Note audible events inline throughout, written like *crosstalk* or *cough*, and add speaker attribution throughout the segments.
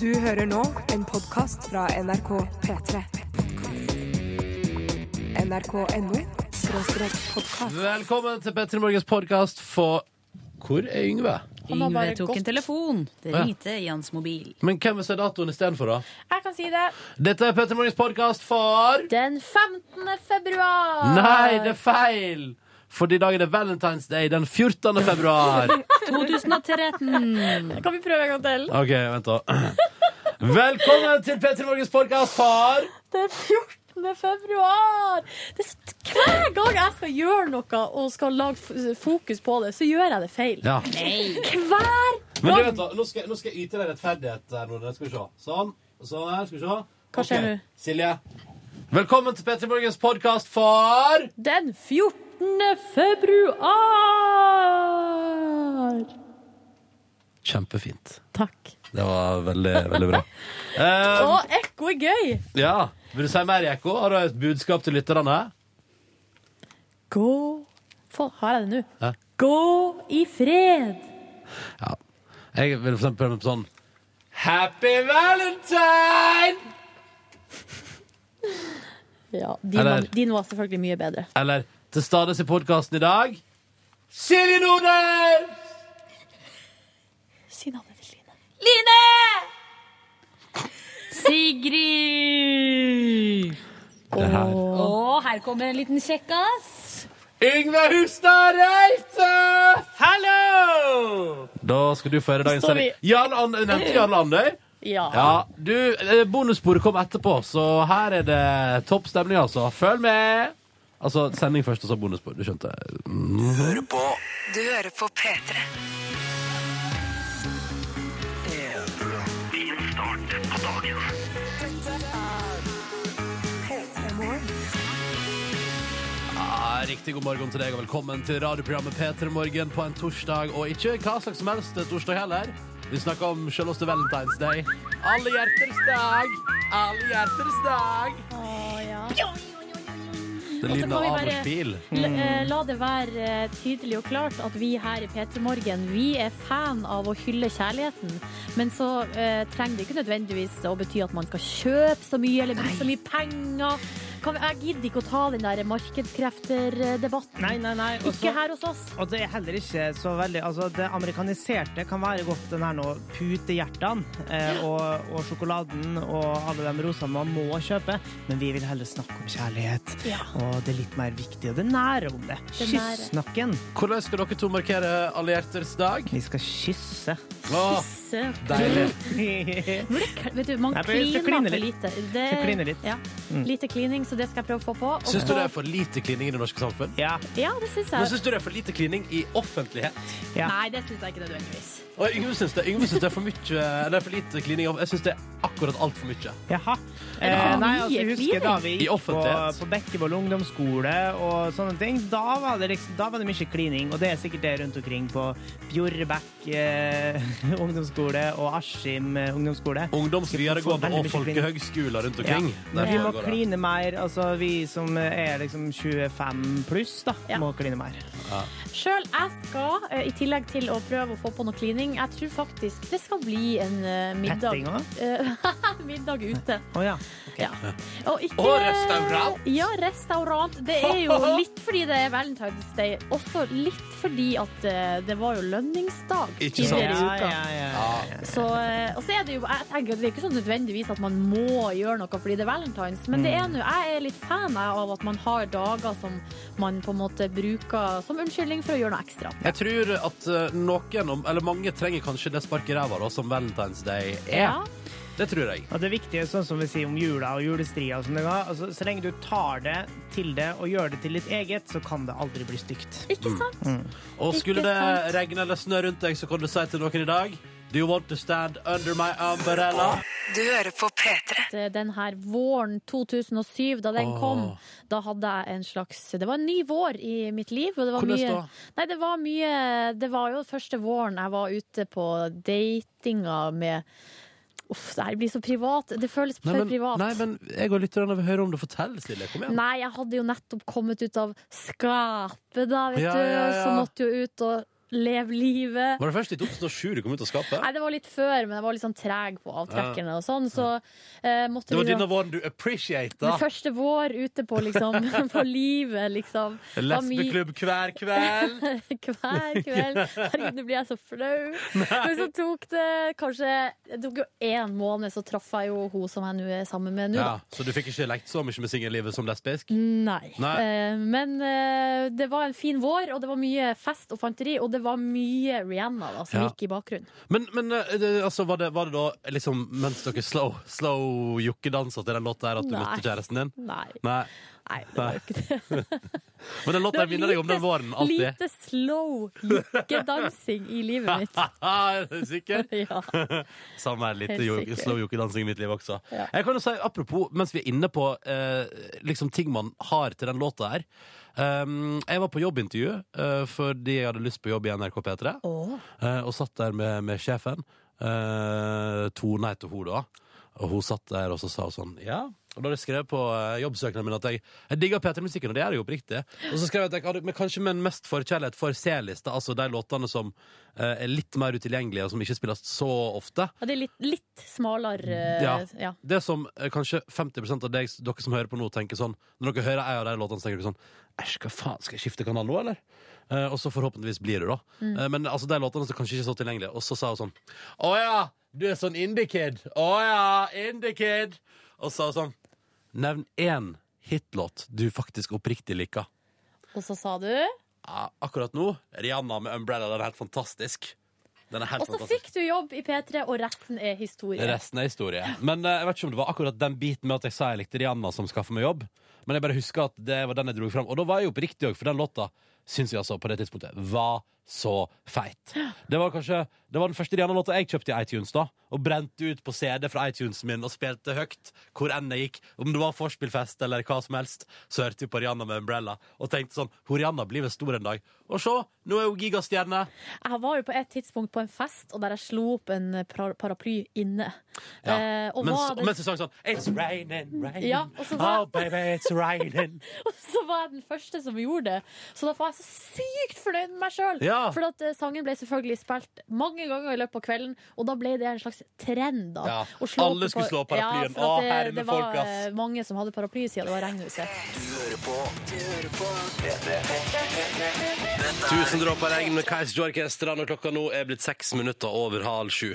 Speaker 1: Du hører nå en podkast fra NRK P3. NRK.no skråstrek podkast.
Speaker 2: Velkommen til Petter Morgens podkast for Hvor er Yngve?
Speaker 3: Han har
Speaker 4: Yngve
Speaker 3: bare
Speaker 4: tok
Speaker 3: gått.
Speaker 4: en telefon. Det
Speaker 2: Å, ja.
Speaker 4: ringte i hans mobil.
Speaker 2: Men hvem vil se datoen istedenfor, da?
Speaker 3: Jeg kan si det.
Speaker 2: Dette er Petter Morgens podkast for
Speaker 3: Den 15. februar.
Speaker 2: Nei, det er feil! For i dag er det Valentine's Day den 14. *laughs* februar.
Speaker 3: *laughs*
Speaker 4: 2013.
Speaker 3: Kan vi prøve en gang til?
Speaker 2: OK, vent, da. Velkommen til Petter Morgens podkast for
Speaker 3: Den 14. februar. Det er så, hver gang jeg skal gjøre noe og skal lage f- fokus på det, så gjør jeg det feil.
Speaker 2: Ja.
Speaker 4: Nei.
Speaker 3: Hver
Speaker 2: Men du vet da, nå skal, nå skal jeg yte deg rettferdighet. der, Nordnes. Skal vi se. Sånn. sånn her, skal vi se.
Speaker 3: Hva skjer
Speaker 2: Ok,
Speaker 3: nå?
Speaker 2: Silje. Velkommen til Petter Morgens podkast for
Speaker 3: Den 14. februar.
Speaker 2: Kjempefint.
Speaker 3: Takk.
Speaker 2: Det var veldig, veldig
Speaker 3: *laughs*
Speaker 2: bra. Eh,
Speaker 3: Å, ekko er gøy.
Speaker 2: ja. Vil du si mer, Ekko? Har du et budskap til lytterne?
Speaker 3: Gå Faen, Har jeg det nå?
Speaker 2: Hæ?
Speaker 3: Gå i fred.
Speaker 2: Ja. Jeg vil for eksempel prøve med sånn Happy Valentine!
Speaker 3: Ja, din,
Speaker 2: Eller-
Speaker 3: var, din var selvfølgelig mye bedre.
Speaker 2: Eller til stades i podkasten i dag Silje Nordnes!
Speaker 3: Si navnet til Line.
Speaker 4: Line! Sigrid!
Speaker 2: Det her.
Speaker 4: Å, her kommer en liten kjekkas.
Speaker 2: Yngve Hustad Reite! Hallo! Da skal du få høre dagens
Speaker 3: Står
Speaker 2: sending. Jan An- Nevnte Jan Andøy?
Speaker 3: Ja.
Speaker 2: Ja, du, eh, bonussporet kom etterpå, så her er det topp stemning, altså. Følg med! Altså, sending først, og så bonusspor. Du skjønte? Mm.
Speaker 1: Du hører på P3.
Speaker 2: Ja, riktig god morgen til deg, og velkommen til radioprogrammet P3 Morgen på en torsdag. Og ikke hva slags som helst torsdag heller. Vi snakker om selveste Valentine's Day. Alle hjerters dag! Alle hjerters dag!
Speaker 3: Å, ja.
Speaker 2: Det er
Speaker 3: Og så
Speaker 2: lyden
Speaker 3: kan
Speaker 2: av
Speaker 3: vi bare-
Speaker 2: Amers bil.
Speaker 3: La,
Speaker 5: Mm.
Speaker 3: eh, la det være eh, tydelig og klart at vi her i P3 Morgen vi er fan av å hylle kjærligheten. Men så eh, trenger det ikke nødvendigvis å bety at man skal kjøpe så mye eller bruke så mye penger. Kan vi, jeg gidder ikke å ta den der markedskrefter-debatten.
Speaker 5: Nei, nei, nei. og
Speaker 3: Ikke
Speaker 5: så-
Speaker 3: her hos oss.
Speaker 5: Og det er heller ikke så veldig Altså, det amerikaniserte kan være godt, den her nå putehjertene eh, og, og sjokoladen og alle de rosene man må kjøpe, men vi vil heller snakke om kjærlighet.
Speaker 3: Ja.
Speaker 5: Og det er litt mer viktig, og det er nære om det.
Speaker 3: Det er nære.
Speaker 5: Kyssnakken.
Speaker 2: Hvordan Mm. skal dere to markere alle hjerters dag?
Speaker 5: Vi skal kysse.
Speaker 2: Åh,
Speaker 3: Så-
Speaker 2: deilig.
Speaker 5: Nei,
Speaker 3: *laughs* Hvor det kl- Vet du, man
Speaker 5: Nei, for jeg skal
Speaker 3: kliner for
Speaker 5: kline litt.
Speaker 3: lite. Det,
Speaker 5: Skal kline litt. Mm.
Speaker 3: Ja. Lite klining, så det skal jeg prøve å få på. Og
Speaker 2: Syns du
Speaker 3: så-
Speaker 2: det er for lite klining i det norske samfunn?
Speaker 5: Ja.
Speaker 3: Ja, det syns
Speaker 2: Men
Speaker 3: jeg.
Speaker 2: syns du det er for lite klining i offentlighet?
Speaker 5: ja.
Speaker 3: Nei, det syns jeg ikke nødvendigvis.
Speaker 2: Og Yngve syns det, Yngve syns det er for mye Eller for lite klining. av- Jeg syns det er akkurat altfor mye.
Speaker 5: Jaha.
Speaker 3: Ja.
Speaker 5: Eh, nei, altså,
Speaker 3: Mye
Speaker 5: jeg husker da vi
Speaker 2: I
Speaker 5: gikk på,
Speaker 2: offentlighet.
Speaker 5: på Bekkevoll ungdomsskole og sånne ting. Da var, det liksom, da var det mye klining, og det er sikkert det rundt omkring på Bjorbekk eh, *laughs* ungdomsskole og Askim eh, ungdomsskole.
Speaker 2: Ungdoms videregående og
Speaker 5: Veldig mye
Speaker 2: folkehøgskoler rundt
Speaker 5: Ja.
Speaker 2: omkring. Der
Speaker 5: Men vi må
Speaker 2: foregår det.
Speaker 5: kline mer, altså vi som er liksom 25 pluss, da,
Speaker 3: Ja.
Speaker 5: må kline mer.
Speaker 3: Sjøl jeg skal, eh, i tillegg til å prøve å få på noe klining, jeg tror faktisk det skal bli en eh, middag.
Speaker 5: Petting òg?
Speaker 3: Eh, *laughs* middag ute.
Speaker 5: Å ja. ok.
Speaker 3: Ja. Og ikke
Speaker 2: Og restaurant.
Speaker 3: Ja, restaurant. Det er jo litt fordi det er Valentine's Day, også litt fordi at eh, det var jo lønningsdag
Speaker 2: Ikke sant.
Speaker 3: tidligere i
Speaker 5: Ja,
Speaker 3: uka.
Speaker 5: ja, ja.
Speaker 3: Så, eh, og så er det jo, jeg tenker at det er ikke sånn nødvendigvis at man må gjøre noe fordi det er valentines, men det er
Speaker 2: Mm.
Speaker 3: nå, jeg er litt fan jeg, av at man har dager som man på en måte bruker som unnskyldning for å gjøre noe ekstra.
Speaker 2: Jeg tror at eh, noen, om- eller mange, trenger kanskje det sparket i ræva da, som Valentine's Day er.
Speaker 3: Ja.
Speaker 2: Det tror jeg.
Speaker 5: Og det viktige, sånn som vi sier om jula og julestria, og sånne ting, altså, så lenge du tar det til det og gjør det til ditt eget, så kan det aldri bli stygt.
Speaker 3: Ikke sant?
Speaker 2: Mm.
Speaker 5: Mm.
Speaker 2: Og skulle
Speaker 3: Ikke
Speaker 2: det
Speaker 3: sant.
Speaker 2: regne eller snø rundt deg, så kan du si til noen i dag Do you want to stand under my umbrella?
Speaker 1: Du hører på P3.
Speaker 3: Det er Den her våren 2007, da den
Speaker 2: Åh.
Speaker 3: kom, da hadde jeg en slags Det var en ny vår i mitt liv. Og det var
Speaker 2: Hvordan
Speaker 3: mye,
Speaker 2: da?
Speaker 3: Nei, det var mye Det var jo første våren jeg var ute på datinga med Uff, det her blir så privat. Det føles
Speaker 2: Nei,
Speaker 3: for
Speaker 2: men,
Speaker 3: privat.
Speaker 2: nei, men jeg og lytterne vil høre om du forteller, Silje. Kom igjen.
Speaker 3: Nei, jeg hadde jo nettopp kommet ut av skapet, da, vet
Speaker 2: Ja,
Speaker 3: du.
Speaker 2: ja, ja.
Speaker 3: Så måtte jo ut og Lev livet.
Speaker 2: Var det først i 2007 du kom ut av skapet?
Speaker 3: Nei, det var litt før, men jeg var litt sånn treg på avtrekkene og sånn, så eh, måtte
Speaker 2: Det var
Speaker 3: vi
Speaker 2: denne våren du appreciata.
Speaker 3: Den første vår ute på, liksom,
Speaker 2: *laughs*
Speaker 3: på livet, liksom. Det var mye-
Speaker 2: Lesbeklubb hver kveld.
Speaker 3: *laughs* Hver kveld. Herregud, nå blir jeg så flau. Men så tok det kanskje Det tok jo én måned, så traff jeg jo hun som jeg nå er sammen med nå.
Speaker 2: Ja,
Speaker 3: da.
Speaker 2: så du fikk ikke lekt så mye med singellivet som lesbisk?
Speaker 3: Nei.
Speaker 2: Nei.
Speaker 3: Eh, Men eh, det var en fin vår, og det var mye fest og fanteri, og det var mye Rihanna da, som
Speaker 2: Ja.
Speaker 3: gikk i bakgrunnen.
Speaker 2: Men, men eh, det, altså, var, det, var det da liksom mens dere slow, slow jokkedansa til den låta her, at du
Speaker 3: Nei.
Speaker 2: møtte kjæresten din?
Speaker 3: Nei.
Speaker 2: Nei.
Speaker 3: Nei, det var jo ikke det.
Speaker 2: *laughs* Men den låta
Speaker 3: Det var
Speaker 2: jeg minner deg om den våren, alltid.
Speaker 3: Lite slow jukkedansing i
Speaker 2: *laughs*
Speaker 3: livet mitt.
Speaker 2: er du sikker?
Speaker 3: *laughs* Ja.
Speaker 2: *laughs* Samme her, litt
Speaker 3: Helt
Speaker 2: jo-
Speaker 3: sikkert.
Speaker 2: slow jokedansing i mitt liv også.
Speaker 3: Ja.
Speaker 2: Jeg kan jo si, Apropos, mens vi er inne på eh, liksom ting man har til den låta her. Um, jeg var på jobbintervju eh, fordi jeg hadde lyst på jobb i NRK P3. Eh, og satt der med, med sjefen. Eh, Tone heter hun da. Og hun satt der og så sa hun sånn Ja. Og da hadde jeg skrevet på eh, jobbsøknaden min at jeg, jeg digger P3-musikken, og det er jeg jo oppriktig. Og så skrev jeg at jeg hadde men kanskje med en mest forkjærlighet for C-lista, altså de låtene som eh, er litt mer utilgjengelige, og som ikke spilles så ofte.
Speaker 3: Ja, det er litt, litt smalere eh,
Speaker 2: Ja.
Speaker 3: ja.
Speaker 2: Det som eh, kanskje 50 av deg, dere som hører på nå, tenker sånn Når dere hører en av de låtene, så tenker dere sånn Æsj, hva faen, skal jeg skifte kanal nå, eller? Eh, og så forhåpentligvis blir det, da.
Speaker 3: Mm.
Speaker 2: Eh, men altså, de låtene som kanskje ikke er så tilgjengelige. Og så sa hun sånn Å ja, du er sånn indie-kid. Å ja, indie-kid. Og så sa hun sånn Nevn én hitlåt du faktisk oppriktig liker.
Speaker 3: Og så sa du
Speaker 2: Ja, akkurat nå, Rihanna med 'Umbrella', den er helt fantastisk. Den er helt
Speaker 3: Og så
Speaker 2: fantastisk.
Speaker 3: fikk du jobb i P3, og resten er historie.
Speaker 2: Resten er historie. Men eh, jeg vet ikke om det var akkurat den biten med at jeg sa jeg likte Rihanna som skaffa meg jobb. Men jeg bare husker at det var den jeg dro fram. Og da var jeg jo på riktig òg, for den låta syns jeg altså på det tidspunktet var så feit. Det var kanskje Det var den første Rihanna-låta jeg kjøpte i iTunes, da. Og brente ut på CD fra iTunes min og spilte høyt hvor enn jeg gikk. Om det var vorspielfest eller hva som helst, så hørte jeg på Rihanna med Umbrella og tenkte sånn Hun Rihanna blir vel stor en dag. Og se, nå er hun gigastjerne.
Speaker 3: Jeg var jo på et tidspunkt på en fest, og der jeg slo opp en pra- paraply inne.
Speaker 2: Ja.
Speaker 3: Eh, og,
Speaker 2: mens,
Speaker 3: var den,
Speaker 2: mens du sang sånn It's raining, raining
Speaker 3: Ja, og så var-
Speaker 2: Oh baby, it's raining
Speaker 3: *laughs* så var jeg den første som gjorde det. Så da var jeg så sykt fornøyd med meg sjøl.
Speaker 2: Ja.
Speaker 3: For at eh, sangen ble selvfølgelig spilt mange ganger i løpet av kvelden, og da ble det en slags trend. da.
Speaker 2: Ja,
Speaker 3: Å slå
Speaker 2: alle
Speaker 3: opp
Speaker 2: skulle slå paraplyen.
Speaker 3: Ja, for
Speaker 2: Å,
Speaker 3: at
Speaker 2: herre
Speaker 3: det,
Speaker 2: med
Speaker 3: det var
Speaker 2: folk, ass.
Speaker 3: eh, mange som hadde paraply siden det var regnhuset.
Speaker 2: *laughs* Tusen dråper regn med Kais Jorkestra Når klokka nå er blitt seks minutter over halv sju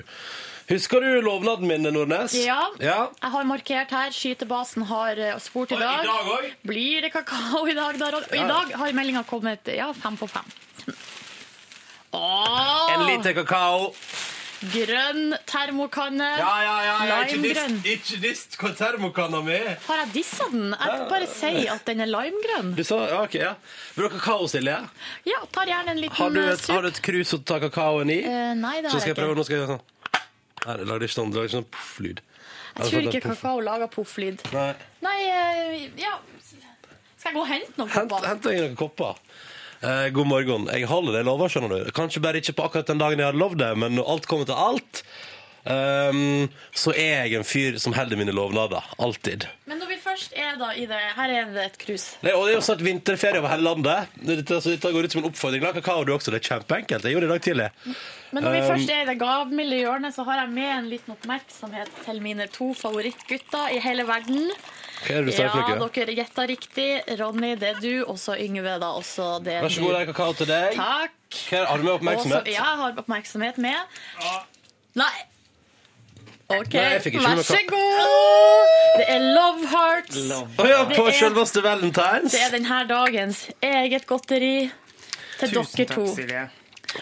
Speaker 2: Husker du lovnaden min, Nordnes?
Speaker 3: Ja.
Speaker 2: ja.
Speaker 3: Jeg har markert her. Skytebasen har eh, spurt i
Speaker 2: Oi,
Speaker 3: dag.
Speaker 2: i dag også?
Speaker 3: Blir det kakao i dag? Der, og og i dag har meldinga kommet ja, fem på fem. Åh,
Speaker 2: En liter kakao
Speaker 3: grønn termokanne.
Speaker 2: Ja, ja, ja, ja. Ikke
Speaker 3: Eh, Limegrønn.
Speaker 2: dist, ikke dist hva termokanna mi er.
Speaker 3: Har jeg dissa den? Jeg bare sier at den er limegrønn.
Speaker 2: Du sa, ja, ok, ja Vil du ha kakao, Silje?
Speaker 3: Ja, tar gjerne en liten
Speaker 2: Har du
Speaker 3: eh,
Speaker 2: et, har du et krus å ta kakaoen i?
Speaker 3: Eh, Nei, det
Speaker 2: Så
Speaker 3: har
Speaker 2: skal
Speaker 3: jeg
Speaker 2: jeg prøve,
Speaker 3: ikke.
Speaker 2: nå skal jeg gjøre sånn Nei, det lager ikke sånn, det lager ikke sånn puff-lyd Altså,
Speaker 3: Jeg tror ikke kakao lager pofflyd.
Speaker 2: Nei
Speaker 3: Nei, eh, ja Skal jeg gå og hente noen
Speaker 2: Hent,
Speaker 3: kopper?
Speaker 2: hent deg noen kopper. Eh, god morgen. Jeg holder det jeg lover, skjønner du. Kanskje bare ikke på akkurat den dagen jeg hadde lovd det, men når alt kommer til alt, ehm, så er jeg en fyr som holder mine lovnader. Alltid.
Speaker 3: Men når vi først er da i det Her er det et krus.
Speaker 2: Nei, og det er jo snart vinterferie over hele landet. Dette, altså, dette går ut som en oppfordring. Lag kakao du også, det er kjempeenkelt. Jeg gjorde det i dag tidlig.
Speaker 3: Men når vi
Speaker 2: Um,
Speaker 3: først er i det gavmilde hjørnet, så har jeg med en liten oppmerksomhet til mine to favorittgutter i hele verden.
Speaker 2: Hva er det du sier
Speaker 3: Ja,
Speaker 2: for noe?
Speaker 3: dere gjetta riktig. Ronny, det er du. Og så Yngve, da. Også det er
Speaker 2: Vær så god, det
Speaker 3: du.
Speaker 2: er kakao til deg.
Speaker 3: Takk.
Speaker 2: Hva er, har du med
Speaker 3: Også-
Speaker 2: oppmerksomhet?
Speaker 3: ja, jeg har oppmerksomhet med. Nei. OK,
Speaker 2: Nei, jeg fikk ikke
Speaker 3: vær
Speaker 2: med
Speaker 3: så
Speaker 2: kak-
Speaker 3: god. Det er Love Hearts.
Speaker 2: Å ja, på
Speaker 3: Det er-
Speaker 2: selveste valentines.
Speaker 3: Det er denne dagens eget godteri til dere to.
Speaker 5: Silje.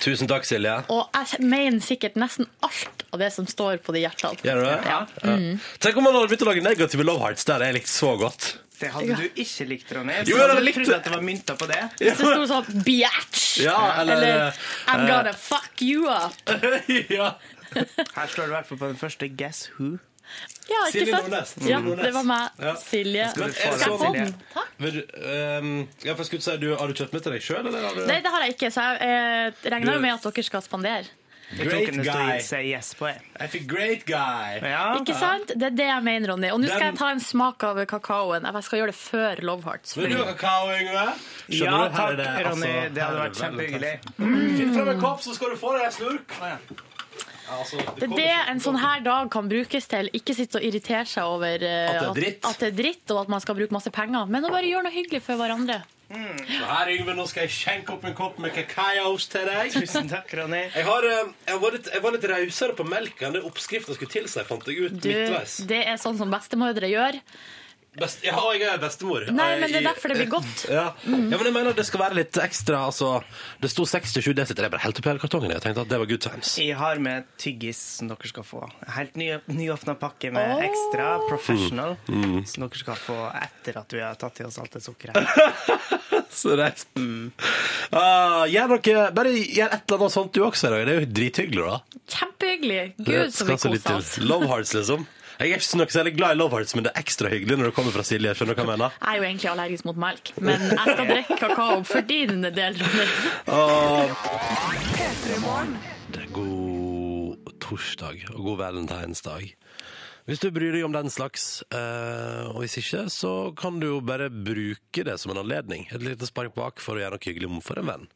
Speaker 2: Tusen takk, Silje.
Speaker 3: Og jeg mener sikkert nesten alt av det som står på de hjertene.
Speaker 2: Gjør du det? Ja.
Speaker 3: Mm.
Speaker 2: Tenk om man hadde begynt å lage negative love hearts. Det hadde jeg likt så godt.
Speaker 5: Det hadde du ikke likt, Ronny.
Speaker 2: Jo, jeg hadde
Speaker 5: Du
Speaker 2: likt
Speaker 5: trodde
Speaker 2: det.
Speaker 5: at det var mynta på det.
Speaker 3: Hvis det sto sånn biatch
Speaker 2: Ja, eller,
Speaker 3: eller I'm
Speaker 2: eh,
Speaker 3: gonna fuck you up.
Speaker 2: *laughs* ja.
Speaker 5: Her slår du i hvert fall på den første Guess Who.
Speaker 3: Ja, ikke
Speaker 2: Silje
Speaker 3: sant?
Speaker 2: Nordnes.
Speaker 3: Ja, det var meg.
Speaker 2: Ja.
Speaker 3: Silje.
Speaker 5: Skal du få
Speaker 3: Skal jeg
Speaker 5: den,
Speaker 3: få
Speaker 5: Silje?
Speaker 2: sånn-
Speaker 3: den? Takk.
Speaker 2: Vil du, ehm, ja, for jeg skulle si, du, har du kjøpt med til deg sjøl, eller? Har du...
Speaker 3: Nei, det har jeg ikke, så jeg eh, regner jo med at dere skal spandere.
Speaker 5: Jeg tok
Speaker 2: Great
Speaker 5: en
Speaker 2: guy.
Speaker 5: ståelse yes på det.
Speaker 2: Jeg fikk great guy.
Speaker 5: Ja.
Speaker 3: Ikke sant? Det er det jeg mener, Ronny. Og nå skal
Speaker 2: Den-
Speaker 3: jeg ta en smak av kakaoen. Jeg skal gjøre det før Love Hearts.
Speaker 2: Vil du ha kakao, Yngve?
Speaker 5: Ja,
Speaker 6: Skjønner du? Her
Speaker 5: takk,
Speaker 6: er det, altså,
Speaker 5: Ronny. Det
Speaker 6: her
Speaker 5: hadde
Speaker 6: er det
Speaker 5: vært kjempehyggelig.
Speaker 2: Mm. Finn frem en kopp, så skal du få deg en slurk. Altså,
Speaker 3: Det er det en sånn her dag kan brukes til. Ikke sitte og irritere seg over eh,
Speaker 6: At det er dritt.
Speaker 3: At, at det er dritt, og at man skal bruke masse penger. Men å bare gjøre noe hyggelig for hverandre.
Speaker 5: Mm.
Speaker 2: Her, Yngve, nå skal jeg skjenke opp en kopp med kakaos til deg.
Speaker 5: Tusen takk, Ronny.
Speaker 2: Jeg, har, eh, jeg, var litt, jeg var litt rausere på melka enn det oppskriften skulle tilsi, fant jeg ut
Speaker 3: Du,
Speaker 2: midtveis.
Speaker 3: det er sånn som bestemødre gjør.
Speaker 2: Best, ja, jeg er bestemor.
Speaker 3: Nei,
Speaker 2: Jeg-
Speaker 3: men det er derfor det blir godt. Mm.
Speaker 2: ja. ja, men jeg mener det skal være litt ekstra. Altså, det sto 67 desiliter. Jeg bare helte opp hele kartongen. Jeg tenkte at det var good times.
Speaker 5: Jeg har med tyggis som dere skal få. Helt ny, nyåpna pakke med ekstra professional
Speaker 2: Mm.
Speaker 5: som dere skal få etter at vi har tatt i oss alt det sukkeret.
Speaker 2: *laughs* Så reist. Ah, gjør noe, bare gjør et eller annet sånt du også i dag. Det er jo drithyggelig, da.
Speaker 3: Kjempehyggelig. Gud, som vi
Speaker 2: Skal så litt
Speaker 3: koser oss.
Speaker 2: til. Love hearts, liksom. Jeg er ikke så noe særlig glad i love hearts, men det er ekstra hyggelig når det kommer fra Silje. Skjønner du hva jeg mener?
Speaker 3: Jeg er jo egentlig allergisk mot melk, men jeg skal drikke kakao for din del, Ronny.
Speaker 2: Det er god torsdag og god valentinsdag. Hvis du bryr deg om den slags, eh, og hvis ikke, så kan du jo bare bruke det som en anledning. Et lite spark bak for å gjøre noe hyggelig for en venn.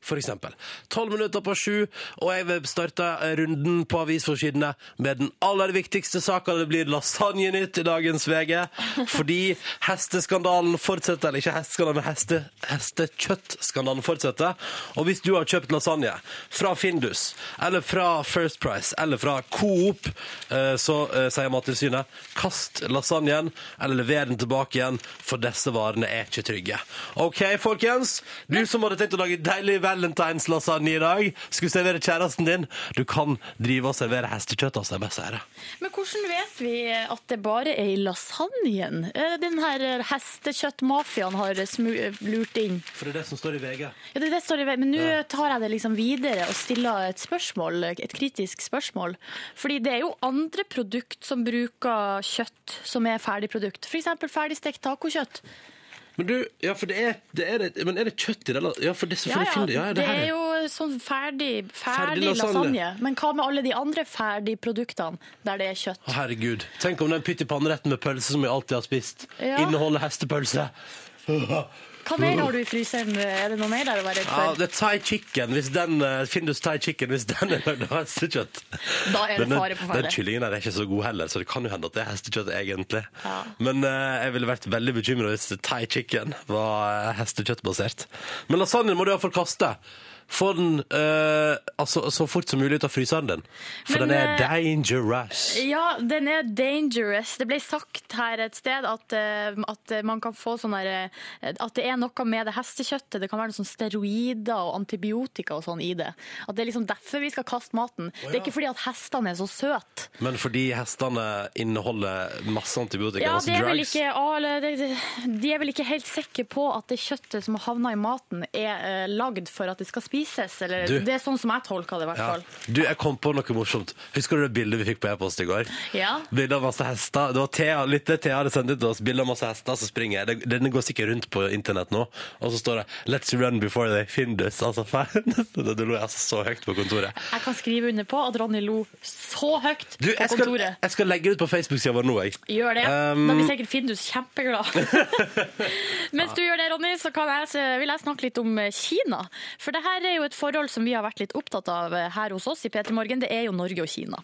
Speaker 2: For eksempel. Tolv minutter på sju, og jeg vil starte runden på avisforsidene med den aller viktigste saka. Det blir lasagnenytt i dagens VG. Fordi hesteskandalen fortsetter. Eller ikke hesteskandalen, men heste, hestekjøttskandalen fortsetter. Og hvis du har kjøpt lasagne fra Findus, eller fra First Price, eller fra Coop, eh, så eh, sier Mattilsynet kast lasagnen, eller lever den tilbake igjen, for disse varene er ikke trygge. OK, folkens. Du som hadde tenkt å lage deilig valentineslasagne i dag, skulle servere kjæresten din. Du kan drive og servere hestekjøtt, altså. Jeg bare sier det.
Speaker 3: Men hvordan vet vi at det bare er i lasagnen? Eh, Den her hestekjøttmafiaen har smu lurt inn.
Speaker 2: For det er det som står i VG.
Speaker 3: Ja, det, er det står i vei, men nå tar jeg det liksom videre og stiller et spørsmål, et kritisk spørsmål. Fordi det er jo andre produkt som bruker kjøtt som er ferdigprodukt. For eksempel ferdigstekt tacokjøtt.
Speaker 2: Men du, ja, for det er, det er, det- men er det kjøtt i det? la- Ja, for det er
Speaker 3: Ja,
Speaker 2: selvfølgelig
Speaker 3: ja,
Speaker 2: fin- ja, ja,
Speaker 3: det
Speaker 2: her
Speaker 3: er jo sånn ferdig, ferdig,
Speaker 2: Ferdig lasagne.
Speaker 3: lasagne. Men hva med alle de andre ferdigproduktene der det er kjøtt?
Speaker 2: Å, herregud. Tenk om den pytt i panneretten med pølse som vi alltid har spist,
Speaker 3: Ja.
Speaker 2: inneholder hestepølse.
Speaker 3: Hva mer har du i fryseren? Er det noe mer der å være redd
Speaker 2: Mm. Ja,
Speaker 3: for?
Speaker 2: det er thai chicken, hvis den eh, Findus thai chicken, hvis den er lagd av hestekjøtt.
Speaker 3: Da er det
Speaker 2: Men den-
Speaker 3: fare på ferde.
Speaker 2: Den kyllingen der er ikke så god heller, så det kan jo hende at det er hestekjøtt egentlig.
Speaker 3: Ja.
Speaker 2: Men eh, jeg ville vært veldig bekymra hvis thai chicken var eh, hestekjøttbasert. Men lasagnen må du iallfall kaste. Få den eh, altså, så fort som mulig ut av fryseren din. For den
Speaker 3: Men,
Speaker 2: er
Speaker 3: eh,
Speaker 2: dangerous.
Speaker 3: Ja, den er dangerous. Det ble sagt her et sted at, eh, at man kan få sånn her, eh, At det er noe med det hestekjøttet. Det kan være noen sånn steroider og antibiotika og sånn i det. At det er liksom derfor vi skal kaste maten. Det er ikke fordi at hestene er så søte.
Speaker 2: Men fordi hestene inneholder masse antibiotika,
Speaker 3: Ja,
Speaker 2: masse
Speaker 3: det er vel
Speaker 2: drugs
Speaker 3: ikke, ah, eller det- det- de er vel ikke helt sikre på at det kjøttet som har havna i maten, er eh, lagd for at det skal spises. Eller,
Speaker 2: Du-
Speaker 3: det er sånn som jeg tolker det, i hvert
Speaker 2: Ja.
Speaker 3: fall.
Speaker 2: Du, jeg kom på noe morsomt. Husker du det bildet vi fikk på e-post i går?
Speaker 3: Ja.
Speaker 2: Bildet av masse hester. Det var Thea, lytte, Thea hadde sendt ut til oss bilde av masse hester som springer. Det- Den går sikkert rundt på internett nå. Og så står det 'Let's run before they find us'. *laughs* Altså, faen. Det lo jeg altså så høyt på kontoret.
Speaker 3: Jeg kan skrive under på at Ronny lo så høyt
Speaker 2: Du,
Speaker 3: på
Speaker 2: jeg skal,
Speaker 3: kontoret.
Speaker 2: jeg skal legge det ut på Facebook-sida vår nå, jeg.
Speaker 3: Gjør det.
Speaker 2: Um,
Speaker 3: da blir sikkert Findus kjempeglad. Mens du gjør det, Ronny, så kan jeg, så vil jeg snakke litt om eh, Kina. For det her er jo et forhold som vi har vært litt opptatt av eh, her hos oss i P3 Morgen. Det er jo Norge og Kina.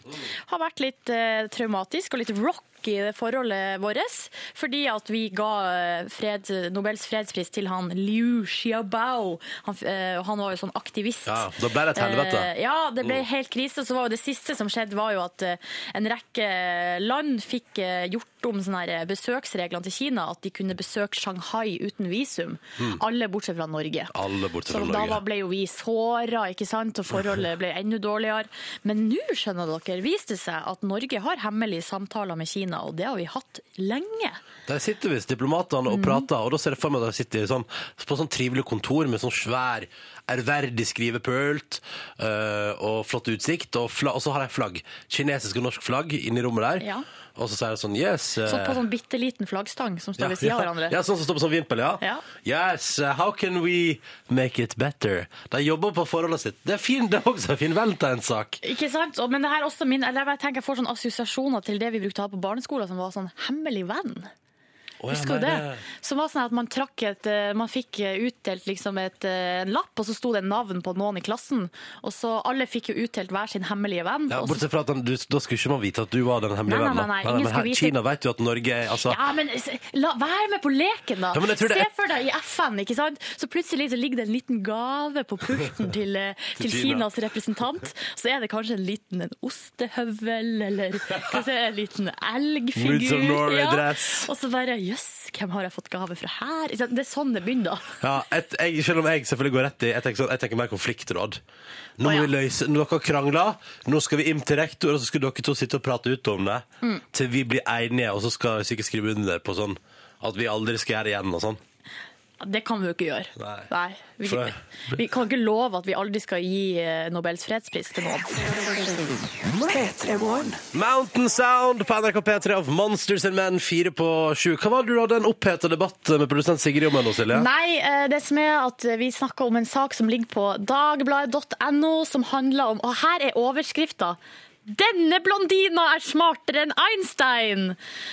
Speaker 3: Har vært litt eh, traumatisk og litt rocky i det forholdet vårt. Fordi at vi ga eh, fred, Nobels fredspris til han Liu Xiaobao. Han, eh, han var jo sånn aktivist.
Speaker 2: Ja, da ble det et helvete.
Speaker 3: Eh, ja, det ble helt krise. Så var jo det siste som skjedde, var jo at eh, en rekke land fikk eh, gjort om sånne her eh, besøksreglene til Kina, at de kunne besøke Shanghai uten visum. Alle bortsett fra Norge.
Speaker 2: Alle Hmm. bortsett fra
Speaker 3: Så
Speaker 2: Norge.
Speaker 3: Da var- ble jo vi såra, ikke sant, og forholdet ble enda dårligere. Men nå, skjønner dere, viste det seg at Norge har hemmelige samtaler med Kina, og det har vi hatt lenge.
Speaker 2: Der sitter visst diplomatene
Speaker 3: Mhm.
Speaker 2: og prater, og da ser jeg for meg at de sitter i sånn, på sånn trivelig kontor med sånn svær, ærverdig skrivepult eh, øh, og flott utsikt, og, fla- og så har de flagg. Kinesisk og norsk flagg inne i rommet der.
Speaker 3: Ja.
Speaker 2: Og så sier jeg sånn Yes. eh,
Speaker 3: Sånn på sånn bitte liten flaggstang som står ved sida av hverandre.
Speaker 2: *laughs* Ja, sånn som står på sånn vimpel, ja.
Speaker 3: Ja.
Speaker 2: Yes, uh, how can we make it better? De jobber på forholdet sitt. Det er fin, det er også en fin valentinssak.
Speaker 3: Ikke sant? Og- Men det her også min, eller jeg bare tenker jeg får sånn assosiasjoner til det vi brukte å ha på barneskolen, som var sånn hemmelig venn.
Speaker 2: Oh,
Speaker 3: Husker du det? Som var sånn at man trakk et eh, Man fikk eh, utdelt liksom et, eh, en lapp, og så sto det navn på noen i klassen. Og så alle fikk jo utdelt hver sin hemmelige venn.
Speaker 2: Ja,
Speaker 3: og så-
Speaker 2: bortsett fra at den, du, Da skulle ikke man vite at du var den hemmelige
Speaker 3: Nei, nei,
Speaker 2: vennen. da.
Speaker 3: nei, nei, ingen
Speaker 2: men
Speaker 3: skulle
Speaker 2: her,
Speaker 3: vite-
Speaker 2: Kina vet jo at Norge er altså,
Speaker 3: Ja, men s- la, vær med på leken, da.
Speaker 2: Ja, men jeg tror det
Speaker 3: Se
Speaker 2: er-
Speaker 3: for deg i FN, ikke sant. Så plutselig så ligger det en liten gave på
Speaker 2: *laughs*
Speaker 3: pulten til, eh, til
Speaker 2: Kina.
Speaker 3: Kinas representant. Så er det kanskje en liten en ostehøvel, eller hva skal jeg si, en liten elgfigur.
Speaker 2: Moods of Norway-dress.
Speaker 3: Og så bare jøss, hvem har jeg fått gave fra her? Ikke sant? Det er sånn det begynner.
Speaker 2: Ja, et, jeg, selv om jeg selvfølgelig går rett i Jeg tenker, sånn, jeg tenker mer konfliktråd. Nå må
Speaker 3: Å, ja.
Speaker 2: vi løse Dere har krangla, nå skal vi inn til rektor, og så skal dere to sitte og prate ut om det
Speaker 3: Mm.
Speaker 2: til vi blir enige, og så skal vi sikkert skrive under på sånn at vi aldri skal gjøre det igjen og sånn.
Speaker 3: Det kan vi jo ikke gjøre.
Speaker 2: Nei.
Speaker 3: vi,
Speaker 2: For-
Speaker 3: vi kan ikke love at vi aldri skal gi eh, Nobels fredspris til noen.
Speaker 1: P3-morgen.
Speaker 2: Mountain Sound på NRK P3 av Monsters and Men, fire på sju. Hva var det du hadde en oppheta debatt med produsent Sigrid om ennå, Silje?
Speaker 3: Nei, eh, det som er at vi snakker om en sak som ligger på dagbladet.no, som handler om Og her er overskrifta. Denne blondina er smartere enn Einstein!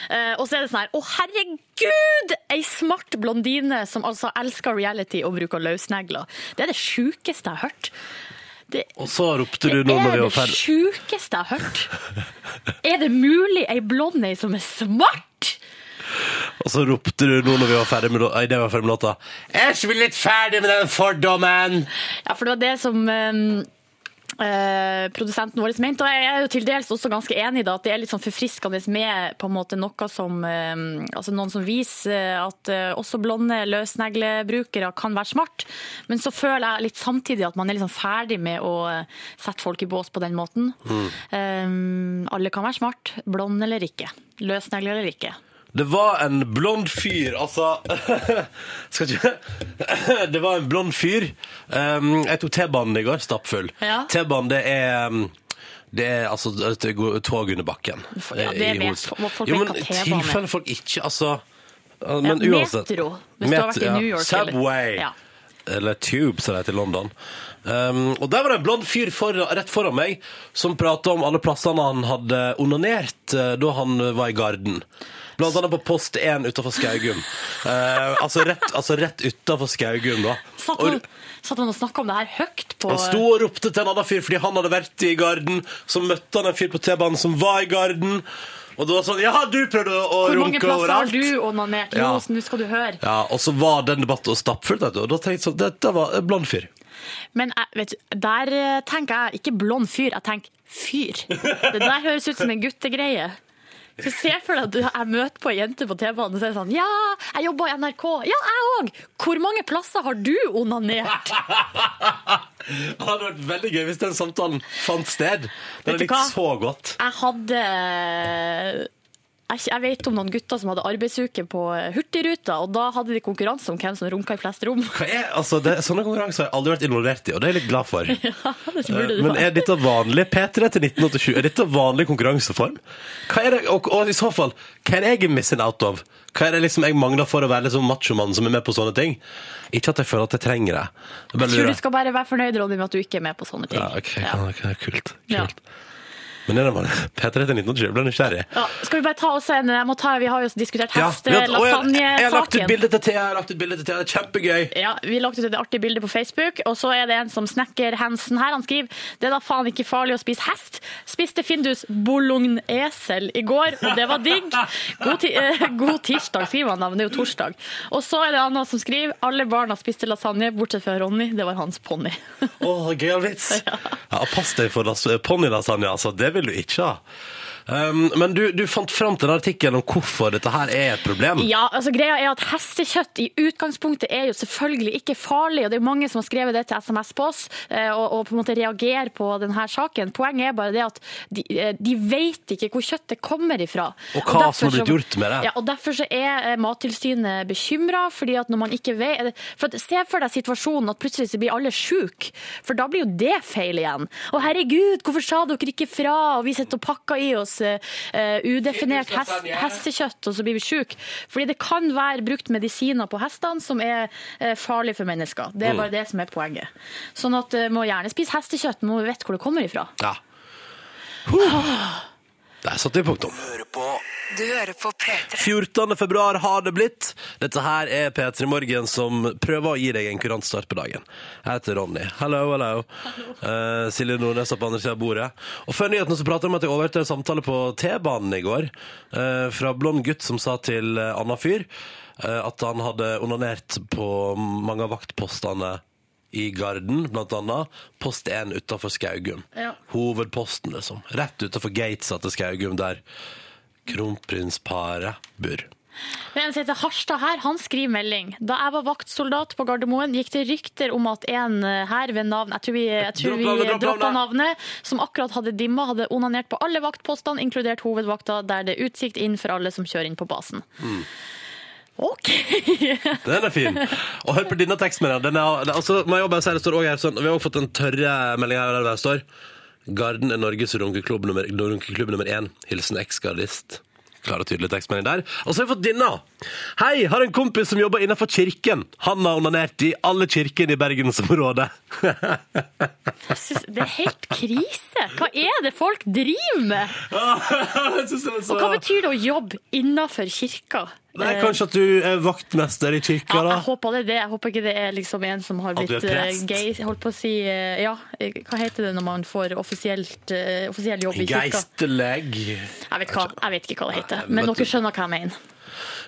Speaker 3: Eh, og så er det sånn her Å, herregud! Ei smart blondine som altså elsker reality og bruker løssnegler. Det er det sjukeste jeg har hørt. Det
Speaker 2: Og så ropte du
Speaker 3: det
Speaker 2: nå når
Speaker 3: er
Speaker 2: vi
Speaker 3: det
Speaker 2: var ferdig.
Speaker 3: sjukeste jeg har hørt. Er det mulig ei blond ei som er smart?
Speaker 2: Og så ropte du nå når vi var ferdig med, lå- nei, det var ferdig med låta. Jeg er ikke litt ferdig med den fordommen!
Speaker 3: Ja, for det var det som eh, eh, produsenten vår mente, og jeg er jo til dels også ganske enig i det, at det er litt sånn forfriskende med på en måte noe som, eh, altså noen som viser at eh, også blonde løsneglebrukere kan være smart, men så føler jeg litt samtidig at man er liksom ferdig med å eh, sette folk i bås på den måten. Eh, alle kan være smart, blond eller ikke, løsnegle eller ikke.
Speaker 2: Det var en blond fyr, altså *laughs* Skal ikke *laughs* Det var en blond fyr. Um, jeg tok T-banen i går, stappfull.
Speaker 3: Ja.
Speaker 2: T-banen, det er um, det er altså et go- tog under bakken.
Speaker 3: Ja, det
Speaker 2: i
Speaker 3: vet
Speaker 2: hovedstaden.
Speaker 3: folk- folk
Speaker 2: Jo,
Speaker 3: vet
Speaker 2: men
Speaker 3: hva T-banen er.
Speaker 2: tilfelle folk ikke Altså uh, Men
Speaker 3: Ja,
Speaker 2: uansett.
Speaker 3: Metro, hvis du har vært i New York. eller-
Speaker 2: Subway.
Speaker 3: Ja.
Speaker 2: Eller Tube, som det heter i London. Um, og der var det en blond fyr for, rett foran meg som prata om alle plassene han hadde onanert eh, da han var i Garden. Blant annet på post 1 utafor
Speaker 3: *laughs*
Speaker 2: Skaugum. Eh, altså rett, altså rett utafor Skaugum, da.
Speaker 3: Satt
Speaker 2: Og-
Speaker 3: han, satt han og snakket om det her høyt på...
Speaker 2: han sto og ropte til en annen fyr fordi han hadde vært i garden. Så møtte han en fyr på T-banen som var i garden. Og det var sånn Ja, du prøvde å å
Speaker 3: eh, Hvor mange
Speaker 2: runke
Speaker 3: plasser har
Speaker 2: overalt!
Speaker 3: du onanert?
Speaker 2: Ja.
Speaker 3: Jo, så nå skal du høre.
Speaker 2: Ja, og så var den debatten stappfull. vet du. Og da tenkte jeg sånn Dette var en blond fyr.
Speaker 3: Men jeg- vet du, der eh, tenker jeg ikke blond fyr, jeg tenker
Speaker 2: *laughs*
Speaker 3: fyr. Det der høres ut som en guttegreie. Så Se for deg at du- jeg møter på ei jente på T-banen og sier sånn Ja, jeg jobber i NRK. Ja, jeg òg! Hvor mange plasser har du
Speaker 2: *laughs*
Speaker 3: onanert?
Speaker 2: Det hadde vært veldig gøy hvis den samtalen fant sted. Den
Speaker 3: Vet du
Speaker 2: likte
Speaker 3: hva?
Speaker 2: så godt.
Speaker 3: Jeg hadde eh, jeg, jeg vet om noen gutter som hadde arbeidsuke på Hurtigruta, og da hadde de konkurranse om hvem som runka i flest rom.
Speaker 2: Hva er, altså, det, sånne konkurranser har jeg aldri vært involvert i, og det er jeg litt glad for. Eh,
Speaker 3: Det *laughs* burde du
Speaker 2: Men er dette vanlig P3 til 1987? Er dette vanlig konkurranseform? Hva er det, og, og i så fall, hva er det jeg er missing out of? Hva er det liksom jeg mangler for å være liksom machomann som er med på sånne ting? Ikke at jeg føler at jeg trenger det. Jeg bare
Speaker 3: Jeg tror
Speaker 2: lurer.
Speaker 3: du skal bare være fornøyd, Ronny, med at du ikke er med på sånne ting.
Speaker 2: Ja, ok,
Speaker 3: Ja.
Speaker 2: kan- kan- kult. kult.
Speaker 3: Ja.
Speaker 2: Men er det vanlig? P3 til 1987, jeg ble nysgjerrig.
Speaker 3: Ja, skal vi bare ta oss en jeg må ta, Vi har jo diskutert eh,
Speaker 2: Ja, vi har- å, jeg, jeg har lagt ut
Speaker 3: heste-lasagne-saken.
Speaker 2: bilde til Thea, jeg har lagt ut bilde til Thea, det er kjempegøy.
Speaker 3: Ja, Vi lagt ut et artig bilde på Facebook, og så er det en som snekker Hansen her. Han skriver det er da faen ikke farlig å spise hest. Spiste Findus bolognesel i går, og det var digg. God, ti eh, god tirsdag, skriver han da, men det er jo torsdag. Og så er det Anna som skriver alle barna spiste lasagne, bortsett fra Ronny. Det var hans ponni.
Speaker 2: Å, gøyal vits! *laughs* Ja. pass deg for las- ponnilasagne, altså. Det vil du ikke ha. Um, men du, du fant fram til den artikkelen om hvorfor dette her er et problem.
Speaker 3: Ja, altså greia er at Hestekjøtt i utgangspunktet er jo selvfølgelig ikke farlig, og det er jo mange som har skrevet det til SMS på oss eh, og, og på en måte reagerer på denne saken. Poenget er bare det at de, eh, de vet ikke hvor kjøttet kommer ifra.
Speaker 2: Og hva
Speaker 3: derfor
Speaker 2: som har blitt
Speaker 3: så-
Speaker 2: gjort med det.
Speaker 3: Ja, og Derfor så er eh, Mattilsynet bekymra, fordi at når man ikke vet for at, Se for deg situasjonen at plutselig så blir alle sjuke, for da blir jo det feil igjen. Å herregud, hvorfor sa dere ikke fra, og vi sitter og pakker i oss eh, eh, udefinert hest, hestekjøtt, og så blir vi syke. Fordi det kan være brukt medisiner på hestene som er eh, farlige for mennesker. Det
Speaker 2: Mm.
Speaker 3: er bare det som er poenget. Sånn at eh, må gjerne spise hestekjøtt, må vi vite hvor det kommer ifra.
Speaker 2: Ja. Huh. Der satte vi punktum.
Speaker 1: Du hører på P3.
Speaker 2: 14. februar har det blitt. Dette her er P3 Morgen som prøver å gi deg en kurant start på dagen. Jeg heter Ronny. Hello, hello. Eh, Silje Nordnes er på andre siden av bordet. Og før nyheten så prater jeg om at jeg overhørte en samtale på T-banen i går eh, fra blond gutt som sa til eh, Anna Fyr eh, at han hadde onanert på mange av vaktpostene i Garden, blant annet. Post 1 utenfor Skaugum.
Speaker 3: Ja.
Speaker 2: Hovedposten, liksom. Rett utenfor gatesa til Skaugum der kronprinsparet bor.
Speaker 3: Men En som heter Harstad her, han skriver melding. Da jeg var vaktsoldat på Gardermoen, gikk det rykter om at en eh, her ved navn Jeg tror vi, jeg tror
Speaker 2: Dropp
Speaker 3: vi
Speaker 2: navnet, dropp
Speaker 3: droppa
Speaker 2: navnet.
Speaker 3: navnet, som akkurat hadde dimma, hadde onanert på alle vaktpostene, inkludert hovedvakta, der det er utsikt inn for alle som kjører inn på
Speaker 2: *laughs*
Speaker 3: basen. OK!
Speaker 2: Mm. Den er fin. Og hør på denne tekstmeldingen. Den er, den- altså, må jeg bare si, det står også her, sånn, vi har også fått en tørre melding her der det står Garden er Norges runkeklubb nummer, runkeklubb nummer én. Hilsen eksgardist. Klar og tydelig tekstmelding der. Og så har vi fått denne. Hei, har en kompis som jobber innenfor kirken. Han har onanert i alle kirkene i bergensområdet.
Speaker 3: Jeg synes Det er helt krise! Hva er det folk driver
Speaker 2: *laughs*
Speaker 3: med?
Speaker 2: Jeg synes det er så-
Speaker 3: Og hva betyr det å jobbe innafor kirka?
Speaker 2: Nei,
Speaker 3: Eh,
Speaker 2: kanskje at du er vaktmester i kirka,
Speaker 3: Ja,
Speaker 2: da?
Speaker 3: jeg håper det er det. Jeg håper ikke det er liksom en som har
Speaker 2: At du er
Speaker 3: blitt eh,
Speaker 2: prest?
Speaker 3: gay jeg Holdt på å si eh, Ja, eh, hva heter det når man får offisielt, eh, offisiell jobb i kirka?
Speaker 2: Geistleg.
Speaker 3: Jeg vet, hva, jeg vet ikke hva det heter,
Speaker 2: Nei,
Speaker 3: men
Speaker 2: vet
Speaker 3: dere
Speaker 2: du-
Speaker 3: skjønner hva jeg mener.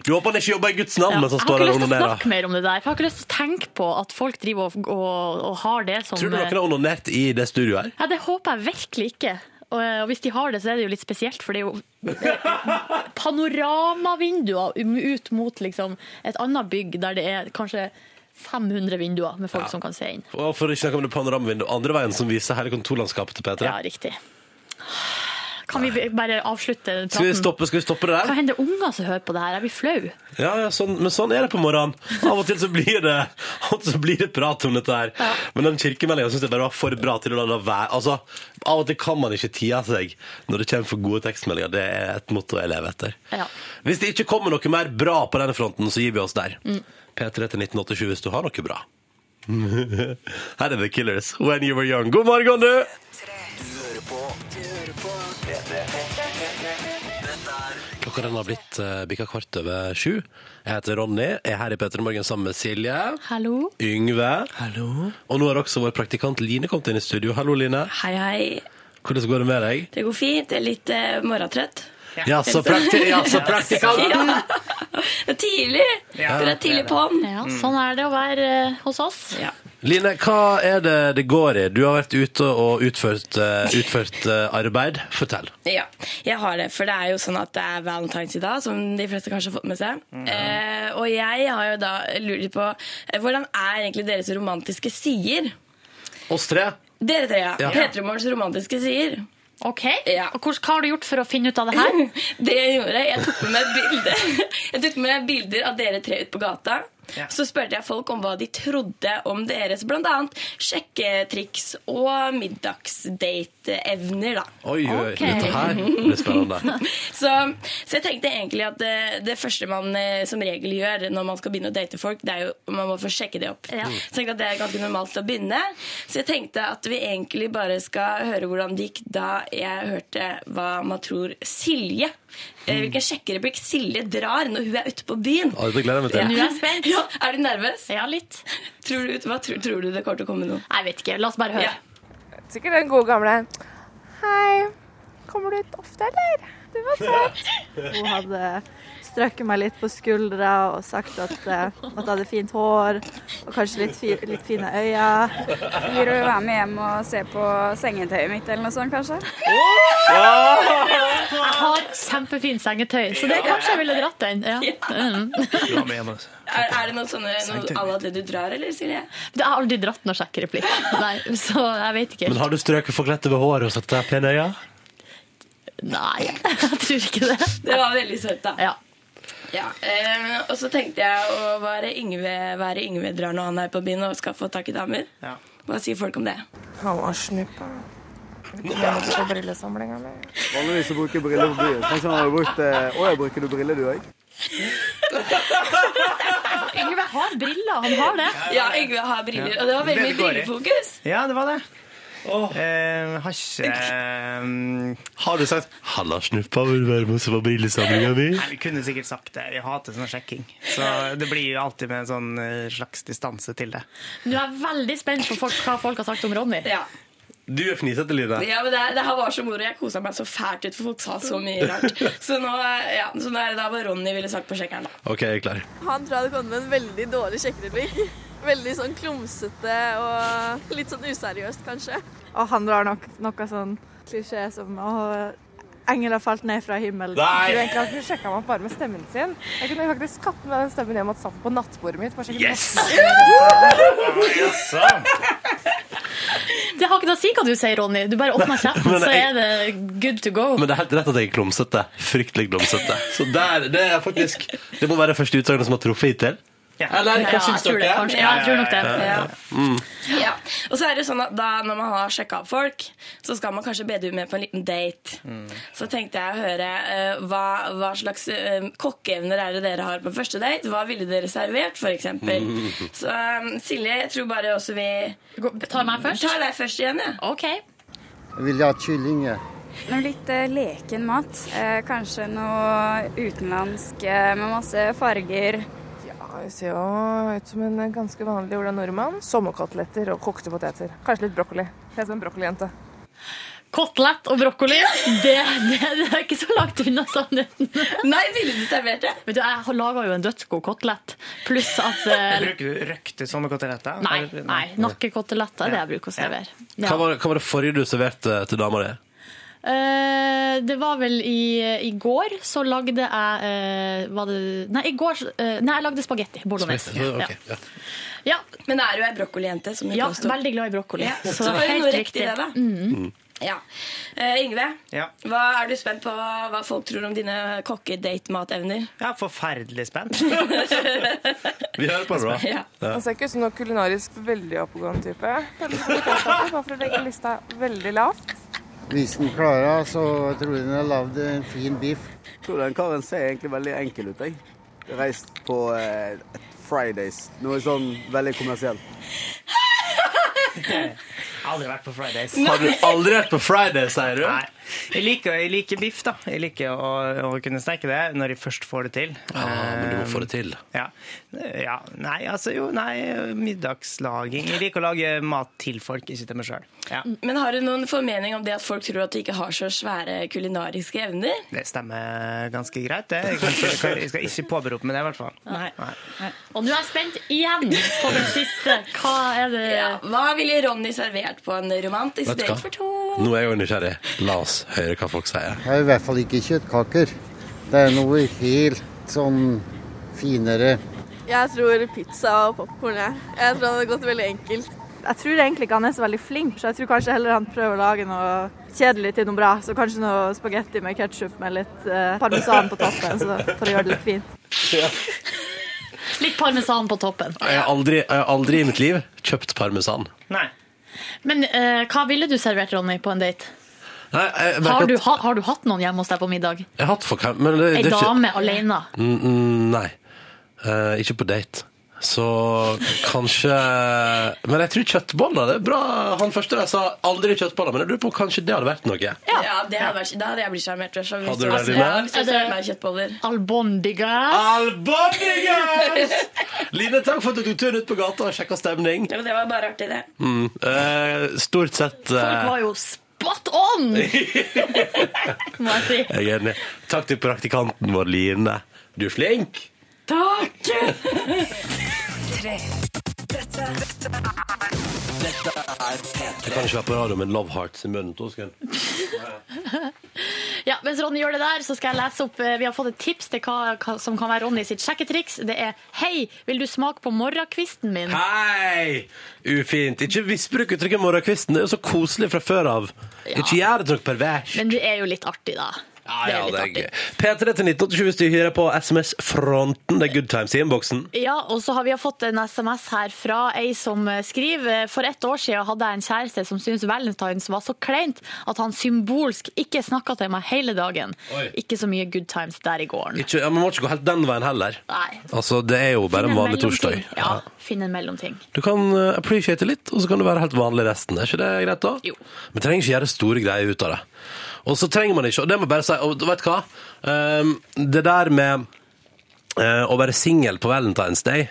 Speaker 2: Du håper han ikke jobber i Guds navn
Speaker 3: Ja.
Speaker 2: mens han
Speaker 3: Jeg har
Speaker 2: står
Speaker 3: ikke
Speaker 2: der og
Speaker 3: lyst til å
Speaker 2: onanerer?
Speaker 3: snakke mer om det der, for jeg har ikke lyst til å tenke på at folk driver og, og, og har det som
Speaker 2: Tror du noen
Speaker 3: eh,
Speaker 2: har onanert i det studioet her?
Speaker 3: Ja, det håper jeg virkelig ikke. Og, eh, og hvis de har det, så er det jo litt spesielt, for det er jo eh, *laughs* panoramavinduer um, ut mot liksom, et annet bygg der det er kanskje 500 vinduer med folk som kan se inn.
Speaker 2: Og for å ikke snakke om det panoramavinduet andre veien som viser hele kontorlandskapet til P3.
Speaker 3: Ja, riktig. Kan vi bare avslutte praten?
Speaker 2: Skal vi, stoppe, skal vi stoppe det
Speaker 3: Hva
Speaker 2: der?
Speaker 3: hender unger som hører på det her? Jeg blir flau.
Speaker 2: Ja, ja, sånn, men sånn er det på morgenen. Av og til så blir det, av og til så blir det prat om dette her. Men den kirkemeldinga syns jeg bare var for bra til å la det være. Altså, av og til kan man ikke tie seg når det kommer for gode tekstmeldinger. Det er et motto jeg lever etter.
Speaker 3: Ja.
Speaker 2: Hvis det ikke kommer noe mer bra på denne fronten, så gir vi oss der. P3 til 1987 hvis du har noe bra. Her er The Killers, When You Were Young. God morgen, du! Klokka den har blitt uh, bikka kvart over sju. Jeg heter Ronny, er her i P3 Morgen sammen med Silje.
Speaker 7: Hallo?
Speaker 2: Yngve. Og nå har også vår praktikant Line kommet inn i studio. Hallo, Line.
Speaker 8: Hei, hei.
Speaker 2: Hvordan går det med deg?
Speaker 8: Det går fint. Jeg er litt eh, morgentrøtt.
Speaker 2: Ja, så, prakti ja, så praktikanten!
Speaker 8: *laughs* Ja. Det er tidlig.
Speaker 9: Ja,
Speaker 8: Dere er tidlig på'n.
Speaker 3: Ja, Sånn er det å være eh, hos oss.
Speaker 8: Ja.
Speaker 2: Line, hva er det det går i? Du har vært ute og utført, eh, utført eh, arbeid. Fortell.
Speaker 8: ja. Jeg har det, for det er jo sånn at det er valentines i dag, som de fleste kanskje har fått med seg.
Speaker 2: Mm.
Speaker 8: Eh, og jeg har jo da lurt litt på eh, hvordan er egentlig deres romantiske sider?
Speaker 2: Oss tre.
Speaker 8: Dere tre, ja.
Speaker 2: Ja.
Speaker 8: P3morgens romantiske sider.
Speaker 3: Ok,
Speaker 8: Ja.
Speaker 3: og hvordan, Hva har du gjort for å finne ut av det her?
Speaker 8: *laughs* Det jeg gjorde, jeg tok med meg bilder Jeg tok med meg bilder av dere tre ute på gata.
Speaker 9: Ja.
Speaker 8: Så spurte jeg folk om hva de trodde om deres bl.a. sjekketriks og middagsdate-evner. da.
Speaker 2: Oi, oi, oi.
Speaker 3: Ok.
Speaker 2: dette her blir spennende.
Speaker 8: *laughs* Så, så jeg tenkte egentlig at det, det første man eh, som regel gjør når man skal begynne å date folk, det er jo man må få sjekke det opp.
Speaker 2: Mm.
Speaker 3: Ja.
Speaker 8: Så jeg tenkte at det er ganske normalt å begynne. Så jeg tenkte at vi egentlig bare skal høre hvordan det gikk da jeg hørte hva man tror Silje
Speaker 3: Mm.
Speaker 8: eh, Hvilken sjekkereplikk Silje drar når hun er ute på byen.
Speaker 2: Ja, dette gleder jeg meg til.
Speaker 3: Nå er
Speaker 8: *laughs*
Speaker 3: jeg spent.
Speaker 8: Ja, er du nervøs?
Speaker 3: Ja, litt.
Speaker 8: Tror du, hva, tror, tror du det kommer til å komme noe?
Speaker 3: Jeg vet ikke. La oss bare høre.
Speaker 8: Ja.
Speaker 6: Sikkert den gode gamle Hei, kommer du ut ofte, eller? Du var søt. Hun hadde strøkket meg litt på skuldra og sagt at, eh, at jeg hadde fint hår og kanskje litt, fi, litt fine øyne.
Speaker 10: Vil du være med hjem og se på sengetøyet mitt eller noe sånt, kanskje?
Speaker 3: Jeg har kjempefint sengetøy, så det kanskje jeg ville dratt den. Ja. Mm.
Speaker 8: Er, Sånn er det noe sånne noe à la det du drar, eller, Silje?
Speaker 3: Jeg har aldri dratt noen sjekkereplikk, Nei, så jeg vet ikke.
Speaker 2: Men har du strøket forkleet over håret og satt deg pene øyne?
Speaker 3: Nei, *laughs* jeg tror ikke det.
Speaker 8: Det var veldig søtt, da.
Speaker 3: Ja.
Speaker 8: Ja, eh, og så tenkte jeg å være Yngve, være Yngve drar når han er på byen og skal få tak i damer.
Speaker 9: Ja.
Speaker 8: Hva sier folk om det?
Speaker 6: Han var snuppa. på brillesamlinga mi.
Speaker 11: Vanligvis så bruker jeg briller på byen. Kanskje han hadde brukt eh, Å ja, bruker du briller, du òg?
Speaker 3: Yngve har briller, han har det.
Speaker 8: Ja, Yngve har briller, og det var veldig mye brillefokus.
Speaker 5: Ja, det var det. Eh, har ikke
Speaker 3: *laughs*
Speaker 5: eh, Har du sagt
Speaker 2: Halla, snuppa, vil du være med oss på brillesamlinga mi?
Speaker 5: Nei, vi kunne sikkert sagt det. Vi hater sånn sjekking. Så det blir jo alltid med en sånn eh, slags distanse til det.
Speaker 3: Nå er jeg veldig spent på folk, hva folk har sagt om Ronny.
Speaker 2: Du er fnisete, Line.
Speaker 8: Ja, men det, her- det her var så moro. Jeg kosa meg så fælt ut, for folk sa så mye
Speaker 2: *laughs*
Speaker 8: rart. Så nå, eh, ja, så nå er det da hva Ronny ville sagt på sjekkeren, da.
Speaker 2: OK, jeg er klar.
Speaker 6: Han tror jeg hadde kommet med en veldig dårlig sjekkereplikk. Veldig sånn klumsete og litt sånn useriøst, kanskje.
Speaker 12: Og han drar nok noe sånn klisjé som å, engel har falt ned fra himmelen.
Speaker 6: Jeg tror egentlig han kunne sjekka meg opp bare med stemmen sin. Jeg kunne faktisk tatt med den stemmen hjem og satt den på nattbordet mitt. Bare
Speaker 2: Yes!
Speaker 3: Det har ikke noe å si hva du sier, Ronny. Du bare åpner kjeften,
Speaker 2: Men
Speaker 3: så
Speaker 2: jeg-
Speaker 3: er det good to go.
Speaker 2: Men det er helt rett at jeg er klumsete. Fryktelig klumsete. Så der, det er faktisk Det må være det første utsagnet som har truffet hittil. Eller hva
Speaker 8: Ja,
Speaker 2: syns
Speaker 8: jeg tror
Speaker 2: dere?
Speaker 8: det, kanskje. Ja, jeg tror nok det.
Speaker 2: Ja. Mm.
Speaker 8: Ja. Og så er det sånn at da når man har sjekka opp folk, så skal man kanskje be du med på en liten date.
Speaker 2: Mm.
Speaker 8: Så tenkte jeg å høre eh, hva, hva slags eh, kokkeevner er det dere har på første date? Hva ville dere servert, f.eks.?
Speaker 2: *laughs*
Speaker 3: Mm.
Speaker 8: Så eh, Silje, jeg tror bare også vi
Speaker 3: Tar meg først?
Speaker 8: Tar deg først igjen, ja.
Speaker 13: Jeg vil ha kylling. jeg.
Speaker 14: Noe litt eh, leken mat. Eh, kanskje noe utenlandsk eh, med masse farger.
Speaker 6: Ja, jeg ser jo ut som en ganske vanlig Ola Nordmann. Sommerkoteletter og kokte poteter. Kanskje litt brokkoli. Jeg er som en brokkolijente.
Speaker 3: Kotelett og brokkoli, det, det, det er ikke så langt unna sannheten.
Speaker 8: Nei, ville du servert det?
Speaker 3: Vet du, Jeg laga jo en dødsgod kotelett, pluss at eh,
Speaker 5: Bruker du røkte sånne koteletter?
Speaker 3: Nei, nei nakkekotelett er det jeg bruker å servere. Ja.
Speaker 2: Hva, var, hva var det forrige du serverte til dama di?
Speaker 3: Eh, det var vel i, i går så lagde jeg eh, var det, Nei, i går eh, Nei, jeg lagde spagetti bolognese.
Speaker 8: Spagetti, ok,
Speaker 3: ja.
Speaker 8: Ja. Men det er jo ei brokkolijente. som vi
Speaker 3: Ja,
Speaker 8: påstår.
Speaker 3: veldig glad i brokkoli.
Speaker 8: Ja,
Speaker 3: Så
Speaker 8: så
Speaker 3: det
Speaker 8: var
Speaker 3: var
Speaker 8: jo
Speaker 3: helt
Speaker 8: noe
Speaker 3: riktig.
Speaker 8: riktig Mm. i det, da.
Speaker 2: Mm.
Speaker 8: Ja. Eh, Yngve,
Speaker 5: Ja.
Speaker 8: hva er du spent på hva folk tror om dine kokke-date-matevner?
Speaker 5: Ja, forferdelig spent.
Speaker 8: *laughs*
Speaker 2: Vi hører på det,
Speaker 8: Ja.
Speaker 6: Han ser ikke ut som noen kulinarisk veldig oppegående type. Kanskje potetstappe, Bare for å legge lista veldig lavt.
Speaker 13: Hvis den klarer, så tror jeg den har lagd en fin biff.
Speaker 11: Tror den karen ser egentlig veldig enkel ut, jeg. Reist på eh, et Fridays. Noe sånn veldig kommersielt.
Speaker 5: Aldri vært på Fridays.
Speaker 2: Har du aldri vært på Friday, sier du?
Speaker 5: Nei. Jeg liker, jeg liker biff, da. Jeg liker å, å kunne steke det når jeg først får det til. Eh,
Speaker 2: Ah, men du må få det til.
Speaker 5: Ja. ja. Nei, altså jo, nei, middagslaging. Jeg liker å lage mat til folk, ikke til meg sjøl. Ja.
Speaker 8: Men har du noen formening om det at folk tror at du ikke har så svære kulinariske evner?
Speaker 5: Det stemmer ganske greit, det. Jeg, kan ikke, jeg skal ikke påberope meg det, i hvert fall.
Speaker 3: Nei. Og nå er jeg spent igjen på den siste. Hva er det
Speaker 8: Ja. Hva ville Ronny servert på en romantisk
Speaker 2: Vet du hva?
Speaker 8: date for to?
Speaker 2: Nå er jeg òg nysgjerrig. La oss høre hva folk sier.
Speaker 13: Jeg har i hvert fall ikke kjøttkaker. Det er noe helt sånn finere.
Speaker 12: Jeg tror pizza og popkorn, jeg. Jeg tror han hadde gått veldig enkelt. Jeg tror egentlig ikke han er så veldig flink, så jeg tror kanskje heller han prøver å lage noe kjedelig til noe bra. Så kanskje noe spagetti med ketsjup med litt eh, parmesan på toppen, så for å gjøre det litt fint.
Speaker 3: Litt parmesan på toppen.
Speaker 2: Jeg har aldri, jeg har aldri i mitt liv kjøpt parmesan.
Speaker 3: Men eh, hva ville du servert, Ronny, på en date?
Speaker 2: Nei, jeg, merker
Speaker 3: Har du,
Speaker 2: Eh, at-
Speaker 3: ha, har du hatt noen hjemme hos deg på middag?
Speaker 2: jeg har hatt folk her, men det,
Speaker 3: Ei
Speaker 2: det er ikke
Speaker 3: dame alene?
Speaker 2: Mm, mm, Nei. Eh, ikke på date. Så kanskje Men jeg tror kjøttboller. Det er bra. Han første der sa aldri kjøttboller, men jeg lurer på om kanskje det hadde vært noe.
Speaker 8: Ja, det hadde vært, Da hadde jeg blitt sjarmert. i hvert fall, hvis
Speaker 2: Hadde
Speaker 8: det
Speaker 2: du
Speaker 8: var-
Speaker 2: det, Line?
Speaker 8: Ja, hvis det var meg kjøttboller.
Speaker 2: Albondigas! Line, takk for at du tok turen ut på gata og sjekka stemning.
Speaker 8: *laughs* Ja, men det var bare artig, det.
Speaker 2: Mm. eh, stort sett eh,
Speaker 3: Folk var jo spot
Speaker 2: *laughs*
Speaker 3: on! Må jeg si.
Speaker 2: Jeg er enig. Takk til praktikanten vår, Line. Du er flink.
Speaker 3: Takk!
Speaker 15: Tre. Dette, dette er
Speaker 2: Dette er Du kan ikke være på radio med Love Hearts i munnen. to sekunder.
Speaker 3: *laughs* Ja, mens Ronny gjør det der, så skal jeg lese opp eh, Vi har fått et tips til hva, hva som kan være Ronny sitt sjekketriks. Det er Hei, vil du smake på morgenkvisten min?
Speaker 2: Hei! Ufint. Ikke misbruk uttrykket morgenkvisten. Det er jo så koselig fra før av. Ikke gjør det til noe pervers.
Speaker 3: Men det er jo litt artig, da.
Speaker 2: Ja,
Speaker 3: Det
Speaker 2: ja,
Speaker 3: er litt
Speaker 2: det er gøy. P3 til 1987 hvis du hyrer på SMS-fronten. Det er good times i innboksen.
Speaker 3: Ja, og så har vi fått en SMS her fra ei som eh, skriver For ett år siden hadde jeg en kjæreste som syntes Valentine's var så kleint at han symbolsk ikke snakka til meg hele dagen.
Speaker 2: Oi.
Speaker 3: Ikke så mye good times der i gården.
Speaker 2: Ikke, ja, Man må ikke gå helt den veien heller.
Speaker 3: Nei.
Speaker 2: Altså, Det er jo bare en vanlig torsdag.
Speaker 3: mellomting. Ja, finn en mellomting.
Speaker 2: Du kan eh, appreciate litt, og så kan du være helt vanlig resten. Er ikke det greit, da?
Speaker 3: Jo.
Speaker 2: Men trenger ikke gjøre store greier ut av det. Og så trenger man ikke Og det må jeg bare si, og vet du hva? Um, det der med eh, å være singel på Valentine's Day,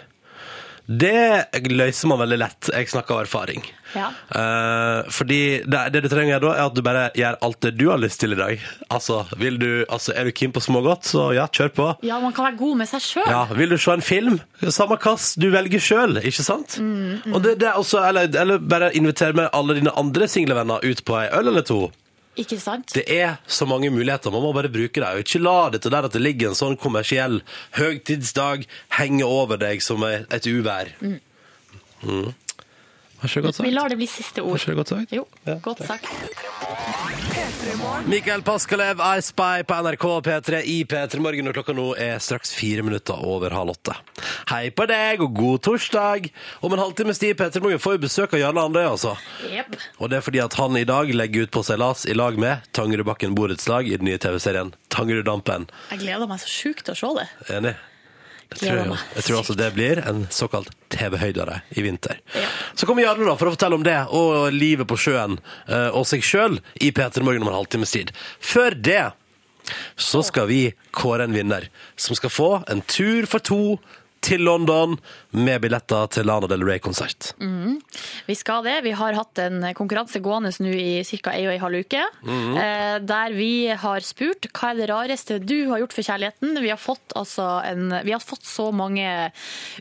Speaker 2: det løser man veldig lett. Jeg snakker av erfaring.
Speaker 3: Ja.
Speaker 2: Eh, fordi det, det du trenger å gjøre da, er at du bare gjør alt det du har lyst til i dag. Altså, vil du, altså er du keen på smågodt, så ja, kjør på.
Speaker 3: Ja, man kan være god med seg sjøl.
Speaker 2: Ja, Vil du se en film? Samme kass, du velger sjøl, ikke sant?
Speaker 3: Mm,
Speaker 2: Og det, det er også, eller, eller bare inviter med alle dine andre singlevenner ut på ei øl eller to.
Speaker 3: Ikke sant?
Speaker 2: Det er så mange muligheter, man må bare bruke dem. Ikke la det til der at det ligger en sånn kommersiell høgtidsdag henge over deg som et uvær.
Speaker 3: Mm.
Speaker 2: Mm. Var ikke det godt
Speaker 3: Vi
Speaker 2: sagt?
Speaker 3: lar det bli siste ord.
Speaker 2: Var ikke det godt sagt?
Speaker 3: Jo, godt sagt.
Speaker 2: Mikael Paskalev, I Spy på NRK P3 i P3 Morgen, og klokka nå er straks fire minutter over halv åtte. Hei på deg, og god torsdag! Om en halvtimes tid i P3 Morgen får vi besøk av Jarle Andøy, altså.
Speaker 3: Jepp.
Speaker 2: Og det er fordi at han i dag legger ut på seilas i lag med Tangerudbakken borettslag i den nye TV-serien Tangeruddampen.
Speaker 3: Jeg gleder meg så sjukt til å se det.
Speaker 2: Enig? Det tror jeg,
Speaker 3: Gleder
Speaker 2: jo.
Speaker 3: meg
Speaker 2: jeg tror altså det blir en såkalt TV-høydere i vinter. Så kommer Jarle da for å fortelle om det, og livet på sjøen, eh, og seg sjøl, i P3 Morgen om en halvtimes tid. Før det så skal vi kåre en vinner, som skal få en tur for to til London med billetter til Lana Del Rey-konsert.
Speaker 3: Mm. Vi skal det. Vi har hatt en konkurranse gående nå i ca. ei og ei halv uke.
Speaker 2: Mhm.
Speaker 3: eh, Der vi har spurt hva er det rareste du har gjort for kjærligheten. Vi har fått, altså en, vi har fått så mange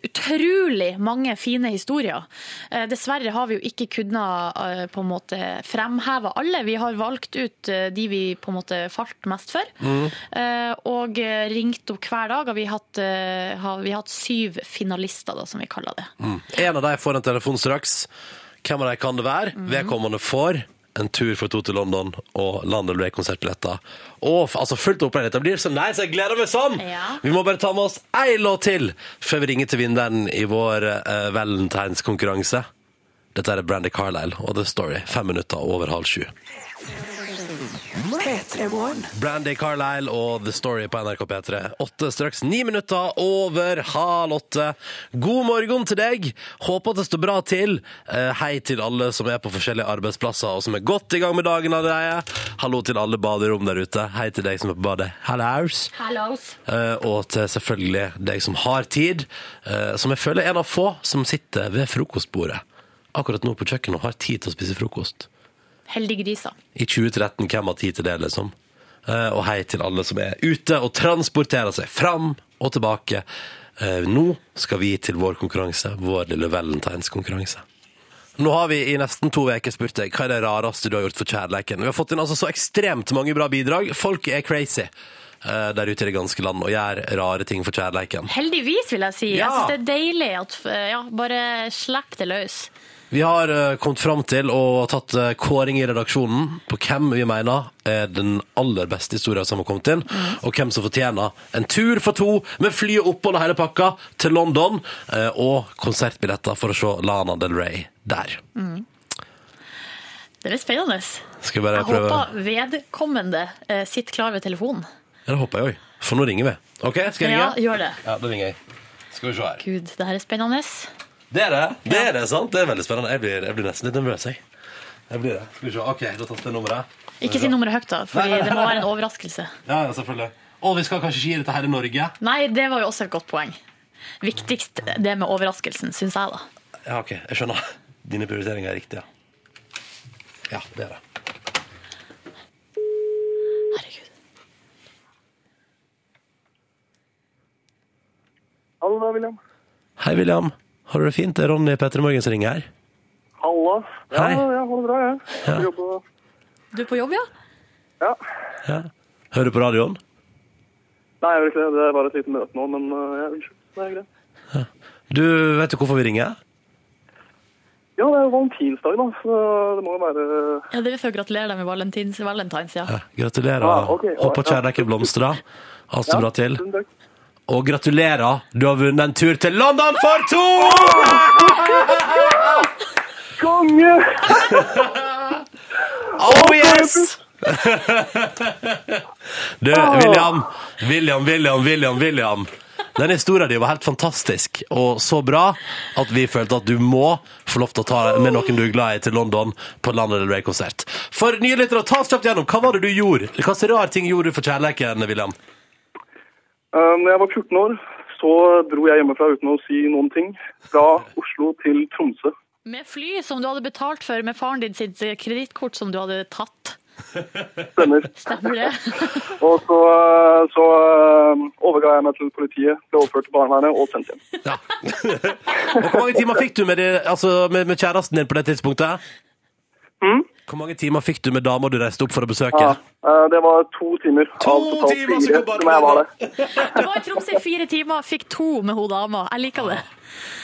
Speaker 3: utrolig mange fine historier. Eh, Dessverre har vi jo ikke kunnet eh, på en måte fremheve alle. Vi har valgt ut eh, de vi på en måte falt mest for.
Speaker 6: Mhm. Mm.
Speaker 3: Eh, Og eh, ringt opp hver dag. Og vi har hatt, eh, har- vi har hatt syv finalister, da, som vi kaller det.
Speaker 2: Mm. En av dem får en telefon straks. Hvem av dem kan det være? Vedkommende får en tur for to til London og Landel Ray konsertbilletter. Og f- altså fullt opp Dette blir så nice! Jeg gleder meg sånn! Vi må bare ta med oss ei låt til før vi ringer til vinneren i vår uh, valentinskonkurranse. Dette er Brandy Carlisle og The Story. Fem minutter over halv sju. Brandy Carlisle og The Story på NRK P3. Åtte straks ni minutter over halv åtte. God morgen til deg. Håper at det står bra til. Eh, Hei til alle som er på forskjellige arbeidsplasser og som er godt i gang med dagen allerede. Hallo til alle baderom der ute. Hei til deg som er på badet. Hallows.
Speaker 16: Hallos.
Speaker 2: Eh, Og til selvfølgelig deg som har tid, eh, som jeg føler er en av få som sitter ved frokostbordet akkurat nå på kjøkkenet og har tid til å spise frokost.
Speaker 3: Heldige griser.
Speaker 2: I 2013, hvem har tid til det, liksom? Eh, Og hei til alle som er ute og transporterer seg fram og tilbake. Eh, Nå skal vi til vår konkurranse, vår lille valentinskonkurranse. Nå har vi i nesten to uker spurt deg hva er det rareste du har gjort for kjærleiken. Vi har fått inn altså så ekstremt mange bra bidrag. Folk er crazy eh, der ute i det ganske land og gjør rare ting for kjærleiken.
Speaker 3: Heldigvis, vil jeg si.
Speaker 2: Ja.
Speaker 3: Jeg synes det er deilig at eh, ja, Bare slipp det løs.
Speaker 2: Vi har eh, kommet fram til og tatt eh, kåring i redaksjonen på hvem vi mener er den aller beste historien som har kommet inn, og hvem som fortjener en tur for to med fly og opphold og hele pakka til London, eh, og konsertbilletter for å se Lana Del Rey der.
Speaker 3: Mm. Det blir spennende.
Speaker 2: Skal vi bare
Speaker 3: Jeg
Speaker 2: prøve?
Speaker 3: håper vedkommende eh, sitter klar ved telefonen.
Speaker 2: Ja, det håper jeg òg. For nå ringer vi. OK, skal jeg ringe?
Speaker 3: Ja, gjør det.
Speaker 2: Ja, da ringer jeg. Skal vi se her.
Speaker 3: Gud, det her er spennende.
Speaker 2: Det er det. Det er det, sant? Det er veldig spennende. Jeg blir, jeg blir nesten litt nervøs, jeg. Jeg blir det. Skal vi se. OK, da tatt det nummeret.
Speaker 3: Ikke si nummeret høyt, da, for
Speaker 2: Nei, *laughs* nei, nei.
Speaker 3: det må være en overraskelse.
Speaker 2: Ja, ja, selvfølgelig. Og vi skal kanskje ikke gi det til hele Norge.
Speaker 3: Nei, det var jo også et godt poeng. Viktigst det med overraskelsen, syns jeg, da.
Speaker 2: Ja, ok, jeg skjønner. Dine prioriteringer er riktige. Ja, det er det.
Speaker 10: Hallo, det er William.
Speaker 2: Hei, William. Har du det fint? Det er Ronny Petter Morgen som ringer her.
Speaker 10: Hallo. Ja,
Speaker 2: Hei.
Speaker 10: ja, ha det bra, jeg.
Speaker 2: Ja.
Speaker 10: Jeg jobber
Speaker 3: Du er på jobb, ja?
Speaker 2: Ja. Hører du på radioen?
Speaker 10: Nei, jeg gjør ikke det. Det er bare et lite møte nå, eh, men uh, ja, unnskyld. Det er greit.
Speaker 2: Du, vet du hvorfor vi ringer?
Speaker 10: Ja, det er jo valentinsdag, da, så det må jo være
Speaker 3: Ja, det vil få gratulere deg med valentins, valentines, ja.
Speaker 2: Gratulerer.
Speaker 10: Ja, ok.
Speaker 2: Håper kjærleiken blomstrer. Alt står
Speaker 10: Ja,
Speaker 2: bra til.
Speaker 10: tusen takk.
Speaker 2: Og gratulerer, du har vunnet en tur til London for to!
Speaker 10: *laughs* Konge!
Speaker 2: *laughs* Oh yes! Du, William, William, William, William, William. Den historien din var helt fantastisk og så bra at vi følte at du må få lov til å ta med noen du er glad i til London på Lana Del Rey-konsert. For nye lyttere, ta oss kjapt gjennom. Hva var det du gjorde? Hva slags rar ting gjorde du for kjærleiken, William?
Speaker 10: Eh, Når jeg var 14 år, så dro jeg hjemmefra uten å si noen ting. Fra Oslo til Tromsø.
Speaker 3: Med fly som du hadde betalt for, med faren din sitt kredittkort som du hadde tatt.
Speaker 10: Stemmer.
Speaker 3: Stemmer det?
Speaker 10: *laughs* Og så, eh, så eh, overga jeg meg til politiet, ble overført til barnevernet og sendt hjem.
Speaker 2: Og hvor mange timer fikk du med, det, altså, med, med kjæresten din på det tidspunktet? Hvor mange timer fikk du med dama du reiste opp for å besøke?
Speaker 10: Ja, eh, det var to timer av totalt
Speaker 2: timer, så
Speaker 10: fire
Speaker 2: går bare
Speaker 10: som jeg var der.
Speaker 3: Du var i Tromsø i fire timer, fikk to med hun dama. Jeg liker det.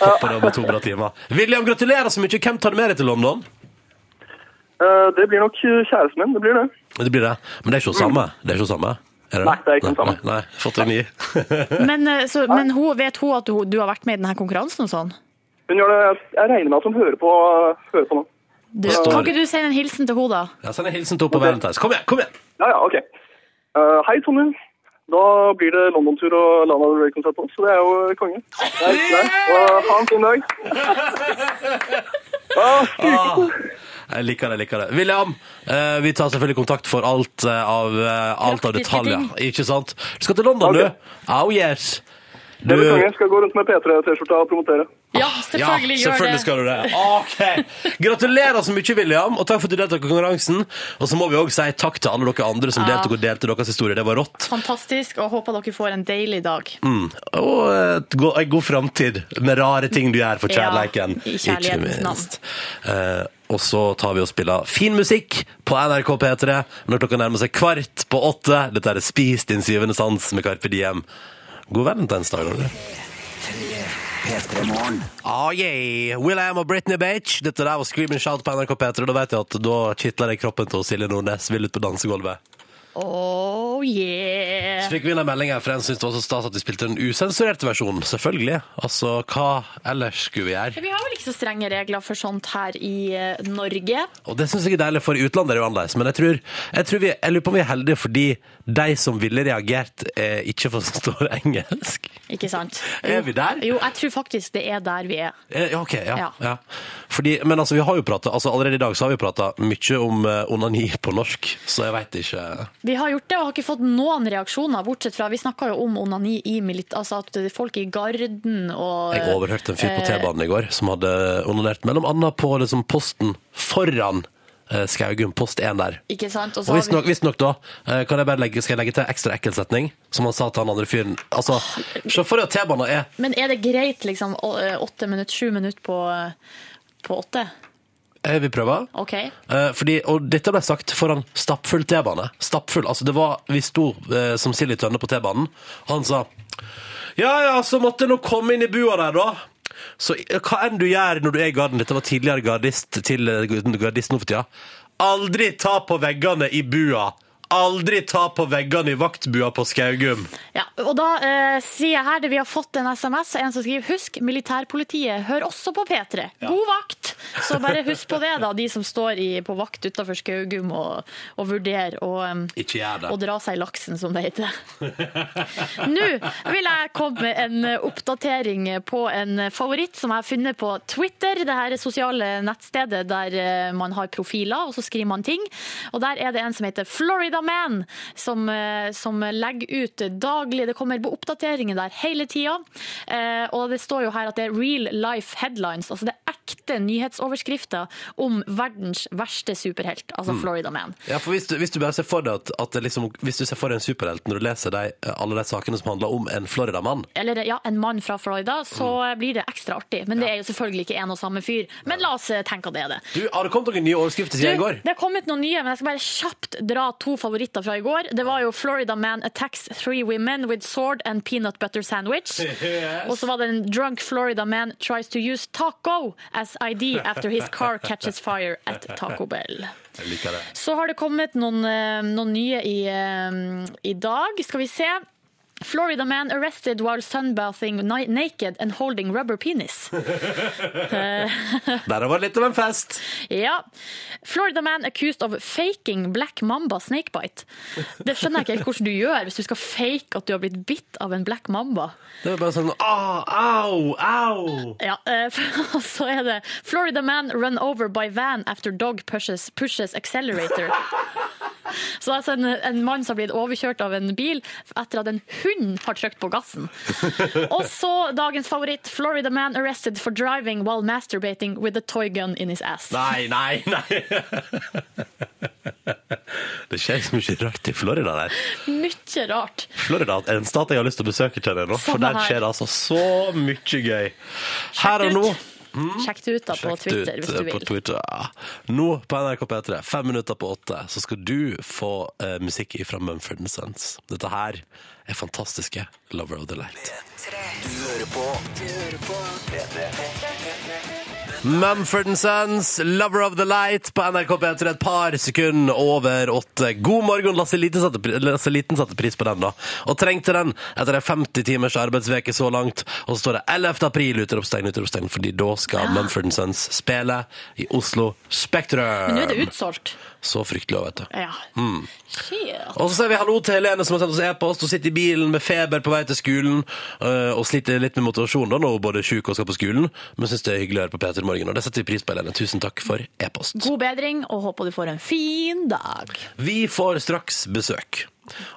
Speaker 2: Håper det var to bra timer. William, gratulerer så mye. Hvem tar du med deg til London?
Speaker 10: Eh, Det blir nok eh, kjæresten min, det blir det.
Speaker 2: Det blir det. Men det er ikke det samme? Det er ikke det samme? Er det? Nei, det er ikke det samme. Nei, nei. Fått en ny.
Speaker 3: Men, eh, så, men hun, vet hun at du, du har vært med i denne konkurransen og sånn?
Speaker 10: Hun gjør det, jeg- jeg regner med at hun hører på, hører på nå.
Speaker 3: Du, kan ikke du sende en hilsen til henne, da?
Speaker 2: Jeg sender hilsen til henne på Valentine's. Kom igjen, kom igjen!
Speaker 10: Ja, ja, ok. Eh, hei, Tonje. Da blir det London-tur og Lana Del Rey-konsert på, så det er jo konge. Nei, nei. Og ha en fin
Speaker 2: *laughs*
Speaker 10: dag. Ah,
Speaker 2: Ah, jeg liker det, jeg liker det. William, eh, vi tar selvfølgelig kontakt for alt, eh, av, eh, alt av
Speaker 10: Praktiske
Speaker 2: detaljer.
Speaker 10: ting.
Speaker 2: Ikke sant? Du skal til London,
Speaker 10: Ok.
Speaker 2: du? Oh yes!
Speaker 10: Det blir konge. Skal gå rundt med P3-T-skjorta og promotere.
Speaker 3: Ja,
Speaker 2: ja, selvfølgelig skal du det. Ok. Gratulerer så mye, William, og takk for at du deltok i konkurransen. Og så må vi òg si takk til alle dere andre som
Speaker 3: Ja.
Speaker 2: deltok og delte deres historie. Det var rått.
Speaker 3: Fantastisk, og håper dere får en deilig dag.
Speaker 2: Mm. Og et go- en god framtid med rare ting du gjør for
Speaker 3: Ja,
Speaker 2: kjærleiken.
Speaker 3: i kjærlighetens
Speaker 2: ikke
Speaker 3: navn.
Speaker 2: minst. Eh, og så tar vi og spiller fin musikk på NRK P3 når klokka nærmer seg kvart på åtte. Dette er Spis din syvende sans med Carpe Diem. God valentinsdag, Ronny. Oh, yeah. William og Britney Beach. Dette der var Scream and Shout på NRK P3. Da vet jeg at da kitler jeg kroppen til Silje Nordnes. Vil ut på dansegulvet.
Speaker 3: Oh yeah!
Speaker 2: Så fikk vi inn en melding her, for en syntes det var så stas at vi spilte den usensurerte versjonen. Selvfølgelig. Altså, hva ellers skulle vi gjøre?
Speaker 3: Vi har vel ikke så strenge regler for sånt her i eh, Norge.
Speaker 2: Og det syns jeg er deilig, for i utlandet er det jo annerledes. Men jeg tror, jeg tror vi, jeg lurer på om vi er heldige fordi de som ville reagert, eh, ikke forstår *laughs* engelsk.
Speaker 3: Ikke sant?
Speaker 2: Er vi der?
Speaker 3: Jo, jeg tror faktisk det er der vi er.
Speaker 2: Eh, Ja, ok, ja,
Speaker 3: Ja.
Speaker 2: ja. Fordi, men altså, vi har jo pratet, altså, allerede i dag så har vi prata mye om eh, onani på norsk, så jeg veit ikke
Speaker 3: Vi har gjort det og har ikke fått noen reaksjoner, bortsett fra Vi snakka jo om onani i milit... Altså at folk i garden og
Speaker 2: Jeg overhørte en fyr
Speaker 3: Eh.
Speaker 2: på T-banen i går som hadde onanert mellom annet på liksom, posten foran eh, Skaugum, post 1 der.
Speaker 3: Ikke sant?
Speaker 2: Og
Speaker 3: så har vi-
Speaker 2: visstnok visst nok da, eh, kan jeg bare legge, skal jeg legge til en ekstra ekkel setning, som han sa til han andre fyren. Altså, se for deg at T-banen er
Speaker 3: Men er det greit, liksom, å- eh, åtte minutter, sju minutter på, eh, på åtte?
Speaker 2: Jeg vil prøve.
Speaker 3: OK?
Speaker 2: Eh, Fordi, og dette ble sagt foran stappfull T-bane. Stappfull, altså det var, Vi sto eh, som sild i tønne på T-banen, og han sa Ja, ja, så måtte jeg nå komme inn i bua der, da. Så eh, hva enn du gjør når du er i garden Dette var tidligere gardist til eh, gardist nå for tida. Aldri ta på veggene i bua. Aldri ta på veggene i vaktbua på Skaugum.
Speaker 3: Ja, og da eh, sier jeg her det vi har fått en SMS, en som skriver Husk, militærpolitiet hører også på P3. God vakt! Så bare husk på det, da, de som står i, på vakt utafor Skaugum og, og vurderer å em,
Speaker 2: Ikke gjør
Speaker 3: å
Speaker 2: det.
Speaker 3: dra seg i laksen, som det heter. *laughs* Nå vil jeg komme med en oppdatering på en favoritt som jeg har funnet på Twitter. Det her sosiale nettstedet der eh, man har profiler, og så skriver man ting. Og der er det en som heter Florida Man, som, eh, som legger ut daglig Det kommer oppdateringer der hele tida. Eh, Og det står jo her at det er real life headlines, altså det er ekte nyhetsoverskrifter om verdens verste superhelt, altså
Speaker 2: Mm.
Speaker 3: Florida Man.
Speaker 2: Ja, for hvis du, hvis du bare ser for deg at, at det liksom, hvis du ser for deg en superhelt når du leser de, alle de sakene som handler om en Florida-mann
Speaker 3: eller ja, en mann fra Florida, så
Speaker 2: Mm.
Speaker 3: blir det ekstra artig. Men det er jo selvfølgelig ikke en og samme fyr. Men la oss eh, tenke at det er det.
Speaker 2: Du, Har det kommet noen nye overskrifter siden i
Speaker 3: Du,
Speaker 2: går?
Speaker 3: det har kommet noen nye, men jeg skal bare kjapt dra to favoritter fra i går. Det var jo 'Florida Man attacks three women with sword and peanut butter sandwich'.
Speaker 2: *laughs* Yes.
Speaker 3: Og så var det en 'Drunk Florida Man tries to use taco as ID after his car catches fire at Taco Bell.
Speaker 2: Jeg liker det.
Speaker 3: Så har det kommet noen, eh, noen nye i, eh, i dag. Skal vi se. Florida man arrested while sunbathing ni- naked and holding rubber penis. Eh,
Speaker 2: Der har vært litt av en fest.
Speaker 3: Ja. Florida man accused of faking black mamba snakebite. Det skjønner jeg ikke helt hvordan du gjør hvis du skal fake at du har blitt bitt av en black mamba.
Speaker 2: Det var bare sånn ah, Au! Au!
Speaker 3: Ja, eh, for- *laughs* så er det Florida man run over by van after dog pushes, pushes accelerator. Så det er altså en, en mann som har blitt overkjørt av en bil etter at en hund har trykt på
Speaker 2: *laughs*
Speaker 3: gassen. Og så dagens favoritt, Florida man arrested for driving while masturbating with a toy gun in his ass.
Speaker 2: Nei, nei, *laughs* nei! Det skjer så mye rart i Florida der.
Speaker 3: Mye rart.
Speaker 2: Florida er en stat jeg har lyst til å besøke, kjenner jeg nå. For
Speaker 3: Samme
Speaker 2: der
Speaker 3: her.
Speaker 2: skjer det altså så mye gøy. Her og
Speaker 3: ut.
Speaker 2: nå.
Speaker 3: Sjekk det ut da på
Speaker 2: Mm. Sjekk det
Speaker 3: Twitter
Speaker 2: ut,
Speaker 3: hvis du
Speaker 2: eh, På
Speaker 3: vil.
Speaker 2: Twitter. ja. Nå på NRK P3, fem minutter på åtte, så skal du få eh, musikk fra Mumford Sons. Dette her er fantastiske Lover of the Light.
Speaker 6: Du hører på Du hører på
Speaker 2: Mumford Sons, Lover of the Light på NRK P3 et par sekunder over åtte. God morgen, Lasse Liten satte, pri- Lasse Liten satte pris på den da, og trengte den etter en 50 timers arbeidsveke så langt. Og så står det 11. april, utropstegn, utropstegn, fordi da skal Mumford Sons spille i Oslo Spektrum.
Speaker 3: Men nå er det utsolgt.
Speaker 2: Så fryktelig, vet du.
Speaker 3: Ja.
Speaker 2: Mm.
Speaker 3: Shit.
Speaker 2: Og så sier vi hallo til Helene som har sendt oss e-post. Hun sitter i bilen med feber på vei til skolen øh, og sliter litt med motivasjonen da, når hun både er sjuk og skal på skolen, men syns det er hyggelig å høre på Peter i Morgen. Og det setter vi pris på, Helene. Tusen takk for e-post.
Speaker 3: God bedring, og håper du får en fin dag.
Speaker 2: Vi får straks besøk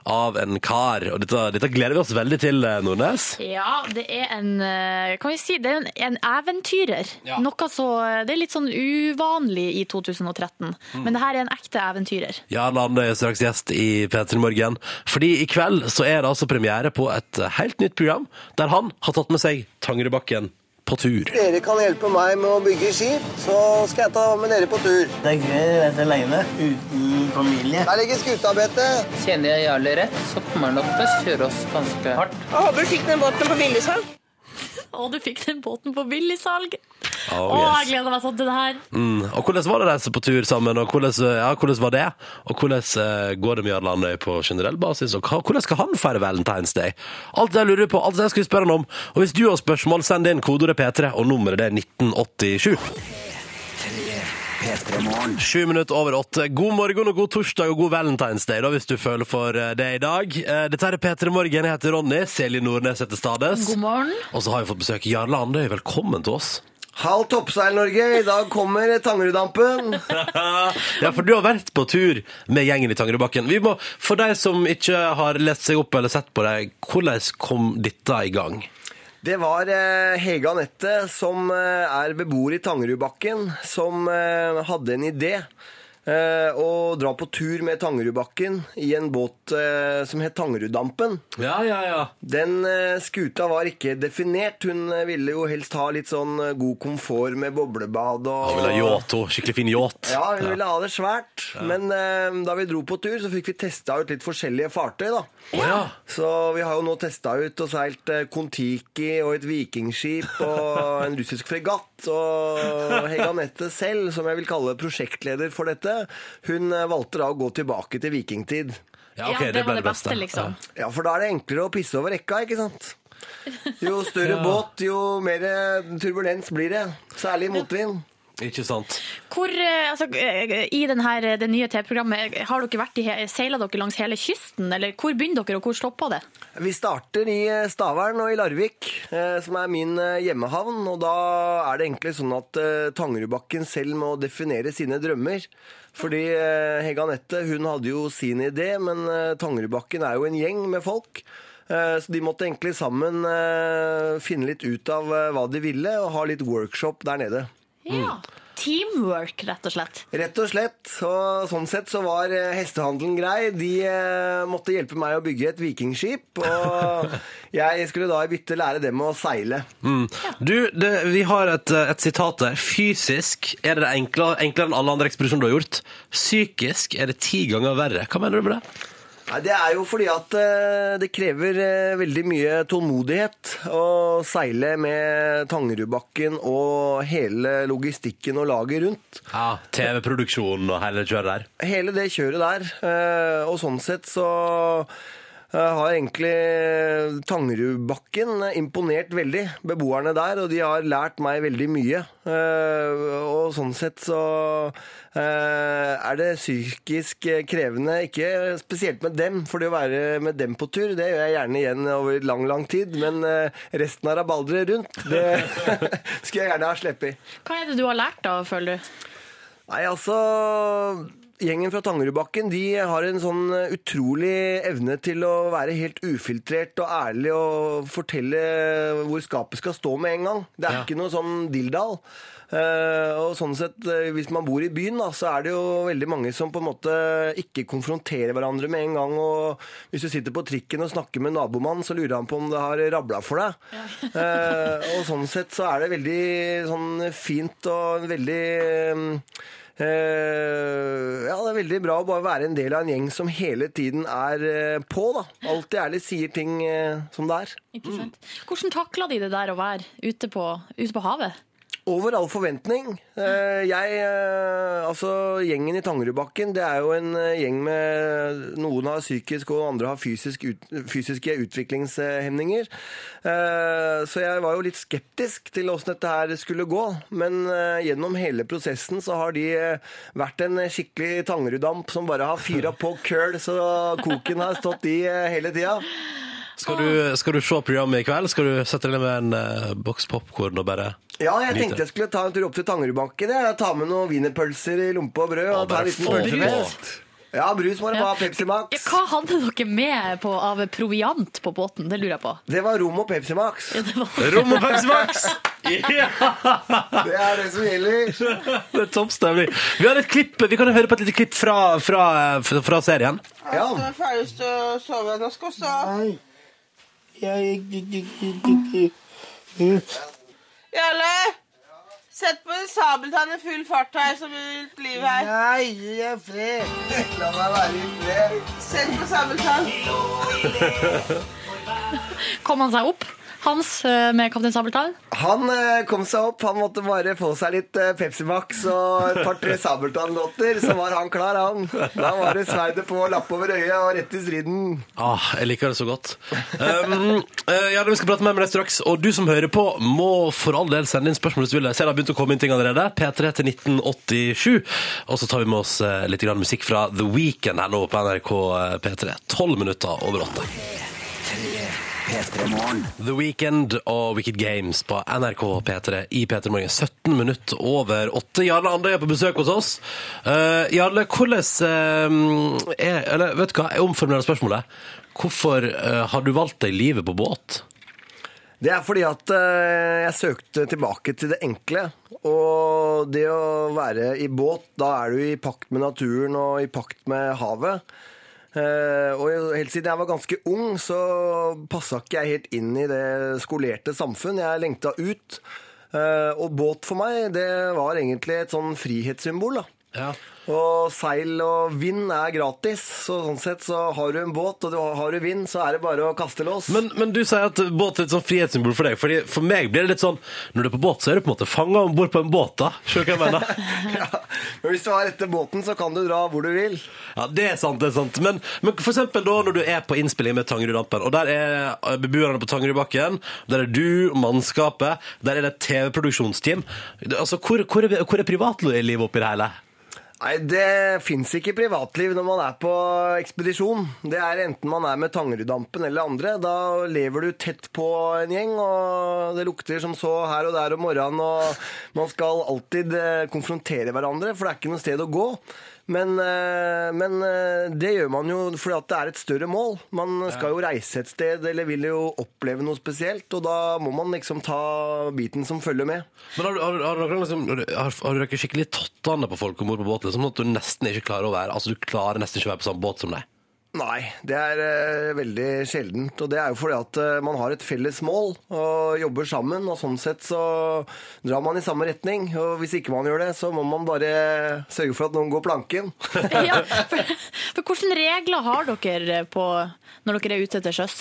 Speaker 2: av en kar, og dette, dette gleder vi oss veldig til, eh, Nordnes.
Speaker 3: Ja, det er en eh, Kan vi si det er en, en eventyrer. Noe så, det er litt sånn uvanlig i 2013,
Speaker 2: Mm.
Speaker 3: men det her er en ekte eventyrer.
Speaker 2: Jarl Andøy er straks gjest i P3 Morgen. Fordi i kveld så er det altså premiere på et helt nytt program der han har tatt med seg Tangerudbakken på tur.
Speaker 11: Dere kan hjelpe meg med å bygge skip, så skal jeg ta med dere på tur. Det er gøy å reise alene uten familie. Der ligger skutabettet. Kjenner jeg Jarle rett, så kommer han nok til å kjøre oss ganske hardt.
Speaker 17: Jeg håper du fikk den båten på billigsalg.
Speaker 3: Og du fikk den båten på billigsalg! Å,
Speaker 2: Oh, yes.
Speaker 3: jeg gleder meg sånn til det her.
Speaker 2: Mm. Og hvordan var det å reise på tur sammen, og hvordan, ja, hvordan var det? Og hvordan eh, går det med Jarl Andøy på generell basis, og hva- hvordan skal han feire Valentine's Day? Alt det jeg lurer på, alt det jeg skulle spørre han om. Og hvis du har spørsmål, send inn kodeordet P3, og nummeret det er 1987. Sju minutter over åtte. God morgen og god torsdag og god Valentine's Day, da, hvis du føler for eh, det i dag. Eh, Dette her er P3 Morgen. Jeg heter Ronny. Selje Nordnes heter Stades.
Speaker 3: God morgen.
Speaker 2: Og så har vi fått besøk av Jarl Andøy. Velkommen til oss.
Speaker 11: Halv toppseil, Norge. I dag kommer Tangeruddampen.
Speaker 2: ja, for du har vært på tur med gjengen i Tangerudbakken. Vi må, for deg som ikke har lest seg opp eller sett på deg, hvordan kom dette i gang?
Speaker 11: Det var eh, Hege Anette, som eh, er beboer i Tangerudbakken, som eh, hadde en idé. eh, Å dra på tur med Tangerudbakken i en båt eh, som het Tangeruddampen.
Speaker 2: Ja, ja, ja.
Speaker 11: Den eh, skuta var ikke definert. Hun eh, ville jo helst ha litt sånn eh, god komfort med boblebad og
Speaker 2: Han ville ha yacht også. Skikkelig fin yacht.
Speaker 11: ja, vi ville ha det svært. Men eh, da vi dro på tur, så fikk vi testa ut litt forskjellige fartøy, da. Så vi har jo nå testa ut og seilt eh, Kon-Tiki og et
Speaker 3: *laughs*
Speaker 11: vikingskip og en russisk fregatt. Og Hege Anette selv, som jeg vil kalle prosjektleder for dette, hun eh, valgte da å gå tilbake til vikingtid.
Speaker 3: Ja, ok, Ja, det det ble var det det beste, beste, liksom.
Speaker 11: Ja, for da er det enklere å pisse over rekka, ikke sant? Jo
Speaker 3: *laughs*
Speaker 11: større
Speaker 2: Ja.
Speaker 11: båt, jo mer eh, turbulens blir det. Særlig motvind.
Speaker 2: Ikke sant?
Speaker 3: Hvor, eh, altså, eh, I den her, eh, det nye TV-programmet, har dere vært i, he- seilet dere langs hele kysten? Eller hvor begynner dere, og hvor stopper det?
Speaker 11: Vi starter i eh, Stavern og i Larvik, eh, som er min eh, hjemmehavn. Og da er det egentlig sånn at eh, Tangerudbakken selv må definere sine drømmer. Fordi eh, Hege Anette hun hadde jo sin idé, men eh, Tangerudbakken er jo en gjeng med folk. Eh, Så de måtte egentlig sammen eh, finne litt ut av eh, hva de ville, og ha litt workshop der nede.
Speaker 3: Ja. Teamwork, rett og slett.
Speaker 11: Rett og slett. Og sånn sett så var eh, hestehandelen grei. De eh, måtte hjelpe meg å bygge et vikingskip, og jeg skulle da i bytte lære dem å seile.
Speaker 2: Mm. Du, det, vi har et, eh, et sitat der. Fysisk er det enklere, enklere enn alle andre ekspedisjoner du har gjort. Psykisk er det ti ganger verre. Hva mener du med det?
Speaker 11: Nei, det er jo fordi at eh, det krever eh, veldig mye tålmodighet å seile med Tangerudbakken og hele logistikken og laget rundt.
Speaker 2: Ja, TV-produksjonen og hele kjøret der.
Speaker 11: Hele det kjøret der. eh, Og sånn sett så eh, har egentlig Tangerudbakken imponert veldig, beboerne der, og de har lært meg veldig mye. Eh, Og sånn sett så eh, er det psykisk krevende, ikke spesielt med dem, for det å være med dem på tur, det gjør jeg gjerne igjen over lang, lang tid, men eh, resten av rabalderet rundt, det *laughs* skulle jeg gjerne ha sluppet.
Speaker 18: Hva er det du har lært da, føler du?
Speaker 11: Nei, altså Gjengen fra Tangerudbakken de har en sånn utrolig evne til å være helt ufiltrert og ærlig og fortelle hvor skapet skal stå med en gang. Det er ikke noe sånn dilldall. Eh, og sånn sett, eh, Hvis man bor i byen, da, så er det jo veldig mange som på en måte ikke konfronterer hverandre med en gang. og Hvis du sitter på trikken og snakker med nabomannen, så lurer han på om det har rabla for deg. *laughs* Eh, og sånn sett så er det veldig sånn fint og veldig eh, ja, det er veldig bra å bare være en del av en gjeng som hele tiden er eh, på, da. Alltid ærlig sier ting eh, som det er.
Speaker 18: Ikke sant? Hvordan takla de det der å være ute på, ute på havet?
Speaker 11: Over all forventning. Eh, Jeg, eh, altså Gjengen i Tangerudbakken det er jo en eh, gjeng med Noen har psykisk, og andre har fysisk ut, fysiske utviklingshemninger. Eh, Så jeg var jo litt skeptisk til åssen dette her skulle gå. Men eh, gjennom hele prosessen så har de eh, vært en skikkelig Tangeruddamp som bare har fyra på køl, så koken har stått i eh, hele tida.
Speaker 2: Skal du, skal du se programmet i kveld? Skal du sette deg ned med en eh, boks popkorn og bare
Speaker 11: Ja, jeg
Speaker 2: nyte?
Speaker 11: tenkte jeg skulle ta en tur opp til Tangerudbanken. jeg. Ta med noen wienerpølser i lompe og brød. Og ta
Speaker 2: bare
Speaker 11: en liten
Speaker 2: få
Speaker 11: pølsefest. Ja, brus må det
Speaker 18: Ja.
Speaker 11: være. Pepsi Max.
Speaker 18: Ja, hva hadde dere med på, av proviant på båten? Det lurer jeg på.
Speaker 11: Det var rom og Pepsi Max.
Speaker 2: Rom og Pepsi
Speaker 11: *laughs*
Speaker 2: Max! Ja!
Speaker 11: Det er det som gjelder.
Speaker 2: Det er topp stemning. Vi har et klipp, vi kan høre på et lite klipp fra, fra, fra, fra serien.
Speaker 19: Jeg står ferdig til å sove. Nå skal vi
Speaker 20: Nei. Jeg
Speaker 19: Jarle! Sett på en sabeltann i full fart her, så blir det litt liv her. Nei, gi deg fred. La meg være i fred. Sett på sabeltann.
Speaker 18: Kom han seg opp? Hans eh, med Kaptein Sabeltann?
Speaker 11: Han eh, kom seg opp. Han måtte bare få seg litt eh, Pepsi Max og et par-tre Sabeltann-låter, så var han klar, han. Da var det sverdet på, lapp over øyet og rett i striden.
Speaker 2: Ah, jeg liker det så godt. Um, eh, ja, vi skal prate mer med deg straks. Og du som hører på, må for all del sende inn spørsmål hvis du vil. Jeg ser det har begynt å komme inn ting allerede. P3 til 1987. Og så tar vi med oss eh, litt grann musikk fra The Weekend her nå på NRK eh, P3. Tolv minutter over åtte. The Weekend og Wicked Games på NRK P3 i P3 Morgen. 17 minutter over 8. Jarle Andøy er på besøk hos oss. Eh, Jarle, hvordan eh, er Eller vet du hva, jeg omformulerer spørsmålet. Hvorfor eh, har du valgt deg livet på båt?
Speaker 11: Det er fordi at eh, jeg søkte tilbake til det enkle. Og det å være i båt, da er du i pakt med naturen og i pakt med havet. Eh, og helt siden jeg var ganske ung, så passa ikke jeg helt inn i det skolerte samfunn. Jeg lengta ut. Eh, og båt for meg, det var egentlig et sånn frihetssymbol. da. Og seil og vind er gratis, så sånn sett så har du en båt, og du har- har du vind, så er det bare å kaste lås.
Speaker 2: Men, men du sier at båt er et sånn frihetssymbol for deg. Fordi for meg blir det litt sånn Når du er på båt, så er du på en måte fanga om bord på en båt, da. Skjønner du hva jeg mener?
Speaker 11: *laughs* Men hvis du har etter båten, så kan du dra hvor du vil.
Speaker 2: Ja, det er sant, det er sant. Men, men for eksempel da når du er på innspilling med Tangeruddampen, og der er eh, beboerne på Tangerudbakken, der er du, mannskapet, der er det et TV-produksjonsteam. Det- Altså, hvor, hvor, er, hvor er privatlivet oppi det hele?
Speaker 11: Nei, det fins ikke privatliv når man er på ekspedisjon. Det er enten man er med Tangeruddampen eller andre. Da lever du tett på en gjeng, og det lukter som så her og der om morgenen, og man skal alltid eh, konfrontere hverandre, for det er ikke noe sted å gå. Men, eh, men eh, det gjør man jo fordi at det er et større mål. Man skal jo reise et sted eller vil jo oppleve noe spesielt, og da må man liksom ta biten som følger med.
Speaker 2: Men har, du- har, du- har, dere liksom, har, har dere skikkelig tatt på folk om bord på båten? Liksom, sånn at du nesten ikke klarer å være Altså, du klarer nesten ikke å være på samme båt som deg?
Speaker 11: Nei, det er eh, veldig sjeldent. Og det er jo fordi at eh, man har et felles mål og jobber sammen. Og sånn sett så drar man i samme retning. Og hvis ikke man gjør det, så må man bare sørge for at noen går planken.
Speaker 18: For hvilke regler har dere eh, på når dere er ute til sjøs?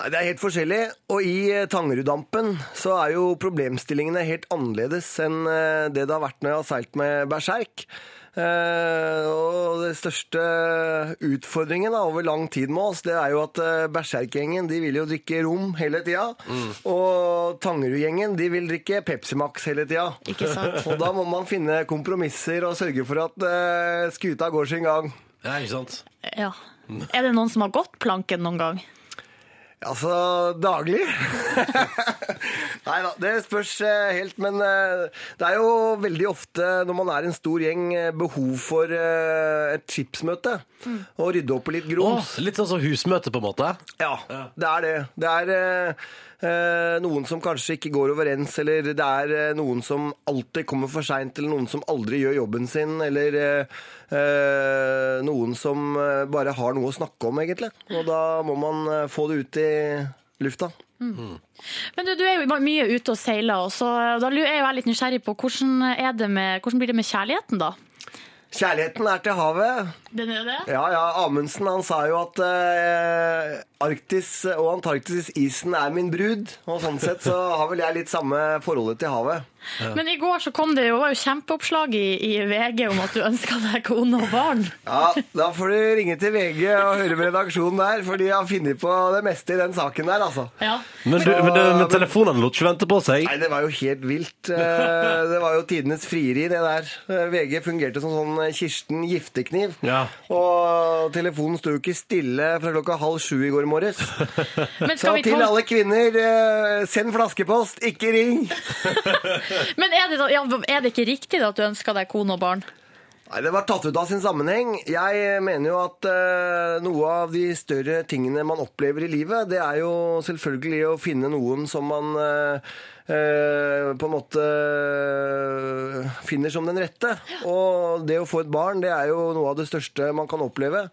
Speaker 11: Nei, Det er helt forskjellig, og i eh, Tangeruddampen så er jo problemstillingene helt annerledes enn eh, det det har vært når jeg har seilt med berserk. Eh, og den største utfordringen da, over lang tid med oss, det er jo at eh, berserkgjengen de vil jo drikke rom hele tida.
Speaker 2: Mm.
Speaker 11: Og Tangerudgjengen de vil drikke Pepsi Max hele tida.
Speaker 21: Ikke sant.
Speaker 11: *laughs* Og da må man finne kompromisser og sørge for at eh, skuta går sin gang.
Speaker 2: Ja, ikke sant?
Speaker 18: Ja. Er det noen som har gått planken noen gang?
Speaker 11: Altså daglig? Nei da, det spørs eh, helt. Men eh, det er jo veldig ofte når man er en stor gjeng, eh, behov for eh, et chipsmøte. Og rydde opp i litt grums.
Speaker 2: litt sånn som husmøte, på en måte?
Speaker 11: Ja, det er det. Det er eh, eh, noen som kanskje ikke går overens, eller det er eh, noen som alltid kommer for seint, eller noen som aldri gjør jobben sin, eller eh, eh, noen som eh, bare har noe å snakke om, egentlig. Og da må man eh, få det ut i lufta.
Speaker 18: Mm.
Speaker 11: Mm.
Speaker 18: Men du, du er jo mye ute og seiler, og så eh, da er jeg jo litt nysgjerrig på hvordan, er det med, hvordan blir det med kjærligheten, da?
Speaker 11: Kjærligheten er til havet.
Speaker 18: Den er det?
Speaker 11: Ja, ja, Amundsen han sa jo at eh, Arktis og Antarktis-isen er min brud. Og sånn sett så har vel jeg litt samme forholdet til havet.
Speaker 18: Men i går så kom det jo, var jo kjempeoppslag i, i VG om at du *laughs* ønska deg kone og barn.
Speaker 11: Ja, Da får du ringe til VG og høre med redaksjonen der, for de har funnet på det meste i den saken der, altså.
Speaker 18: Ja.
Speaker 2: Men, du, men, det- men telefonene lot ikke vente på seg.
Speaker 11: Nei, det var jo helt vilt.
Speaker 2: *laughs*
Speaker 11: Eh, Det var jo tidenes frieri, det der. Eh, VG fungerte som sånn Kirsten Giftekniv. Og telefonen sto jo ikke stille fra klokka halv sju i går morges.
Speaker 18: *laughs* Men
Speaker 11: Så
Speaker 18: skal vi
Speaker 11: til
Speaker 18: tol-
Speaker 11: alle kvinner, eh, send flaskepost, ikke ring!
Speaker 18: Men er det, da, ja, er det ikke riktig da at du ønsker deg kone og barn?
Speaker 11: Nei, Det var tatt ut av sin sammenheng. Jeg mener jo at eh, noe av de større tingene man opplever i livet, det er jo selvfølgelig å finne noen som man eh, eh, på en måte eh, finner som den rette. Og det å få et barn, det er jo noe av det største man kan oppleve.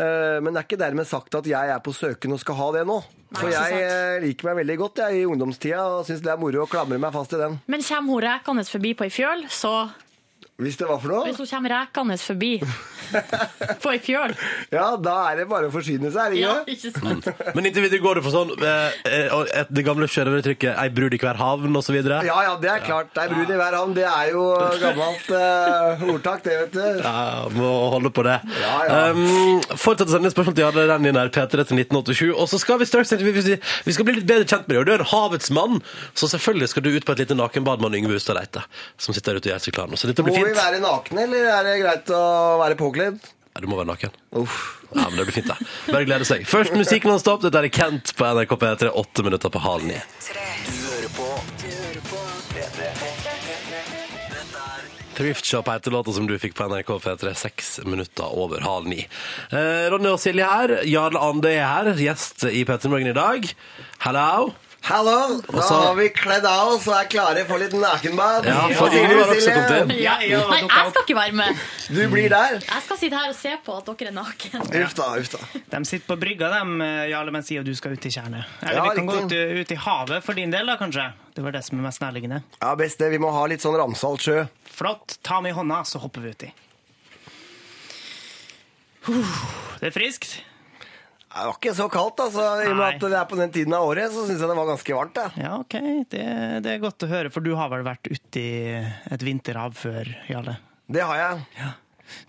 Speaker 11: Eh, men det er ikke dermed sagt at jeg er på søken og skal ha det nå. For
Speaker 18: ikke
Speaker 11: jeg
Speaker 18: sant.
Speaker 11: eh, liker meg veldig godt jeg, i ungdomstida og syns det er moro å klamre meg fast i den.
Speaker 18: Men kommer hun rekende forbi på ei fjøl, så
Speaker 11: Hvis det var for noe?
Speaker 18: Hvis hun kommer rekende
Speaker 11: *laughs*
Speaker 18: forbi på ei fjøl
Speaker 11: Ja, da er det bare å forsyne seg, er det ikke det? Mm.
Speaker 18: ikke sant?
Speaker 2: Men inntil videre går det for sånn eh, eh, og et- det gamle sjørøveruttrykket 'ei brud i hver havn' osv.
Speaker 11: Ja, ja, det er klart. Det er brun i hver hand. Det er jo gammelt eh, ordtak, det, vet du.
Speaker 2: Ja, må holde på det.
Speaker 11: Ja, ja.
Speaker 2: Um, Fortsett å sende spørsmål til Jarle Rennie nær P3 til 1987. Og så skal vi straks vi, vi skal bli litt bedre kjent med deg. Og du er en havets mann, så selvfølgelig skal du ut på et lite nakenbad med han Yngve Hustad Reite, som sitter der ute og gjør seg klar nå. Så dette
Speaker 11: Må
Speaker 2: blir
Speaker 11: vi
Speaker 2: fint.
Speaker 11: være nakne, eller er det greit å være påkledd?
Speaker 2: Ja, du må være naken. Ja, men det blir fint, det. Bare glede seg. Først musikk nonstop. Dette er Kent på NRK P3, åtte minutter på halv ni.
Speaker 21: Du hører på. Du hører på. Dette er
Speaker 2: Thriftshop heter låta som du fikk på NRK P3 seks minutter over halv ni. Eh, Ronny og Silje her. Jarl Ande er her, gjest i P3 Morgen i dag. Hello.
Speaker 11: Hallo! Da
Speaker 2: så-
Speaker 11: har vi kledd av oss og er klare for litt nakenbad.
Speaker 2: Ja, for
Speaker 11: Hva sier
Speaker 2: Yngve
Speaker 11: du,
Speaker 2: har også
Speaker 11: Silje?
Speaker 2: kommet
Speaker 18: Ja. Nei, jeg skal ikke være med.
Speaker 11: Du blir der.
Speaker 18: Jeg skal sitte her og se på at dere er nakne.
Speaker 11: Uff da, uff da.
Speaker 5: De sitter på brygga, de, Jarle, men sier at du skal ut i tjernet. Eller
Speaker 11: Ja,
Speaker 5: vi kan gå ut,
Speaker 11: riktig.
Speaker 5: ut i havet for din del, da, kanskje. Det var det som er mest nærliggende.
Speaker 11: Ja, best det. Vi må ha litt sånn ramsalt sjø.
Speaker 5: Flott. Ta med i hånda, så hopper vi uti. Uh, Det er friskt.
Speaker 11: Det var ikke så kaldt, altså. I og med
Speaker 5: Nei.
Speaker 11: at det er på den tiden av året, så syns jeg det var ganske varmt. Jeg.
Speaker 5: Ja, OK. Det, det er godt å høre, for du har vel vært uti et vinterhav før, Jarle?
Speaker 11: Det har jeg.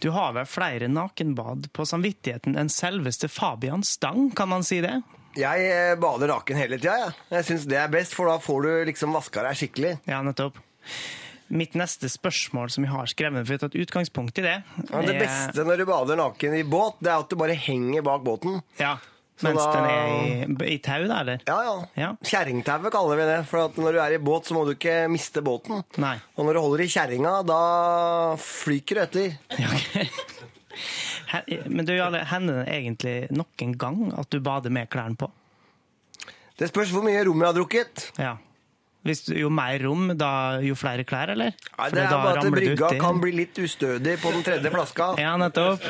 Speaker 5: Du har vel flere nakenbad på samvittigheten enn selveste Fabian Stang, kan man si det?
Speaker 11: Jeg eh, bader naken hele tida, jeg. Jeg syns det er best, for da får du liksom vaska deg skikkelig.
Speaker 5: Ja, nettopp. Mitt neste spørsmål som jeg har skrevet ned, for jeg har tatt utgangspunkt i det
Speaker 11: Ja,
Speaker 5: er-
Speaker 11: det beste når du bader naken i båt, det er at du bare henger bak båten.
Speaker 5: Ja,
Speaker 11: Så
Speaker 5: Mens
Speaker 11: da-
Speaker 5: den er i, i tau, da, eller?
Speaker 11: Ja, ja. Kjerringtauet kaller vi det. For at når du er i båt, så må du ikke miste båten.
Speaker 5: Nei.
Speaker 11: Og når du holder i kjerringa, da flyker du etter.
Speaker 5: He- Men du, Jarle, hender det egentlig nok en gang at du bader med klærne på?
Speaker 11: Det spørs hvor mye rom jeg har drukket.
Speaker 5: Ja. Hvis, du- jo mer rom, da jo flere klær, eller?
Speaker 11: Nei,
Speaker 5: For
Speaker 11: det er
Speaker 5: da
Speaker 11: bare at
Speaker 5: ramler du
Speaker 11: brygga
Speaker 5: uti.
Speaker 11: kan bli litt ustødig på den tredje flaska.
Speaker 5: Ja, nettopp.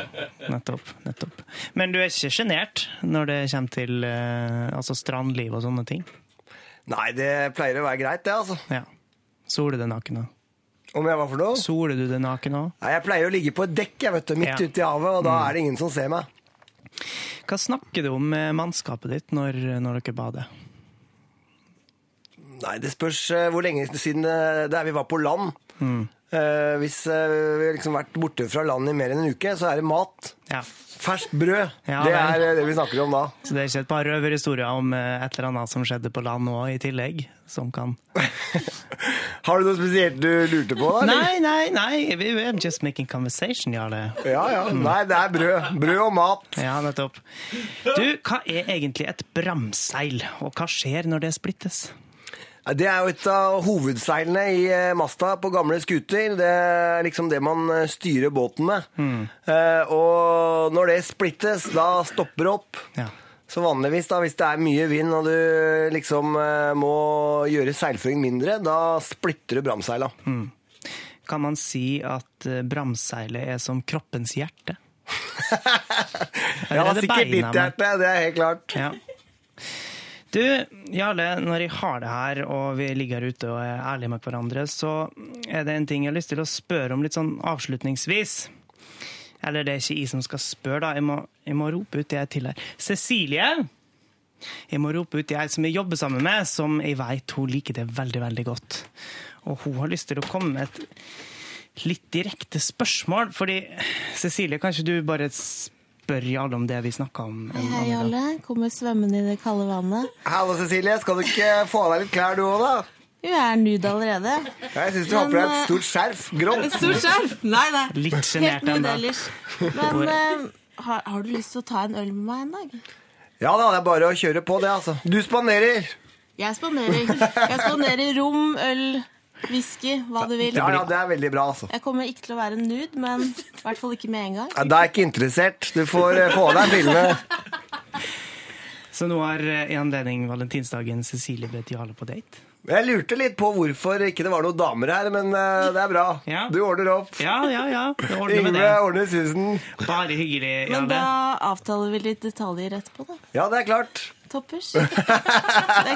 Speaker 5: Nettopp. nettopp. Men du er ikke sjenert når det kommer til eh, altså strandliv og sånne ting?
Speaker 11: Nei, det pleier å være greit, det, altså.
Speaker 5: Ja. Soler du deg naken òg?
Speaker 11: Om jeg var for noe?
Speaker 5: Soler du deg naken òg?
Speaker 11: Nei, jeg pleier å ligge på et dekk, jeg, vet du, midt
Speaker 5: Ja. Mm.
Speaker 11: ute i havet, og da er det ingen som ser meg.
Speaker 5: Hva snakker du om med mannskapet ditt når, når dere bader?
Speaker 11: Nei, det spørs eh, hvor lenge siden eh, det er vi var på land. Eh, hvis eh, vi har liksom vært borte fra land i mer enn en uke, så er det mat. Ferskt brød.
Speaker 5: Ja,
Speaker 11: det
Speaker 5: vel.
Speaker 11: er eh, det vi snakker om da.
Speaker 5: Så det er ikke et par røverhistorier om eh, et eller annet som skjedde på land òg, i tillegg? Som kan
Speaker 11: *laughs* Har du noe spesielt du lurte på? da? eller?
Speaker 5: Nei, nei, nei! we- We're just making conversation, Jarle.
Speaker 11: Ja, ja. Nei, det er brød. Brød og mat.
Speaker 5: Ja, nettopp. Du, hva er egentlig et bramseil, og hva skjer når det splittes?
Speaker 11: Ja, Det er jo et av hovedseilene i eh, masta på gamle skuter. Det er liksom det man eh, styrer båten med.
Speaker 5: Mm.
Speaker 11: Eh, Og når det splittes, da stopper det opp. Så vanligvis, da, hvis det er mye vind og du liksom eh, må gjøre seilføring mindre, da splitter du bramseila.
Speaker 5: Mm. Kan man si at eh, bramseilet er som kroppens hjerte?
Speaker 11: Ja,
Speaker 5: Eller er det
Speaker 11: sikkert
Speaker 5: beina,
Speaker 11: ditt
Speaker 5: men-
Speaker 11: hjerte, det er helt klart.
Speaker 5: Ja. Du, Jarle, når jeg har det her, og vi ligger her ute og er ærlige med hverandre, så er det en ting jeg har lyst til å spørre om litt sånn avslutningsvis. Eller det er ikke jeg som skal spørre, da. Jeg må, jeg må rope ut det jeg til her. Cecilie! Jeg må rope ut det jeg som jeg jobber sammen med, som jeg vet hun liker det veldig, veldig godt. Og hun har lyst til å komme med et litt direkte spørsmål, fordi Cecilie, kanskje du bare spør Jarle om det vi snakka om? en annen
Speaker 6: Hei,
Speaker 5: gang?
Speaker 6: Jarle. Kommer svømmende i det kalde vannet.
Speaker 11: Hallo, Cecilie. Skal du ikke få av deg litt klær, du òg, da?
Speaker 6: Jo, jeg er nude allerede.
Speaker 11: Jeg syns du har på deg et stort skjerf. Grått.
Speaker 6: Et stort skjerf? Nei, nei.
Speaker 5: Litt sjenert
Speaker 6: Helt nude
Speaker 11: ennå.
Speaker 6: ellers. Men eh, har, har du lyst til å ta en øl med meg en dag?
Speaker 11: Ja da, det er bare å kjøre på, det, altså. Du spanderer.
Speaker 6: Jeg spanderer. Jeg spanderer rom, øl, whisky, hva du vil.
Speaker 11: Ja, ja, det er veldig bra, altså.
Speaker 6: Jeg kommer ikke til å være nude, men i hvert fall ikke med en gang.
Speaker 11: Ja, Da er jeg ikke interessert. Du får eh, få av deg brillene.
Speaker 5: Så nå har eh, i anledning valentinsdagen Cecilie bedt Jarle på date?
Speaker 11: Jeg lurte litt på hvorfor ikke det var noen damer her, men eh, det er bra. Du ordner opp.
Speaker 5: Ja, ja, ja. Det ordner med
Speaker 11: Yngve
Speaker 5: det.
Speaker 11: ordner susen.
Speaker 5: Bare hyggelig,
Speaker 6: Men
Speaker 5: Jarle.
Speaker 6: da avtaler vi litt detaljer etterpå, da.
Speaker 11: Ja, det er klart. *laughs*
Speaker 6: Toppers. Jeg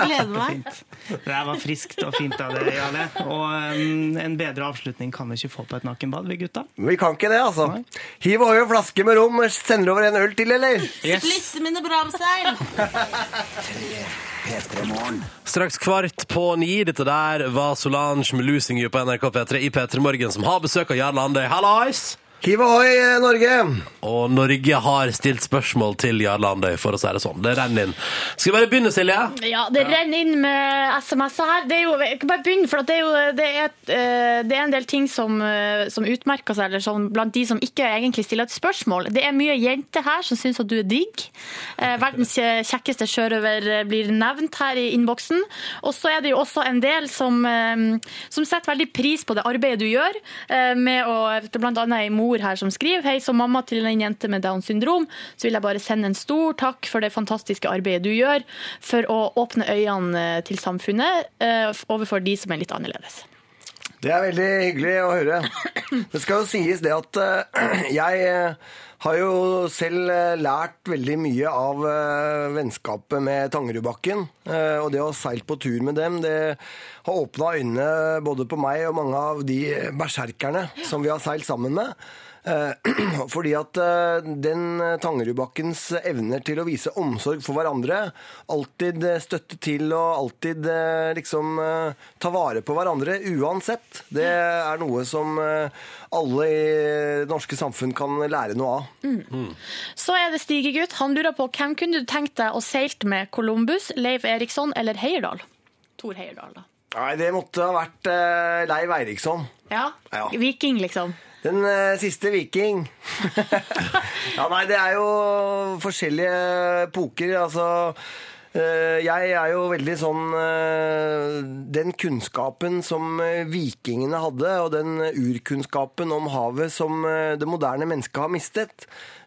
Speaker 6: gleder meg.
Speaker 5: Det der var friskt og fint av deg, Jarle. Og eh, en bedre avslutning kan vi ikke få på et nakenbad, vi gutta.
Speaker 11: Vi kan ikke det, altså. Hiv over en flaske med rom. Sender over en øl til, eller?
Speaker 6: Splitte mine bramseil!
Speaker 2: Straks kvart på ni. Dette der var Solange med 'Losing You' på NRK P3 i P3 Morgen, som har besøk av Jarle Andøy. Hallais!
Speaker 11: Hiv ohoi, Norge!
Speaker 2: Og Norge har stilt spørsmål til Jarle Andøy, for å si det sånn. Det renner inn. Skal vi bare begynne, Silje?
Speaker 3: Ja, det renner inn med SMS-er her. Det er jo, jeg kan bare begynne, for at det er jo det er, et, eh, det er en del ting som, eh, som utmerker seg, eller sånn, blant de som ikke egentlig stiller et spørsmål. Det er mye jenter her som syns at du er digg. Eh, Verdens eh, kjekkeste sjørøver eh, blir nevnt her i innboksen. Og så er det jo også en del som, eh, som setter veldig pris på det arbeidet du gjør, eh, med å det er Blant annet ei mor her som skriver Hei, som mamma til en jente med Downs syndrom, så vil jeg bare sende en stor takk for det fantastiske arbeidet du gjør for å åpne øynene til samfunnet eh, overfor de som er litt annerledes.
Speaker 11: Det er veldig hyggelig å høre. Det skal jo sies det at eh, *clears throat* jeg eh, har jo selv eh, lært veldig mye av eh, vennskapet med Tangerudbakken. eh, Og det å ha seilt på tur med dem, det har åpna øynene både på meg og mange av de eh, berserkerne som vi har seilt sammen med. Eh, *clears throat* Fordi at eh, den Tangerudbakkens evner til å vise omsorg for hverandre, alltid eh, støtte til og alltid eh, liksom eh, ta vare på hverandre uansett, det er noe som eh, alle i det norske samfunn kan lære noe av.
Speaker 3: Så er det Stigegutt. Han lurer på hvem kunne du tenkt deg å seilt med Columbus, Leif Eriksson eller Heierdal? Tor Heierdal, da.
Speaker 11: Nei, det måtte ha vært eh, Leiv Eiriksson.
Speaker 3: Ja.
Speaker 11: Ja.
Speaker 3: Viking, liksom.
Speaker 11: Den eh, siste viking. ja, nei, det er jo forskjellige poker. Altså, Eh, Jeg er jo veldig sånn eh, Den kunnskapen som eh, vikingene hadde, og den urkunnskapen om havet som eh, det moderne mennesket har mistet,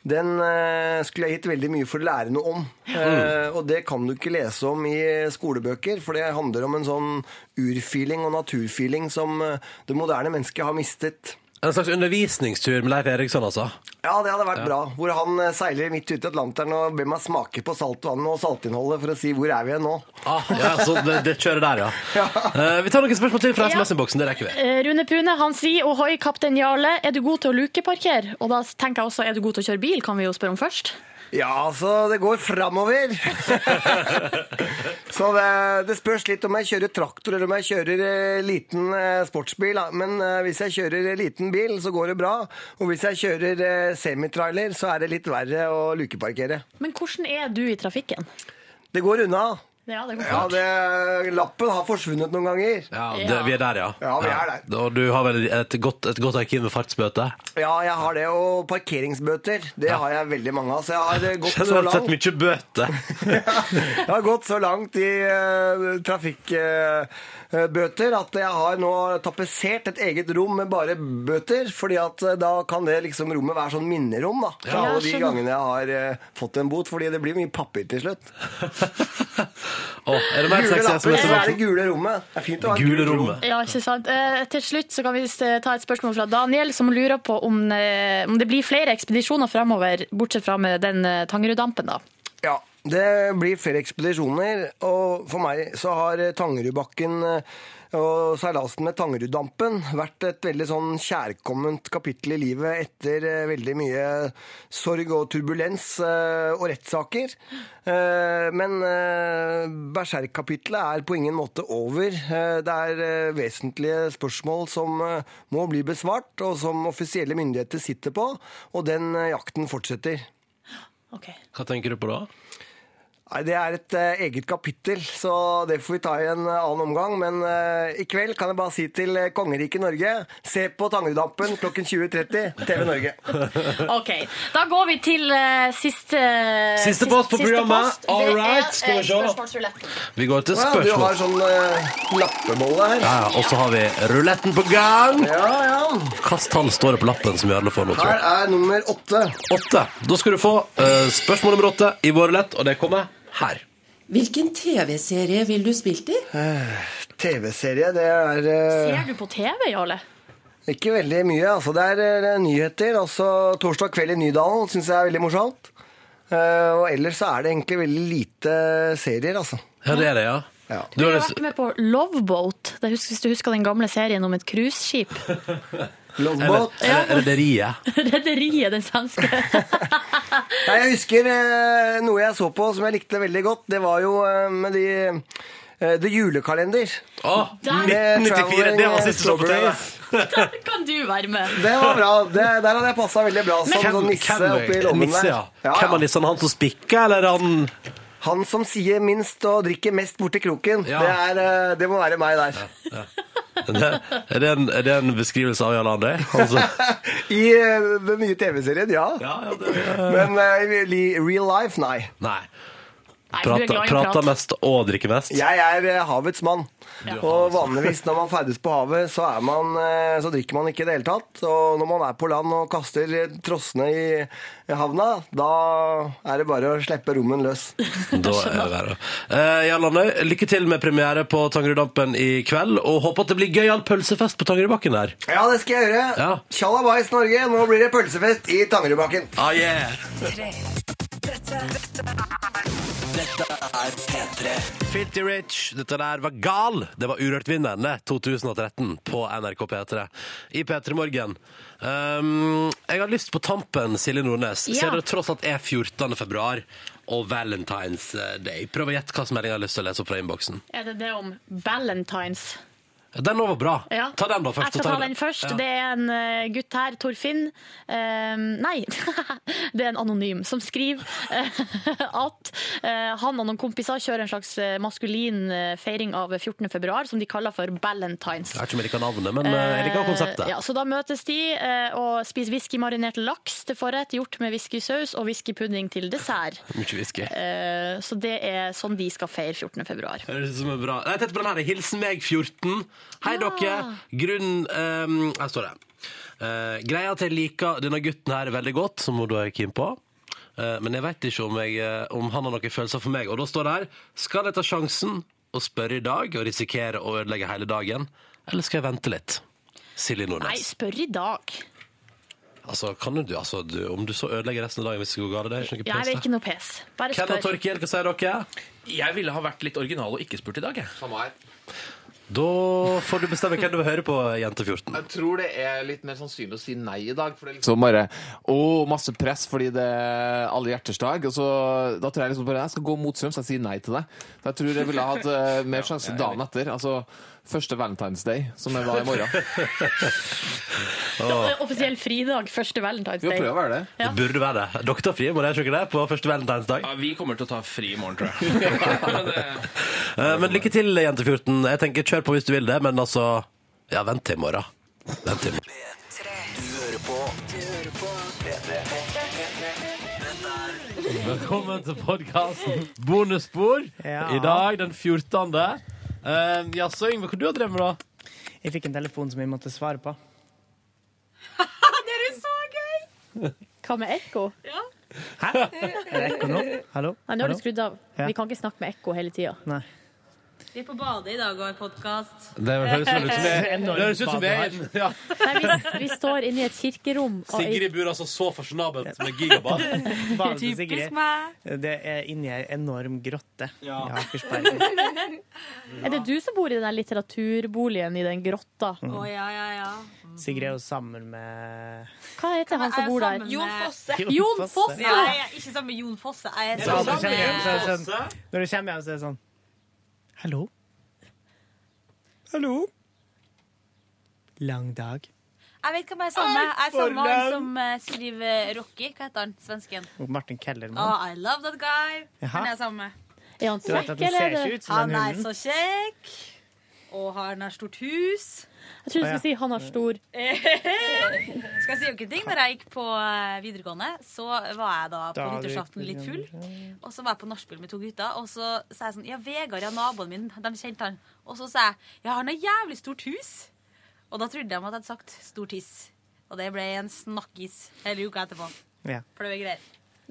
Speaker 11: den eh, skulle jeg gitt veldig mye for å lære noe om. Eh, Og det kan du ikke lese om i skolebøker, for det handler om en sånn urfeeling og naturfeeling som eh, det moderne mennesket har mistet.
Speaker 2: En slags undervisningstur med Leif Eriksson, altså.
Speaker 11: Ja, det hadde vært
Speaker 2: Ja.
Speaker 11: bra. Hvor han eh, seiler midt ute i Atlanteren og ber meg smake på saltvannet og saltinnholdet for å si 'hvor er vi nå'?
Speaker 2: Ah, Ja, så det, det kjører der, ja. Eh, vi tar noen spørsmål til fra SMS-innboksen. Det rekker vi.
Speaker 18: Eh, Rune Pune han sier ohoi, kaptein Jarle, er du god til å lukeparkere? Og da tenker jeg også, er du god til å kjøre bil, kan vi jo spørre om først.
Speaker 11: *laughs* Ja, altså, det går framover. *laughs* så det, det spørs litt om jeg kjører traktor eller om jeg kjører eh, liten eh, sportsbil. da. Men eh, hvis jeg kjører eh, liten bil, så går det bra. Og hvis jeg kjører eh, semitrailer, så er det litt verre å lukeparkere.
Speaker 18: Men hvordan er du i trafikken?
Speaker 11: Det går unna.
Speaker 18: Ja, det går
Speaker 11: Ja,
Speaker 18: fort.
Speaker 11: det, lappen har forsvunnet noen ganger.
Speaker 2: Ja, det, vi er der, ja.
Speaker 11: Ja, vi er der.
Speaker 2: Og du har vel et godt, et godt arkiv med fartsbøter?
Speaker 11: Ja, jeg har det. Og parkeringsbøter, det har jeg veldig mange av. Så jeg har eh, gått så
Speaker 2: Generelt sett
Speaker 11: langt.
Speaker 2: mye bøter.
Speaker 11: Jeg har gått så langt i eh, trafikkbøter eh, at jeg har nå tapetsert et eget rom med bare bøter, fordi at eh, da kan det liksom rommet være sånn minnerom, da. Fra
Speaker 2: Ja,
Speaker 11: alle de
Speaker 2: skjønner.
Speaker 11: gangene jeg har eh, fått en bot, fordi det blir mye papir til slutt.
Speaker 2: Å, er det mer
Speaker 11: Gule
Speaker 2: sexy
Speaker 11: lapper, så er det
Speaker 2: SMS-innboksen?
Speaker 11: gule rommet. Det er fint å ha et
Speaker 2: Gule
Speaker 11: gult rom.
Speaker 2: rommet.
Speaker 18: Ja, ikke sant. Eh, til slutt så kan vi s- eh, ta et spørsmål fra Daniel, som lurer på om, eh, om det blir flere ekspedisjoner fremover, bortsett fra med den eh, Tangerud-dampen, da.
Speaker 11: Ja, det blir flere ekspedisjoner, og for meg så har eh, Tangerudbakken eh, og seilasen med Tangeruddampen vært et veldig sånn kjærkomment kapittel i livet etter eh, veldig mye sorg og turbulens eh, og rettssaker. Eh, Men eh, berserkkapitlet er på ingen måte over. Eh, Det er eh, vesentlige spørsmål som eh, må bli besvart, og som offisielle myndigheter sitter på, og den eh, jakten fortsetter.
Speaker 2: Hva tenker du på da?
Speaker 11: Nei, Det er et eh, eget kapittel, så det får vi ta i en eh, annen omgang. Men eh, i kveld kan jeg bare si til eh, kongeriket Norge se på Tangerudampen klokken 20.30, TV Norge.
Speaker 18: OK. Da går vi til eh, siste
Speaker 2: Siste post på programmet. All right, skal
Speaker 18: eh,
Speaker 2: vi se. Vi går til
Speaker 11: Å ja, Du har
Speaker 2: spørsmål.
Speaker 11: sånn eh, lappebolle her.
Speaker 2: Ja, ja, og så har vi ruletten på gang!
Speaker 11: Ja, ja.
Speaker 2: Hvilket tall står det på lappen som Jarle får nå, tror
Speaker 11: Her
Speaker 2: jeg?
Speaker 11: er nummer åtte.
Speaker 2: Åtte. Da skal du få eh, spørsmål nummer åtte i vår rulett, og det kommer her.
Speaker 4: Hvilken TV-serie vil du spilt i?
Speaker 11: Eh, TV-serie, det er eh,
Speaker 18: Ser du på TV, Jarle?
Speaker 11: Ikke veldig mye. altså Det er eh, nyheter. altså Torsdag kveld i Nydalen syns jeg er veldig morsomt. Eh, og ellers så er det egentlig veldig lite serier, altså.
Speaker 2: Ja, det er det, ja.
Speaker 18: Du har vært med på Loveboat, det husker, hvis du husker den gamle serien om et cruiseskip.
Speaker 2: *laughs*
Speaker 11: Loveboat.
Speaker 2: Eller- eller Rederiet.
Speaker 18: *laughs* Rederiet, den svenske. *laughs*
Speaker 11: Nei, jeg husker eh, noe jeg så på som jeg likte veldig godt. Det var jo eh, med de eh, The Julekalender.
Speaker 2: Åh,
Speaker 11: Med eh,
Speaker 2: 1994, det var siste show på TV.
Speaker 18: Der kan du være med.
Speaker 11: Det var bra. Det, der hadde jeg passa veldig bra som
Speaker 2: Hvem-
Speaker 11: sånn nisse
Speaker 2: hvem-
Speaker 11: oppi lommen
Speaker 2: nisse,
Speaker 11: der.
Speaker 2: ja. Hvem er nissen? sånn, Han som spikker, eller han
Speaker 11: Han som sier minst og drikker mest borti kroken.
Speaker 2: Ja.
Speaker 11: Det, er, eh, det må være meg der.
Speaker 2: Er det- Er det en, er det en beskrivelse av Jarle Andøy? Han som-
Speaker 11: *laughs* I eh, den nye TV-serien, ja. Men eh, i li- real life, nei.
Speaker 2: Nei.
Speaker 11: du er
Speaker 2: Prater,
Speaker 11: glad i
Speaker 2: prater
Speaker 11: prat.
Speaker 2: mest og drikker mest.
Speaker 11: Jeg er eh, havets mann.
Speaker 2: Du er
Speaker 11: Og vanligvis når man ferdes på havet, så, er man, eh, så drikker man ikke i det hele tatt. Og når man er på land og kaster eh, trossene i i havna, da er det bare å slippe rommen løs.
Speaker 2: Da er det verre. Eh, Jarl Andøy, lykke til med premiere på Tangeruddampen i kveld, og håper at det blir gøyal pølsefest på Tangerudbakken der.
Speaker 11: Ja, det skal jeg gjøre.
Speaker 2: Ja.
Speaker 11: Tjallabais, Norge. Nå blir det pølsefest i Tangerudbakken.
Speaker 2: Ah, yeah. Filty Rich, dette der var gal. Det var Urørt-vinnerne 2013 på NRK P3 i P3 Morgen. Um, jeg har lyst på tampen, Silje Nordnes.
Speaker 6: Ja.
Speaker 2: Ser dere tross at er 14. februar og Valentine's Day. Prøv å gjette hva som meldingen jeg har lyst til å lese opp fra innboksen.
Speaker 18: Er det det om valentines?
Speaker 22: Den nå var bra.
Speaker 3: Ja.
Speaker 22: Ta den da først.
Speaker 3: Jeg
Speaker 22: så
Speaker 3: skal
Speaker 22: tar
Speaker 3: ta
Speaker 22: vi
Speaker 3: den først.
Speaker 22: Ja.
Speaker 3: Det er en eh, gutt her, Torfinn. eh, nei, *laughs* det er en anonym som skriver eh, *laughs* at eh, han og noen kompiser kjører en slags eh, maskulin eh, feiring av 14. februar, som de kaller for Valentines.
Speaker 22: Jeg vet ikke om jeg liker navnet, men eh, jeg liker konseptet.
Speaker 3: Eh, Ja, så da møtes de eh, og spiser whiskymarinert laks til forrett, gjort med whiskysaus og whiskypudding til dessert.
Speaker 22: Mye whisky.
Speaker 3: Eh, så det er sånn de skal feire 14. februar.
Speaker 22: Høres ut som en bra Nei, tett på den her. Hilsen meg 14. Hei,
Speaker 3: Ah.
Speaker 22: dere. Grunn ehm, Her står det. Eh, greia at jeg liker denne gutten her veldig godt, som hun da er keen på. Eh, men jeg veit ikke om, jeg, eh, om han har noen følelser for meg. Og da står det her Skal jeg ta sjansen og spørre i dag og risikere å ødelegge hele dagen, eller skal jeg vente litt? Silje
Speaker 3: Nei,
Speaker 22: Nordnes.
Speaker 3: spør i dag.
Speaker 22: Altså, kan du, altså, du, om du så ødelegger resten av dagen hvis det går galt, det er ikke noe
Speaker 3: Jeg
Speaker 22: pes,
Speaker 3: vil
Speaker 22: det.
Speaker 3: ikke noe pes. Bare
Speaker 22: Ken og
Speaker 3: spør.
Speaker 22: Torkild, hva sier dere?
Speaker 23: Jeg ville ha vært litt original og ikke spurt i dag. Jeg.
Speaker 22: Da får du bestemme hvem du vil høre på, jente 14.
Speaker 24: Jeg tror det er litt mer sannsynlig å si nei i dag. For det er liksom-
Speaker 25: Så bare Å, masse press fordi det er alle hjerters dag. Og så, da tror jeg liksom bare jeg skal gå mot strøm, så jeg sier nei til deg. Så jeg tror jeg ville hatt
Speaker 23: *laughs*
Speaker 25: eh, mer sjanse dagen etter. Altså første Valentine's Day, som jeg var
Speaker 23: *laughs*
Speaker 25: i morgen.
Speaker 3: Offisiell fridag, første Valentine's Day. Ja.
Speaker 22: Det burde være det. Dere tar fri, må dere ikke det, på første valentinsdag.
Speaker 23: Ja, vi kommer til å ta fri i morgen, tror jeg.
Speaker 22: *laughs* Eh, Men lykke til, jente 14. Jeg tenker kjør på hvis du vil det, men altså Ja, vent til i morgen. Vent til i morgen.
Speaker 6: Du hører på P3.
Speaker 2: Velkommen til podkasten Bonusspor. I dag den 14. Eh, Jaså, Yngve, hva du har drevet med, da?
Speaker 5: Jeg fikk en telefon som jeg måtte svare på.
Speaker 4: Det er så gøy!
Speaker 2: *laughs*
Speaker 3: Hva med ekko?
Speaker 4: Ja.
Speaker 5: Hæ? Er det ekko nå? Hallo?
Speaker 3: Nei, nå har du
Speaker 5: Hallo?
Speaker 3: skrudd av.
Speaker 5: Ja.
Speaker 3: Vi kan ikke snakke med ekko hele tida.
Speaker 5: Nei.
Speaker 4: Vi er på badet i dag og har podkast.
Speaker 2: Det høres vel ut som
Speaker 4: *laughs*
Speaker 2: jeg- det høres ut som jeg ja.
Speaker 3: vi, vi står inne i et kirkerom. og i-
Speaker 2: Sigrid bor altså så fasjonabelt *laughs* med gigabar.
Speaker 5: Badet til Sigrid.
Speaker 3: Typisk meg.
Speaker 5: Det er inni ei enorm grotte i Akersberg.
Speaker 3: Er det du som bor i den der litteraturboligen i den grotta?
Speaker 5: Mm. Å,
Speaker 4: ja, ja, ja.
Speaker 5: Sigrid er jo sammen med
Speaker 3: Hva heter han som bor der?
Speaker 4: Jon Fosse.
Speaker 3: Jon Fosse!
Speaker 4: Nei, jeg er ikke sammen med Jon Fosse. Jeg er
Speaker 5: Så når du
Speaker 4: sammen
Speaker 5: kommer hjem, så er det sånn,
Speaker 4: med
Speaker 5: når du kommer hjem, så er det sånn Hallo? Hallo? Lang dag.
Speaker 4: Jeg vet hvem jeg er sammen med. Jeg er
Speaker 5: for
Speaker 4: sammen med han
Speaker 5: lang.
Speaker 4: som eh, skriver Rocky. Hva heter han? Svensken.
Speaker 5: Og Martin Kellermann.
Speaker 4: Oh, I love that guy.
Speaker 5: Jaha.
Speaker 4: Han er jeg sammen med.
Speaker 3: Ah, Er han
Speaker 5: Du vet at kjekk, den ser eller? ikke ut som den
Speaker 4: Han er
Speaker 5: hunden.
Speaker 4: så kjekk. Og han har stort hus.
Speaker 3: Jeg trodde du skulle si han har stor
Speaker 4: *laughs* Skal jeg si dere en ting? Når jeg gikk på eh, videregående, så var jeg da på
Speaker 3: Da hadde du
Speaker 4: nyttårsaften litt full. Og så var jeg på nachspiel med to gutter, og så sa jeg sånn Ja, Vegard, ja, naboen min, de kjente han. Og så sa jeg ja, han har jævlig stort hus. Og da trodde de at jeg hadde sagt stor tiss. Og det ble en snakkis hele uka etterpå.
Speaker 5: Ja.
Speaker 4: For det var greier.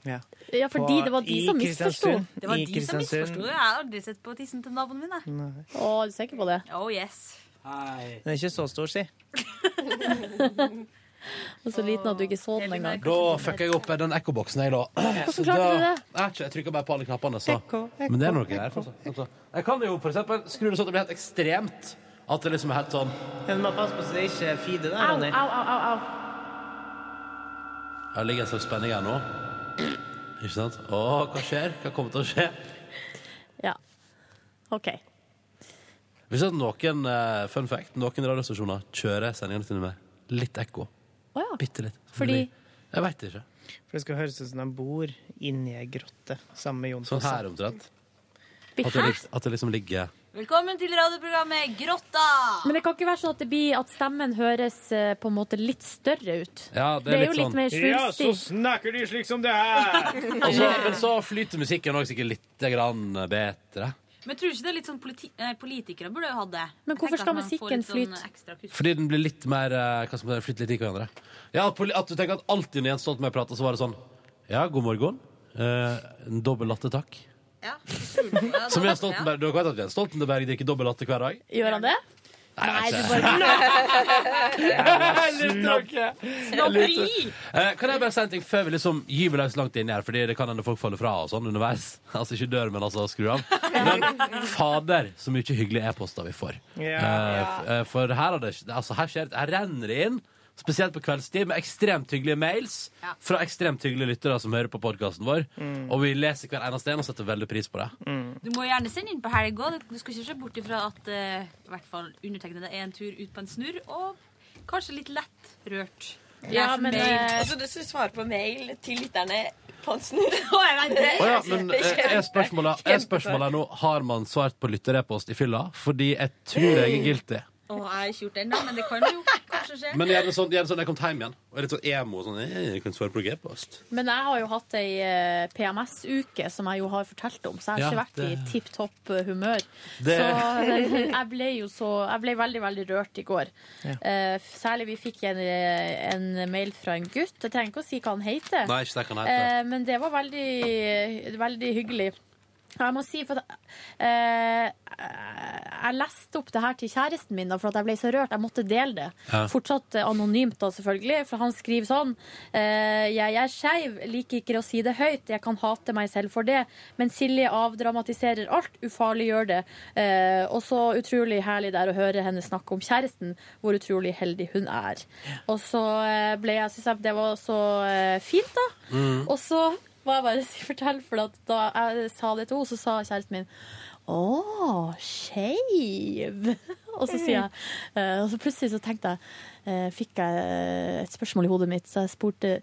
Speaker 5: ja.
Speaker 3: Ja,
Speaker 5: På-
Speaker 3: fordi det var de
Speaker 5: i
Speaker 3: som misforsto.
Speaker 5: Kristiansund.
Speaker 4: Det var
Speaker 5: I
Speaker 4: de som
Speaker 5: Kristiansund.
Speaker 4: misforsto. Jeg har aldri sett på tissen til naboen min, jeg.
Speaker 5: Nei.
Speaker 3: Å, er du sikker på det?
Speaker 4: Oh yes.
Speaker 5: Den er ikke så stor, si.
Speaker 3: Og så liten at du ikke så den engang.
Speaker 2: Da fucka jeg opp eh, den ekkoboksen, jeg, da. Så
Speaker 3: klarte
Speaker 2: da-
Speaker 3: du det?
Speaker 2: Jeg, vet ikke, jeg trykka bare på alle knappene, så. Men det er noe der. for å si- altså. Jeg kan jo for eksempel skru det sånn at det blir helt ekstremt. At det liksom er helt sånn
Speaker 5: Men du må passe på så det ikke feeder der,
Speaker 3: Au,
Speaker 5: Ronny.
Speaker 3: au, au, au, au.
Speaker 2: Her ligger en slags spenning her nå. Ikke sant? Å, hva skjer? Hva kommer til å skje?
Speaker 3: Ja. OK.
Speaker 2: Hvis at noen, eh, fun fact, noen radiostasjoner kjører sendingene sine med litt ekko.
Speaker 3: Å ja.
Speaker 2: Bitte litt.
Speaker 5: Fordi-
Speaker 2: Jeg veit ikke.
Speaker 5: For det skal høres ut som de bor inni ei grotte sammen med Jon
Speaker 2: Sånn
Speaker 5: Fosse.
Speaker 2: her omtrent. At det, lik- at det liksom ligger
Speaker 4: Velkommen til radioprogrammet Grotta!
Speaker 3: Men det kan ikke være sånn at, det blir, at stemmen høres eh, på en måte litt større ut.
Speaker 2: Ja, det er
Speaker 3: det er
Speaker 2: litt
Speaker 3: jo litt
Speaker 2: sånn.
Speaker 3: mer svulstig.
Speaker 5: snakker de slik som det her!
Speaker 2: Og så- Men så flyter musikken òg sikkert litt grann bedre.
Speaker 4: *laughs* Men tror du ikke det er litt sånn politi eh, Politikere burde jo hatt det.
Speaker 3: Men hvorfor
Speaker 4: Jeg tenker
Speaker 3: skal
Speaker 4: at man får
Speaker 3: musikken
Speaker 4: litt sånn
Speaker 3: flyte?
Speaker 4: ekstra kuss.
Speaker 2: Fordi den blir litt mer eh, Hva skal man si, flytter litt i hverandre. Ja, at, poli- at du tenker at alltid når Jens Stoltenberg prater, så var det sånn Ja, god morgen. Eh, en dobbel latte, takk. Som Jens Stoltenberg, Dere vet at Jens Stoltenberg drikker dobbel latte hver dag?
Speaker 3: Gjør han det? Nei, du bare
Speaker 2: *laughs* Snobberi! Eh, kan jeg bare si en ting før vi liksom gyver løs langt inni her, fordi det kan hende folk faller fra og sånn underveis. *laughs* Altså ikke dør, men altså skru av. Men fader, så mye hyggelige e-poster vi får.
Speaker 5: Ja.
Speaker 2: Eh, f- eh, for her, har det, altså, her, skjer, det- her renner det inn spesielt på kveldstid, med ekstremt hyggelige mails fra ekstremt hyggelige lyttere som hører på podkasten vår.
Speaker 4: Mm.
Speaker 2: Og vi leser hver eneste en og setter veldig pris på det.
Speaker 4: Du må gjerne sende inn på helg òg. Du skal ikke se bort ifra at eh, i hvert fall undertegnede er en tur ut på en snurr, og kanskje litt lett rørt. Leser
Speaker 3: eh,
Speaker 4: mail.
Speaker 8: Altså, du skal svare på mail til lytterne på en snurr.
Speaker 2: Å ja, men eh, er spørsmålet, er spørsmålet nå Har man svart på lytterepost i fylla? Fordi jeg tror jeg er guilty.
Speaker 4: Å, jeg har ikke gjort det ennå, men det kan jo kanskje skje.
Speaker 2: Men gjerne sånn, gjerne sånn jeg kom hjem igjen. Og er litt sånn emo. Sånn, eh, jeg kan svare på g-post.
Speaker 3: *laughs* Men jeg har jo hatt ei eh, PMS-uke som jeg jo har fortalt om, så jeg har
Speaker 2: Ja,
Speaker 3: ikke vært
Speaker 2: det-
Speaker 3: i tipp topp eh, humør.
Speaker 2: Det-
Speaker 3: Så det- jeg ble jo så Jeg ble veldig, veldig rørt i går.
Speaker 2: Ja.
Speaker 3: Eh, særlig vi fikk en, eh, en mail fra en gutt. Jeg trenger ikke å si hva han heter.
Speaker 2: Nei, ikke si hva han heter.
Speaker 3: Eh, men det var veldig, veldig hyggelig. Jeg må si, for at, eh, jeg leste opp det her til kjæresten min, da, for at jeg ble så rørt. Jeg måtte dele det.
Speaker 1: Ja.
Speaker 3: Fortsatt eh, anonymt, da, selvfølgelig. For han skriver sånn eh, Jeg er skeiv, liker ikke å si det høyt. Jeg kan hate meg selv for det. Men Silje avdramatiserer alt, ufarliggjør det. Eh, og så utrolig herlig det er å høre henne snakke om kjæresten, hvor utrolig heldig hun er. Og så eh, ble jeg, synes jeg det var så eh, fint, da.
Speaker 1: Mm.
Speaker 3: Og så må jeg bare si, fortelle, for at da jeg sa det til henne, så sa kjæresten min å, skeiv! *laughs* Og så sier jeg eh, Og så plutselig så tenkte jeg eh, Fikk jeg eh, et spørsmål i hodet mitt, så jeg spurte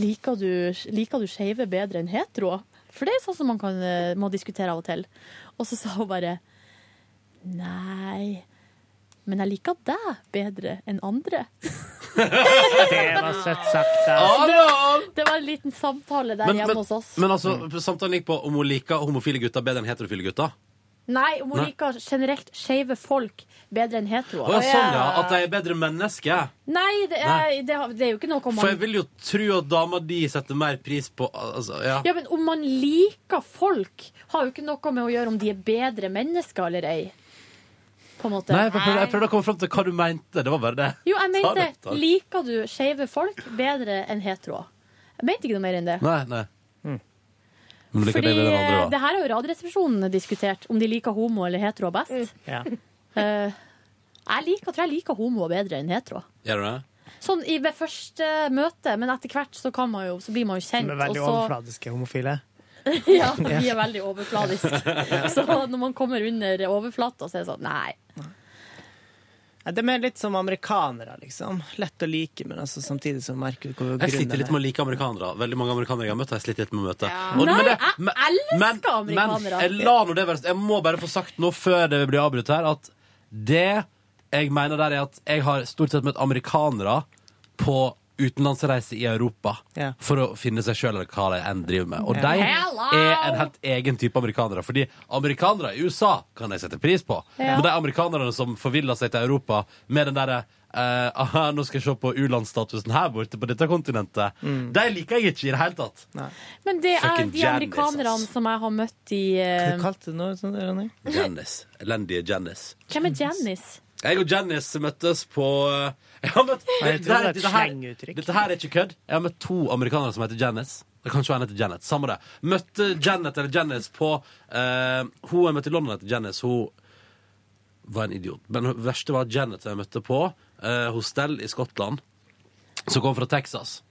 Speaker 3: Liker du, liker du skeive bedre enn hetero? For det er sånn som man kan, eh, må diskutere av og til. Og så sa hun bare Nei, men jeg liker deg bedre enn andre. *laughs*
Speaker 5: Det var søtt sagt.
Speaker 3: Så det,
Speaker 5: da.
Speaker 3: var, det var en liten samtale der
Speaker 2: Men,
Speaker 3: hjemme
Speaker 2: men,
Speaker 3: hos oss.
Speaker 2: men altså, samtalen gikk på om hun liker homofile gutter bedre enn heterofile gutter.
Speaker 3: Nei, om hun
Speaker 2: Nei.
Speaker 3: liker generelt skeive folk bedre enn hetero.
Speaker 2: Å, ja, sånn, ja. At de er bedre mennesker.
Speaker 3: Nei, det er,
Speaker 2: Nei.
Speaker 3: Det, har- det er jo ikke noe om
Speaker 2: For jeg
Speaker 3: man
Speaker 2: vil jo tro at dama di setter mer pris på altså, ja.
Speaker 3: ja, men Om man liker folk, har jo ikke noe med å gjøre om de er bedre mennesker eller ei. På en måte.
Speaker 2: Nei, jeg prøvde, jeg prøvde å komme fram til hva du mente. Det var bare det.
Speaker 3: Jo, jeg
Speaker 2: *laughs* Ta det, ta
Speaker 3: mente
Speaker 2: det.
Speaker 3: liker du skeive folk bedre enn hetero? Jeg mente ikke noe mer enn det.
Speaker 2: Nei, nei. Men liker
Speaker 3: Fordi
Speaker 2: det bedre enn
Speaker 3: eh,
Speaker 2: andre,
Speaker 3: det
Speaker 2: da.
Speaker 3: her har jo Radioresepsjonen diskutert, om de liker homo eller hetero best.
Speaker 2: Ja.
Speaker 3: *laughs* Eh, jeg liker, tror jeg liker homo bedre enn hetero.
Speaker 2: Gjør du det?
Speaker 3: Sånn i ved første møte, men etter hvert så, kan man jo, så blir man jo kjent.
Speaker 5: Som er veldig
Speaker 3: og så,
Speaker 5: overfladiske homofile.
Speaker 3: *laughs* ja, de er veldig
Speaker 2: *laughs*
Speaker 3: overfladiske. Så når man kommer under overflata, så er det sånn Nei.
Speaker 5: Ja, De er litt som amerikanere, liksom. Lett å like, men altså, samtidig så merker du hvor
Speaker 2: Jeg sliter litt med å like amerikanere. Veldig mange amerikanere jeg har møtt, har jeg slitt litt med å møte. Og- men det-
Speaker 3: jeg elsker
Speaker 2: men
Speaker 3: amerikanere.
Speaker 2: jeg, la nå det være, jeg må bare få sagt nå før det blir avbrutt her, at det jeg mener der, er at jeg har stort sett møtt amerikanere på utenlandsreise i Europa for å finne seg sjøl eller hva de enn driver med. Og
Speaker 6: Ja.
Speaker 2: de
Speaker 6: Hello!
Speaker 2: er en helt egen type amerikanere. Fordi amerikanere i USA kan jeg sette pris på,
Speaker 6: Ja.
Speaker 2: men de amerikanerne som forviller seg til Europa med den derre eh, aha, nå skal jeg se på u-landsstatusen her borte på dette kontinentet.
Speaker 6: Mm.
Speaker 2: De liker jeg ikke i det hele tatt.
Speaker 3: Men det er
Speaker 2: Fucking
Speaker 3: de
Speaker 2: Janice,
Speaker 3: amerikanerne
Speaker 2: ass.
Speaker 3: som jeg har møtt i eh,
Speaker 5: kalte du noe sånt? Ronny?
Speaker 2: Janice. Elendige Janice.
Speaker 3: Hvem er Janice?
Speaker 2: Jeg og Janice møttes på eh, jeg har møtt,
Speaker 5: Ja, jeg tror
Speaker 2: Dette her-
Speaker 5: det er et
Speaker 2: dette her-
Speaker 5: slenguttrykk.
Speaker 2: Dette her er ikke kødd. Jeg har møtt to amerikanere som heter Janice. Det kan ikke være en heter Janet. Samme det. Møtte Janet eller Janice på eh, Hun jeg møtte i London, heter Janice. Hun var en idiot. Men det verste var Janet jeg møtte på eh, hos Stell i Skottland, som kom fra Texas.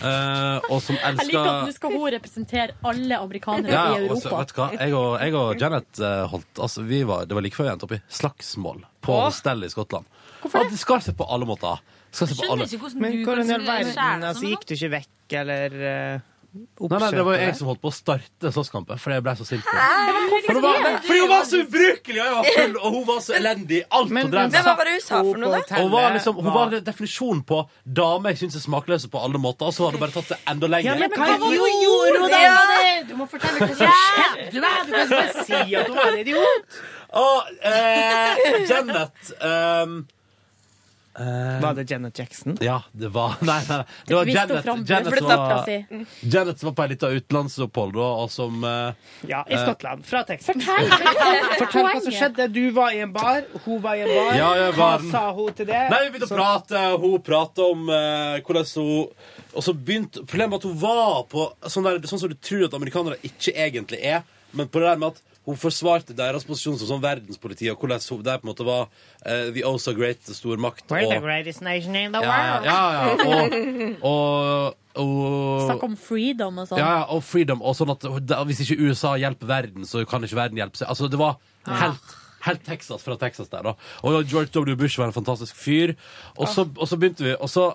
Speaker 2: Eh, og som elsker
Speaker 3: Jeg liker at nå skal hun representere alle amerikanere
Speaker 2: ja,
Speaker 3: i
Speaker 2: og så,
Speaker 3: Europa.
Speaker 2: vet du hva? Jeg og, jeg og Janet eh, holdt altså, vi var, Det var like før vi endte opp i slagsmål på hostell i Skottland. Hvorfor det? Skar seg på alle måter. Skar seg på alle.
Speaker 5: Men hvordan i all
Speaker 4: smøre
Speaker 3: sånn.
Speaker 5: verden? Altså, gikk du ikke vekk, eller uh,
Speaker 2: Nei, nei, det var jeg som holdt på å starte slåsskampen, fordi jeg ble så sint. på henne. For hun var- Fordi hun var så ubrukelig, og jeg var full, og hun var så elendig i alt hun drev med.
Speaker 8: var det hun sa for noe, da?
Speaker 2: Og Hun var, liksom, hun var definisjonen på dame jeg syns er smakløse på alle måter, og så har du bare tatt det enda lenger.
Speaker 5: Ja, men hva
Speaker 2: Hun-
Speaker 5: Jo, jo, det
Speaker 3: det! Du må fortelle hva som skjedde!
Speaker 5: Du kan ikke bare si at du var en idiot!
Speaker 2: Og eh, Janet ehm,
Speaker 5: Var det Janet Jackson?
Speaker 2: Ja, det var Nei, nei, nei. det var
Speaker 5: Vi står
Speaker 2: Janet,
Speaker 5: fram-
Speaker 2: Janet,
Speaker 5: Vi
Speaker 2: som
Speaker 5: flytter
Speaker 2: var,
Speaker 5: opp, da,
Speaker 2: Janet som var på en liten utenlandsopphold, da, og som eh,
Speaker 5: Ja, i
Speaker 2: eh,
Speaker 5: Skottland. Fra teksten.
Speaker 3: Fortell,
Speaker 5: *laughs* Fortell hva som skjedde. Du var i en bar, hun var i en bar.
Speaker 2: Ja, jeg
Speaker 5: hva
Speaker 2: var den.
Speaker 5: sa hun til det?
Speaker 2: Nei, vi begynte å prate, og hun pratet om eh, hvordan hun Og så begynte Problemet var at hun var på sånn, der, sånn som du tror at amerikanere ikke egentlig er, men på det der med at Hun forsvarte deres posisjon som sånn verdenspoliti, og hvordan hun, der på en måte var eh, the oh so great stormakt.
Speaker 5: We're the
Speaker 2: Og,
Speaker 5: greatest nation in the
Speaker 2: Ja, ja,
Speaker 5: world.
Speaker 2: ja, ja,
Speaker 3: *laughs*
Speaker 2: og, og,
Speaker 3: Snakk om freedom og
Speaker 2: ja,
Speaker 3: sånn.
Speaker 2: ja, og freedom. Og sånn at da- hvis ikke USA hjelper verden, så kan ikke verden hjelpe seg. Altså, det var helt, helt Texas fra Texas der, da. Og George W. Bush var en fantastisk fyr. Og så, og så begynte vi, og så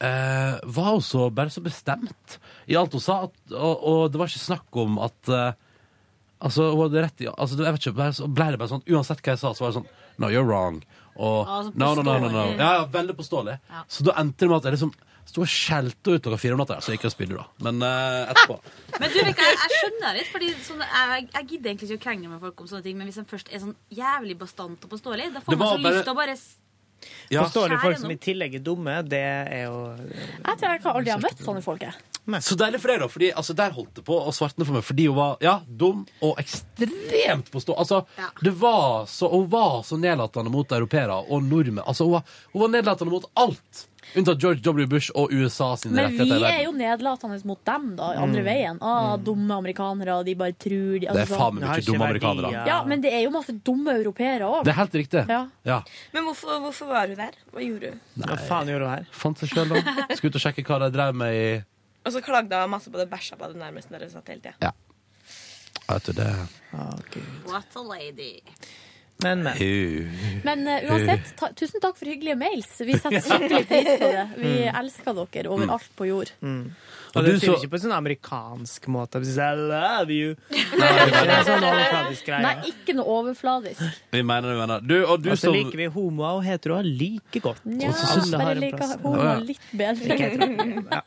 Speaker 2: eh, var hun så bare så bestemt i alt hun sa, at, og, og det var ikke snakk om at eh, Altså, hun hadde rett i altså, Jeg vet ikke, bare, så ble det bare sånn Uansett hva jeg sa, så var det sånn No, you're wrong. Og
Speaker 6: Ja, altså,
Speaker 2: no, no, no, no, no.
Speaker 6: påståelig.
Speaker 2: Ja, ja, veldig påståelig.
Speaker 6: Ja.
Speaker 2: Så da endte det med at jeg liksom sto og skjelte ut klokka fire om natta. Så jeg gikk og spydde, da. Men eh, etterpå.
Speaker 4: Men du, Rikard, jeg, jeg skjønner litt, fordi sånn, jeg, jeg gidder egentlig ikke å krangle med folk om sånne ting, men hvis de først er sånn jævlig bastant og påståelig, da
Speaker 5: Det
Speaker 4: får man
Speaker 5: var
Speaker 4: så
Speaker 5: bare-
Speaker 4: lyst til å bare s-
Speaker 5: Ja. Forståelig folk
Speaker 4: Skjære
Speaker 5: som
Speaker 4: noe.
Speaker 5: i tillegg er dumme, det er jo
Speaker 3: Jeg tror jeg kan aldri ha møtt sånne folk. jeg.
Speaker 2: Så deilig for deg, da. Fordi altså, der holdt det på å svartne for meg. Fordi hun var ja, dum og ekstremt påstå... Altså, det var så, hun var så nedlatende mot europeere og nordmenn. Altså, hun var, hun var nedlatende mot alt. Unntatt George W. Bush og USA sine
Speaker 3: Men vi
Speaker 2: rettigheter. i verden.
Speaker 3: er jo nedlatende mot dem, da, andre
Speaker 2: Mm.
Speaker 3: veien. Ah, dumme amerikanere, de bare tror de,
Speaker 2: Det er faen meg
Speaker 3: sånn.
Speaker 2: mye dumme amerikanere.
Speaker 3: Ja, men det er jo masse dumme europeere òg.
Speaker 2: Det er helt riktig.
Speaker 3: Ja.
Speaker 2: Ja.
Speaker 26: Men hvorfor, hvorfor var hun der? Hva gjorde hun?
Speaker 5: Hva faen gjorde hun her?
Speaker 2: Fant seg sjøl, da.
Speaker 3: *laughs*
Speaker 2: Skulle ut og sjekke hva de drev med i
Speaker 8: Og så klagde hun masse på det bæsja på det nærmeste dere satt hele tida.
Speaker 2: Vet du det
Speaker 4: What a lady.
Speaker 5: Men,
Speaker 3: Men eh, uansett, ta, tusen takk for hyggelige mails. Vi setter skikkelig pris på det. Vi
Speaker 5: Mm.
Speaker 3: elsker dere overalt på jord.
Speaker 5: Og
Speaker 3: Og
Speaker 5: det
Speaker 3: du
Speaker 5: sier
Speaker 3: så-
Speaker 5: ikke på sånn amerikansk måte. De sier, I love
Speaker 3: *laughs*
Speaker 5: you.
Speaker 2: Nei,
Speaker 5: Det er en sånn overfladisk greie.
Speaker 3: Nei, ikke noe overfladisk.
Speaker 2: Vi mener det vi mener. Du, og du
Speaker 5: Og så
Speaker 2: som
Speaker 5: liker vi homoer og heteroer like godt.
Speaker 3: Nja,
Speaker 5: Og så alle har
Speaker 3: bare
Speaker 5: en
Speaker 3: liker
Speaker 5: plass.
Speaker 3: homo litt bedre.
Speaker 5: Ikke hetero.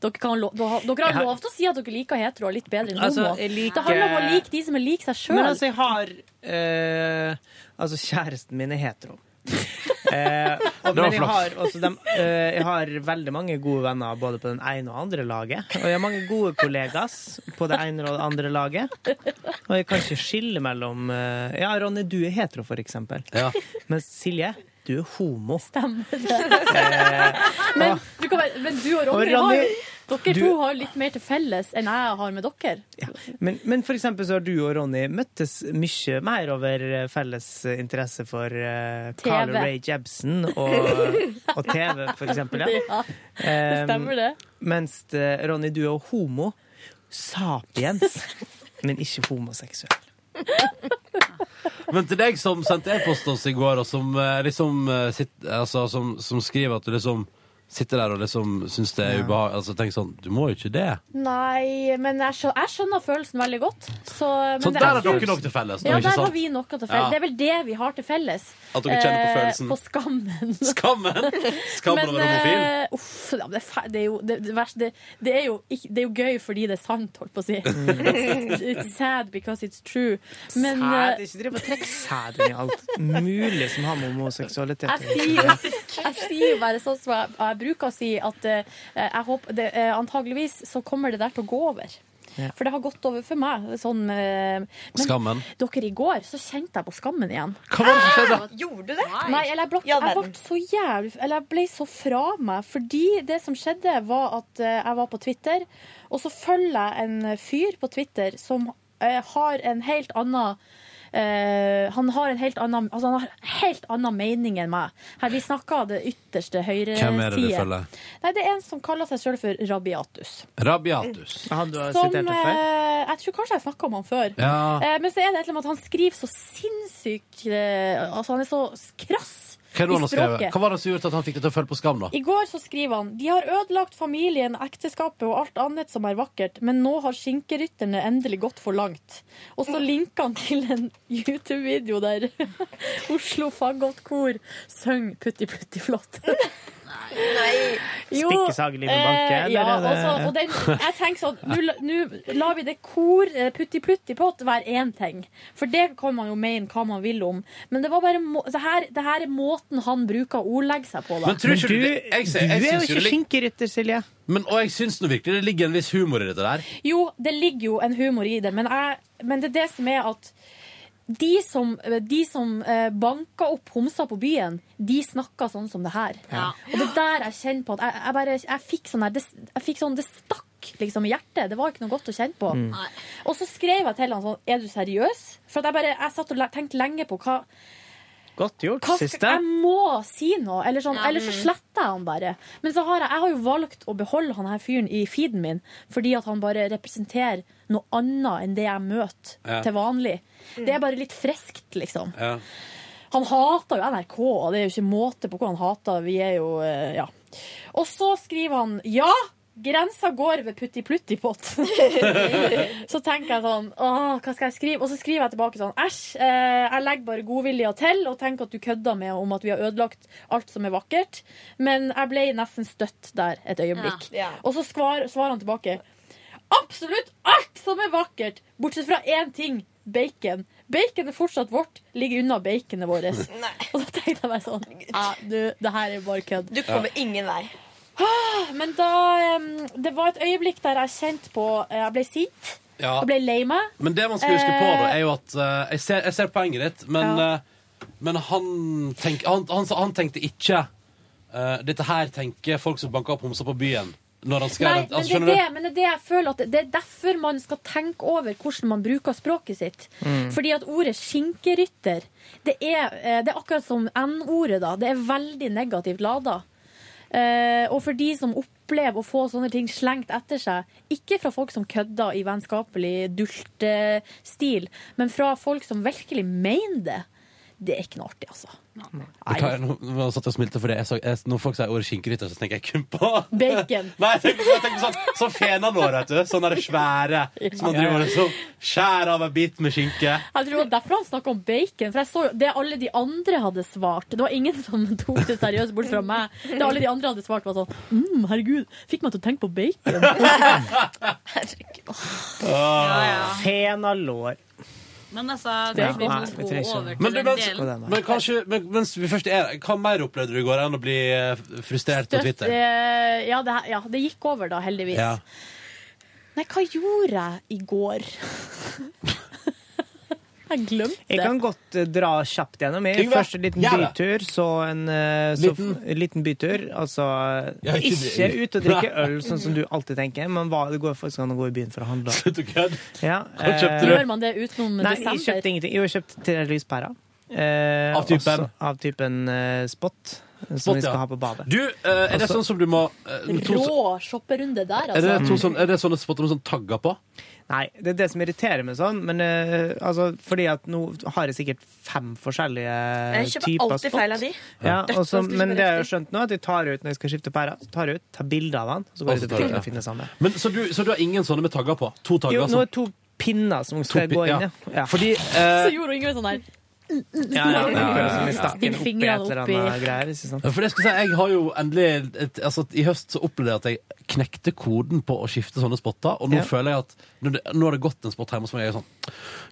Speaker 3: Dere, kan lo dere har- dere
Speaker 5: Jeg
Speaker 3: har
Speaker 5: har-
Speaker 3: lov til å si at dere liker hetero litt bedre enn
Speaker 5: Altså,
Speaker 3: homo.
Speaker 5: jeg liker-
Speaker 3: Det handler om å like de som er lik seg sjøl.
Speaker 5: Men altså, jeg har eh, Altså, kjæresten min er hetero. Eh, og,
Speaker 6: Det var
Speaker 5: men jeg
Speaker 6: flaks.
Speaker 5: har, også dem, eh, jeg har veldig mange gode venner både på den ene og andre laget. Og jeg har mange gode kollegas på det ene og det andre laget. Og jeg kan ikke skille mellom eh, Ja, Ronny, du er hetero, for eksempel. Men Silje, du er homo.
Speaker 3: men, du kan være, men du og
Speaker 5: Og
Speaker 3: Ronny,
Speaker 5: Ronny,
Speaker 3: har jo Dere
Speaker 5: du-
Speaker 3: to har jo litt mer til felles enn jeg har med dere.
Speaker 5: Men, men for eksempel så har du og Ronny møttes mye mer over eh, felles eh, interesse for eh, Carl
Speaker 3: TV.
Speaker 5: Ray Jebsen og,
Speaker 3: *laughs*
Speaker 5: og TV, for eksempel. Ja. Ehm,
Speaker 3: det stemmer det.
Speaker 5: Mens eh, Ronny, du er homo sapiens,
Speaker 3: *laughs*
Speaker 5: men ikke homoseksuell.
Speaker 2: Men til deg som sendte e-post oss i går, og som eh, liksom eh, sitt, altså, som, som skriver at du liksom sitter der og liksom syns det er ubehagelig Altså tenk sånn Du må jo ikke det.
Speaker 3: Nei, men jeg skjønner, jeg skjønner følelsen veldig godt. Så, men
Speaker 2: Så
Speaker 3: det-
Speaker 2: der har
Speaker 3: jeg
Speaker 2: dere
Speaker 3: tror-
Speaker 2: noe til felles, da,
Speaker 3: Ja,
Speaker 2: ikke
Speaker 3: der
Speaker 2: sant?
Speaker 3: har vi noe til felles.
Speaker 2: Ja.
Speaker 3: Det er vel det vi har til felles.
Speaker 2: At dere kjenner på
Speaker 3: Eh,
Speaker 2: følelsen.
Speaker 3: På
Speaker 2: *laughs*
Speaker 3: skammen.
Speaker 2: Skammen! Skammen over homofil.
Speaker 3: eh, uff, ja, men det, er fe- det er jo det, det, verste, det, det, er jo ikke, det er jo gøy fordi det er sant, holdt på å si.
Speaker 5: Mm.
Speaker 3: It's, it's sad because it's true. Men
Speaker 5: Sæd,
Speaker 3: eh,
Speaker 5: ikke driv og trekk sæd i alt mulig som har med homoseksualitet
Speaker 3: jeg sier, jeg sier jo bare sånn som jeg, jeg bruker å si, at eh, jeg håper det, eh, antageligvis så kommer det der til å gå over.
Speaker 2: Ja.
Speaker 3: For det har gått over for meg. Sånn, eh, men
Speaker 2: Skammen.
Speaker 3: dere, i går så kjente jeg på skammen igjen.
Speaker 2: Hva var det som skjedde?
Speaker 8: Gjorde du det?
Speaker 3: Nei, eller jeg, blok, jeg, ble så jævlig, eller jeg ble så fra meg. Fordi det som skjedde, var at eh, jeg var på Twitter, og så følger jeg en fyr på Twitter som eh, har en helt annen eh, han har en helt annen, altså han har en helt annen mening enn meg. Her Vi snakker det ytterste høyre
Speaker 2: Hvem er det du
Speaker 3: side.
Speaker 2: følger?
Speaker 3: Nei, Det er en som kaller seg sjøl for Rabiatus.
Speaker 2: Rabiatus.
Speaker 5: Han du
Speaker 3: Som, eh, jeg tror kanskje jeg snakka om han før.
Speaker 2: Ja.
Speaker 3: Eh, men så er det et eller annet med at han skriver så sinnssykt eh, Altså, han er så krass
Speaker 2: Hva, er det
Speaker 3: i
Speaker 2: han har skrevet?
Speaker 3: språket.
Speaker 2: Hva var det som gjorde at han fikk deg til å føle på skam, da?
Speaker 3: I går så skriver han De har ødelagt familien, ekteskapet og alt annet som er vakkert, men nå har skinkerytterne endelig gått for langt. Og så linker han til en YouTube-video der *laughs* Oslo Fagottkor synger Putti Putti Flott. Jo,
Speaker 5: Spikkesageliven banker,
Speaker 3: eh,
Speaker 5: eller
Speaker 3: Ja,
Speaker 5: er det-
Speaker 3: også, og den, jeg tenker sånn Nå la- Nå lar vi det kor eh, putti putti pott være én ting, for det kan man jo mene hva man vil om. Men det var bare må, det, her, det her er måten han bruker å ordlegge seg på, da.
Speaker 2: Men tror ikke du, det- jeg,
Speaker 5: Du
Speaker 2: jeg,
Speaker 5: er jo
Speaker 2: syns jo
Speaker 5: ikke
Speaker 2: det lig-
Speaker 5: skinkerytter, Silje.
Speaker 2: men, og jeg syns nå virkelig det ligger en viss humor i dette der.
Speaker 3: Jo, det ligger jo en humor i det, men, jeg, men det er det som er at de som, de som eh, banker opp homser på byen, de snakker sånn som det her. Og det er der jeg kjenner på at jeg, jeg bare jeg fikk sånn her det, Jeg fikk sånn Det stakk smak liksom, i hjertet. Det var ikke noe godt å kjenne på.
Speaker 8: Mm. Nei.
Speaker 3: Og så skrev jeg til han sånn Er du seriøs? For at jeg, bare, jeg satt og le- tenkte lenge på hva
Speaker 5: Godt gjort,
Speaker 3: hva skal,
Speaker 5: siste.
Speaker 3: jeg må si noe, eller, sånn,
Speaker 5: Ja.
Speaker 3: eller så sletter jeg han bare. Men så har jeg, jeg har jo valgt å beholde han her fyren i feeden min, fordi at han bare representerer noe annet enn det jeg møter
Speaker 8: Ja.
Speaker 3: til vanlig. Det er bare litt friskt, liksom.
Speaker 8: Ja.
Speaker 3: Han hater jo NRK, og det er jo ikke måte på hva han hater. Vi er jo eh, Ja. Og så skriver han ja! Grensa går ved
Speaker 8: *laughs*
Speaker 3: putti-plutti-pott. så tenker jeg sånn Åh, hva skal jeg skrive? Og så skriver jeg tilbake sånn Æsj, eh, jeg legger bare godvilja til og tenker at du kødder med om at vi har ødelagt alt som er vakkert. Men jeg ble nesten støtt der et øyeblikk.
Speaker 8: Ja. Ja.
Speaker 3: Og så svar, svarer han tilbake absolutt alt som er vakkert, bortsett fra én ting. Bacon. Bacon er fortsatt vårt. Ligg unna baconet vårt.
Speaker 6: *laughs*
Speaker 3: Og da tenkte jeg meg sånn ja, du, Det her er bare kødd.
Speaker 6: Du kommer ingen vei.
Speaker 3: Ah, Men da em, Det var et øyeblikk der jeg kjente på eh, Jeg ble sint.
Speaker 2: Ja.
Speaker 3: Jeg ble lei meg.
Speaker 2: Men det man skal huske på, da,
Speaker 3: Eh,
Speaker 2: er jo at eh, jeg, ser, jeg ser poenget ditt, men, eh, men han, tenk, han, han, han tenkte ikke eh, Dette her tenker folk som banker opp homser på byen. Når han skrev
Speaker 3: Nei,
Speaker 2: det.
Speaker 3: men
Speaker 2: Altså,
Speaker 3: det, er
Speaker 2: skjønner
Speaker 3: det, men det er det jeg føler at det er derfor man skal tenke over hvordan man bruker språket sitt.
Speaker 2: Mm.
Speaker 3: Fordi at ordet skinkerytter, det er, eh, det er akkurat som N-ordet, da. Det er veldig negativt lada. Eh, og for de som opplever å få sånne ting slengt etter seg, ikke fra folk som kødder i vennskapelig dultestil, men fra folk som virkelig mener det, det er ikke noe artig, altså.
Speaker 2: Vet du hva, Nå, nå satt jeg og smilte for det. Jeg så, jeg, når folk sier ordet skinkerytter, så tenker jeg kun på *laughs*
Speaker 3: Bacon.
Speaker 2: Nei, jeg tenker, jeg tenker sånn Sånn fena nå, vet du. Sånn der svære. Som man driver og liksom skjærer av en bit med skinke.
Speaker 3: Jeg tror det var derfor han snakket om bacon. For jeg så jo det alle de andre hadde svart. Det var ingen som *laughs* tok det seriøst, bort fra meg. Det alle de andre hadde svart, var sånn mm, Herregud, fikk meg til å tenke på bacon.
Speaker 5: Fenalår.
Speaker 4: Men altså,
Speaker 2: Det er
Speaker 4: kan vi
Speaker 2: godt.
Speaker 4: nå
Speaker 2: Nei, vi
Speaker 4: gå
Speaker 2: trenger ikke.
Speaker 4: over
Speaker 2: Men
Speaker 4: til
Speaker 2: du,
Speaker 4: den
Speaker 2: mens,
Speaker 4: delen?
Speaker 2: men kanskje, men, mens vi først er Hva mer opplevde du i går enn å bli eh, frustrert *laughs* på
Speaker 3: Støtt,
Speaker 2: Twitter?
Speaker 3: eh, ja, det, ja, det gikk over da, heldigvis.
Speaker 2: Ja.
Speaker 3: Nei, hva gjorde jeg i går? *laughs* jeg glemte.
Speaker 5: Jeg kan godt eh, dra kjapt gjennom. Jeg
Speaker 3: Yngve,
Speaker 5: først en liten
Speaker 3: gjør det.
Speaker 5: bytur, så en eh, så, f- liten bytur. Altså
Speaker 8: Ja, ikke
Speaker 5: ikke,
Speaker 8: bli-
Speaker 5: ut og drikke
Speaker 8: Nei.
Speaker 5: øl, sånn som du alltid tenker, men hva, det går faktisk an å gå i byen for å handle.
Speaker 2: Slutt å kødde!
Speaker 5: Ja,
Speaker 3: Hva
Speaker 5: eh,
Speaker 3: Gjør man det utenom
Speaker 5: Nei, jeg
Speaker 3: desember?
Speaker 5: kjøpte ingenting. Jo, jeg kjøpte tre lyspærer. Eh,
Speaker 2: Av typen?
Speaker 5: også Av typen eh, spot, som vi
Speaker 2: Spot,
Speaker 5: skal
Speaker 2: ja.
Speaker 5: ha på badet.
Speaker 2: Du, eh, er det
Speaker 5: Altså-
Speaker 2: sånn som du må eh, to,
Speaker 3: Rå shopperunde der,
Speaker 2: er, det
Speaker 3: altså.
Speaker 2: to, sånn, er det sånne spotter med sånn tagger på?
Speaker 5: Nei, det er det som irriterer meg sånn, men eh, altså, fordi at nå har jeg sikkert fem forskjellige
Speaker 6: Jeg kjøper
Speaker 5: typer
Speaker 6: alltid feil av de.
Speaker 5: Ja,
Speaker 6: Dødsvanskelig
Speaker 5: og så-
Speaker 6: å
Speaker 5: men
Speaker 6: kjøpe
Speaker 5: det har jeg jo skjønt nå, at jeg tar ut når jeg skal skifte pære, så tar jeg ut, tar bilder av den, og så går jeg
Speaker 2: Altså,
Speaker 5: til butikken
Speaker 2: ja.
Speaker 5: og finner samme.
Speaker 2: Men, så, du, så du har ingen sånne med tagger på? To tagger?
Speaker 5: Jo, nå er
Speaker 2: sånn.
Speaker 5: det to pinner som skal
Speaker 2: To pin-
Speaker 5: gå inn,
Speaker 2: ja.
Speaker 5: ja. ja. *laughs*
Speaker 2: Fordi
Speaker 3: *laughs* Så
Speaker 2: eh,
Speaker 3: gjorde Ingrid sånn her. mm,
Speaker 5: Ja, ja, det er som jeg stakk den
Speaker 3: Still
Speaker 5: opp i et
Speaker 3: fingrene
Speaker 5: eller
Speaker 3: opp i
Speaker 5: annet greier, ikke sant?
Speaker 2: Ja, For det skal jeg si, jeg har jo endelig et, altså, I høst så opplevde jeg at jeg knekte koden på å skifte sånne spotter, og nå
Speaker 5: Ja.
Speaker 2: føler jeg at nå, er det- nå har det gått en spot hjemme hos meg, og jeg er sånn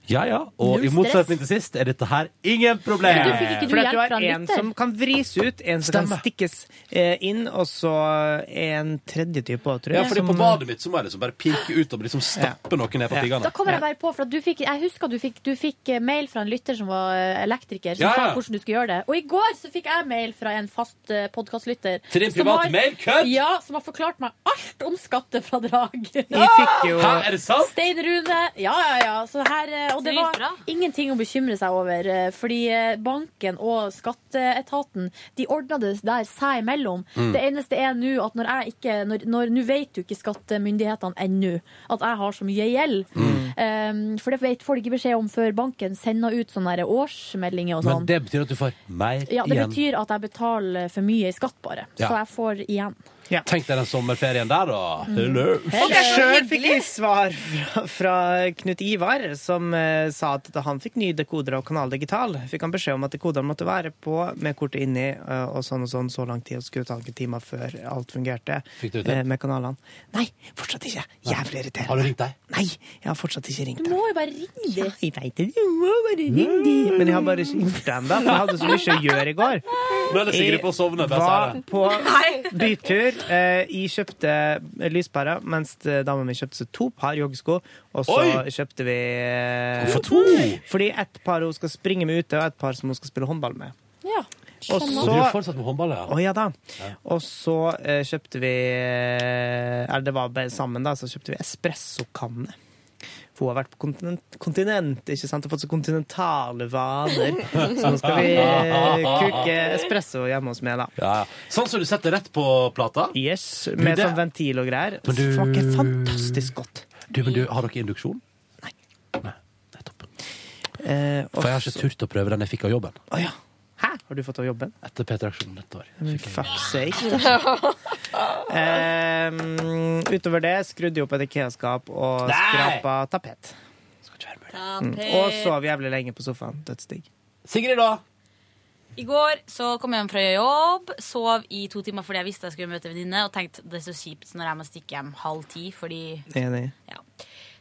Speaker 2: Ja ja, og
Speaker 5: Null
Speaker 2: i motsetning til sist er dette her ingen problem.
Speaker 5: For at du har en som kan vris ut, en som kan stikkes eh, inn, og så en tredje type også, tror jeg.
Speaker 2: Ja, fordi
Speaker 5: som-
Speaker 2: på badet mitt så må jeg liksom bare pirke ut og liksom stappe noe ned på
Speaker 3: Da
Speaker 2: tiggene.
Speaker 3: kommer jeg bare på, for at du fikk, jeg husker du fikk, du fikk eh, mail fra en lytter som var eh, elektriker, som
Speaker 2: Ja, ja.
Speaker 3: sa hvordan du skulle gjøre det. Og i går så fikk jeg mail fra en fast eh, podcastlytter.
Speaker 2: Til din
Speaker 3: som
Speaker 2: private
Speaker 3: har-
Speaker 2: mail, kødd!
Speaker 3: Ja, som har forklart meg alt om skattefradrag.
Speaker 5: Jeg fikk jo- Hæ, er det sant?
Speaker 3: Stein Rune. Ja, ja, ja. Så her, eh, og det var ingenting å bekymre seg over, eh, fordi eh, banken og skatteetaten, de ordna det der seg imellom.
Speaker 27: Mm.
Speaker 3: Det eneste er nå at når jeg ikke, når, når, nå vet jo ikke skattemyndighetene ennå at jeg har så mye gjeld.
Speaker 2: Mm.
Speaker 3: Um, for det vet folk ikke beskjed om før banken sender ut sånne her årsmeldinger og
Speaker 2: Men
Speaker 3: sånn.
Speaker 2: det betyr at du får mer
Speaker 3: Ja, det
Speaker 2: igjen.
Speaker 3: betyr at jeg betaler for mye i skatt, bare.
Speaker 2: Ja.
Speaker 3: Så jeg får igjen.
Speaker 2: Tenk deg den sommerferien der, da.
Speaker 5: Mm.
Speaker 2: Hello.
Speaker 5: Og sjøl fikk jeg svar fra, fra Knut Ivar, som eh, sa at da han fikk nye dekoder av Kanal Digital, fikk han beskjed om at dekoderen måtte være på med kortet inni eh, og sånn og sånn så lang tid, og skulle ta noen timer før alt fungerte
Speaker 2: Fikk du det til?
Speaker 5: eh, med kanalene. Nei, fortsatt ikke. Jævlig irriterende.
Speaker 2: Har du ringt deg?
Speaker 5: Nei, jeg har fortsatt ikke ringt.
Speaker 3: Du må jo bare ringe dem.
Speaker 5: Jeg vet det, du må bare ringe dem. Men jeg har bare ikke gjort det ennå, for jeg hadde så mye å gjøre i går.
Speaker 2: Nå er det Sigrid på å sovne.
Speaker 5: Jeg
Speaker 2: Bare
Speaker 5: var
Speaker 2: si det.
Speaker 5: på bytur. Eh, jeg kjøpte lyspærer, mens dama mi kjøpte seg to par joggesko. Og så
Speaker 2: Oi!
Speaker 5: kjøpte vi eh,
Speaker 2: Hvorfor to?
Speaker 5: Fordi ett par hun skal springe med ute, og ett par som hun skal spille håndball med. Og
Speaker 2: Og du sånn- er
Speaker 5: så
Speaker 2: fortsatt med håndball, ja.
Speaker 5: Å ja da. Og så eh, kjøpte vi eh, Eller det var bare sammen, da. Så kjøpte vi espressokanne. For hun har vært på kontinent, kontinent ikke sant? og fått så kontinentale vaner. Så nå skal vi
Speaker 2: *laughs*
Speaker 5: eh, kuke espresso hjemme hos meg, da.
Speaker 2: Ja. Sånn som du setter rett på plata?
Speaker 5: Yes, med sånn ventil og greier. Smaker fantastisk godt.
Speaker 2: Du, men du, Har dere induksjon?
Speaker 5: Eh, og
Speaker 2: For jeg har ikke
Speaker 5: så-
Speaker 2: turt å prøve den jeg fikk av jobben.
Speaker 5: Å ja. Hæ? Har du fått av jobben?
Speaker 2: Etter Peter Aksjon dette år.
Speaker 5: Men fuck sake. Ehm, utover det skrudde jeg opp et IKEA-skap og
Speaker 2: Nei!
Speaker 5: skrapa tapet. Mm. Og sov jævlig lenge på sofaen. Dødsdigg.
Speaker 2: Sigrid, da?
Speaker 4: I går så kom jeg hjem fra jobb, sov i to timer fordi jeg visste jeg skulle møte en venninne, og tenkte det er så kjipt når jeg må stikke hjem halv ti. fordi...
Speaker 5: Enig.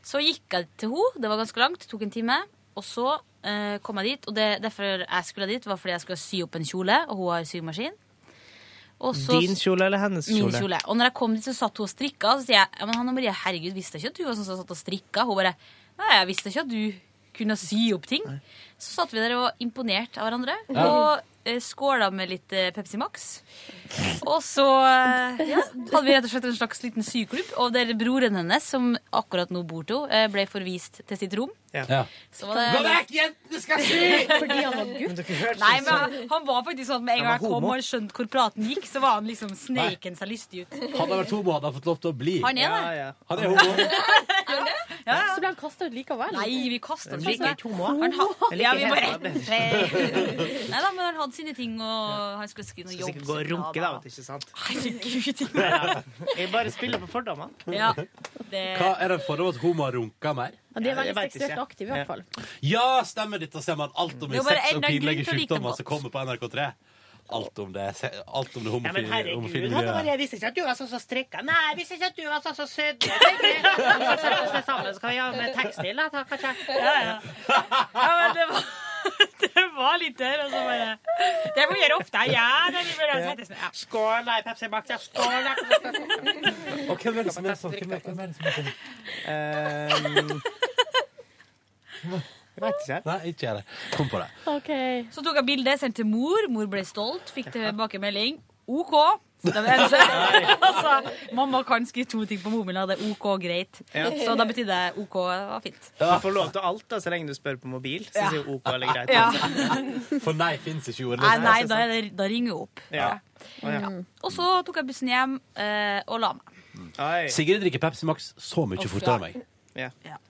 Speaker 4: Så gikk jeg til henne, det var ganske langt, tok en time. Og så eh, kom jeg dit, og det, derfor jeg skulle dit, var fordi jeg skulle sy opp en kjole, og hun har symaskin. Og så-
Speaker 5: Din kjole eller hennes kjole?
Speaker 4: Min kjole. Og når jeg kom dit, så satt hun og strikka, og så sier jeg ja, men Hanne Marie, herregud, visste jeg ikke at du var sånn som satt og strikka? Hun bare nei, jeg visste ikke at du kunne sy opp ting. Så satt vi der og var imponert av hverandre.
Speaker 28: Ja.
Speaker 4: Og eh, skåla med litt eh, Pepsi Max. Og så eh, ja, hadde vi rett og slett en slags liten syklubb. Og der broren hennes, som akkurat nå bor til henne, eh, ble forvist til sitt rom.
Speaker 2: Ja.
Speaker 4: Så var det
Speaker 6: Gå vekk, jentene skal sy!
Speaker 4: *laughs* Fordi han var gutt? Nei, men han, han var faktisk sånn at med en
Speaker 2: Han
Speaker 4: gang jeg
Speaker 2: var
Speaker 4: kom
Speaker 2: homo.
Speaker 4: og skjønte hvor praten gikk, så var han liksom sneiken seg lystig ut.
Speaker 2: Hadde han vært homo, hadde han fått lov til å bli.
Speaker 4: Han er det.
Speaker 2: Han er *laughs*
Speaker 4: *laughs*
Speaker 2: homo.
Speaker 4: Så ble han kasta ut likevel? Nei, vi kasta
Speaker 5: Jeg liker ikke homoer.
Speaker 4: Han
Speaker 5: Jeg
Speaker 4: had,
Speaker 5: liker
Speaker 4: *laughs* ja, vi bare
Speaker 5: helt
Speaker 4: *laughs*
Speaker 5: *laughs*
Speaker 4: Nei da, men han hadde sine ting, og han skulle skrive noe
Speaker 5: Skal
Speaker 4: jobb.
Speaker 5: sikkert gå og runke, da, vet du, ikke sant? *laughs*
Speaker 4: Herregud.
Speaker 5: Jeg bare spiller på fordommene.
Speaker 4: Ja, det...
Speaker 2: Hva er det forhold at homo runker mer?
Speaker 3: Ja, de er
Speaker 5: Jeg
Speaker 3: veldig
Speaker 5: vet
Speaker 3: seksuelt
Speaker 5: ikke.
Speaker 3: aktive, i hvert fall.
Speaker 2: Ja, stemmer dette ser man alt om i
Speaker 3: Det er bare
Speaker 2: sex
Speaker 3: en
Speaker 2: og
Speaker 3: grunn
Speaker 2: pinlige
Speaker 3: til å like dem
Speaker 2: sykdommer
Speaker 3: godt.
Speaker 2: som kommer på NRK3. Alt om det, se- alt om det
Speaker 5: Ja, men
Speaker 2: homofile, homofile
Speaker 5: herregud, Hanne
Speaker 2: miljøet.
Speaker 5: Marie, jeg visste ikke at du var sånn som strikka. Nei, jeg visste ikke at du var sånn som sydde. Jeg
Speaker 4: *laughs*
Speaker 5: tenkte, vi skal sette oss ned sammen, så kan vi gjøre med tekstil, da, takk, kanskje.
Speaker 4: Ja, ja. ja, men det var, *laughs* det var litt der, og så bare Det må vi gjøre ofte. Ja, det blir bra. å sette seg ned. Ja.
Speaker 5: Skål, da, i Pepsi Max. Ja, skål, da.
Speaker 2: Og hvem er det som er sånn? Hvem er- hvem er Eh, det som er sånn?
Speaker 5: Vet ikke.
Speaker 2: Nei, ikke jeg det. Kom på det.
Speaker 4: Så tok jeg bildet, sendte til mor. Mor ble stolt, fikk tilbakemelding. OK. Så det var eneste- *laughs* altså, mamma kan skrive to ting på mobilen, og det er OK greit.
Speaker 5: Ja.
Speaker 4: Så da betydde det OK var fint.
Speaker 5: Du får lov til alt da, så lenge du spør på mobil. Så
Speaker 4: Ja.
Speaker 5: sier OK eller greit.
Speaker 4: Ja.
Speaker 2: *laughs* For nei fins ikke ordet.
Speaker 4: Nei, nei da, er det, da ringer hun opp.
Speaker 5: Ja. Å, ja.
Speaker 4: Og så tok jeg bussen hjem eh, og la meg.
Speaker 5: Oi.
Speaker 2: Sigrid drikker Pepsi Max så mye
Speaker 4: Uff,
Speaker 2: fortere
Speaker 4: ja.
Speaker 2: enn meg.
Speaker 5: Ja.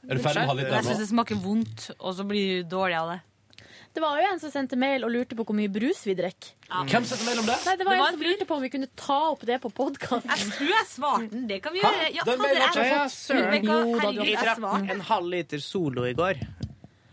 Speaker 2: Er du ferdig med halvliteren
Speaker 4: Jeg
Speaker 2: nå?
Speaker 4: syns det smaker vondt, og så blir du dårlig av det.
Speaker 3: Det var jo en som sendte mail og lurte på hvor mye brus vi drekk.
Speaker 2: Hvem sendte mail om det?
Speaker 3: Nei, det var en som lurte på om vi kunne ta opp det på podkast.
Speaker 4: Jeg tror jeg svarte den. Det kan vi gjøre. Ja,
Speaker 3: Den
Speaker 4: hadde
Speaker 3: mailen har
Speaker 4: jeg
Speaker 3: ikke jeg
Speaker 4: fått-
Speaker 3: fått. Søren.
Speaker 4: Rebecca,
Speaker 3: Jo, da, du
Speaker 4: herregud,
Speaker 3: har
Speaker 4: jeg
Speaker 3: fått.
Speaker 4: svarte.
Speaker 5: En halv liter solo i går. Eh,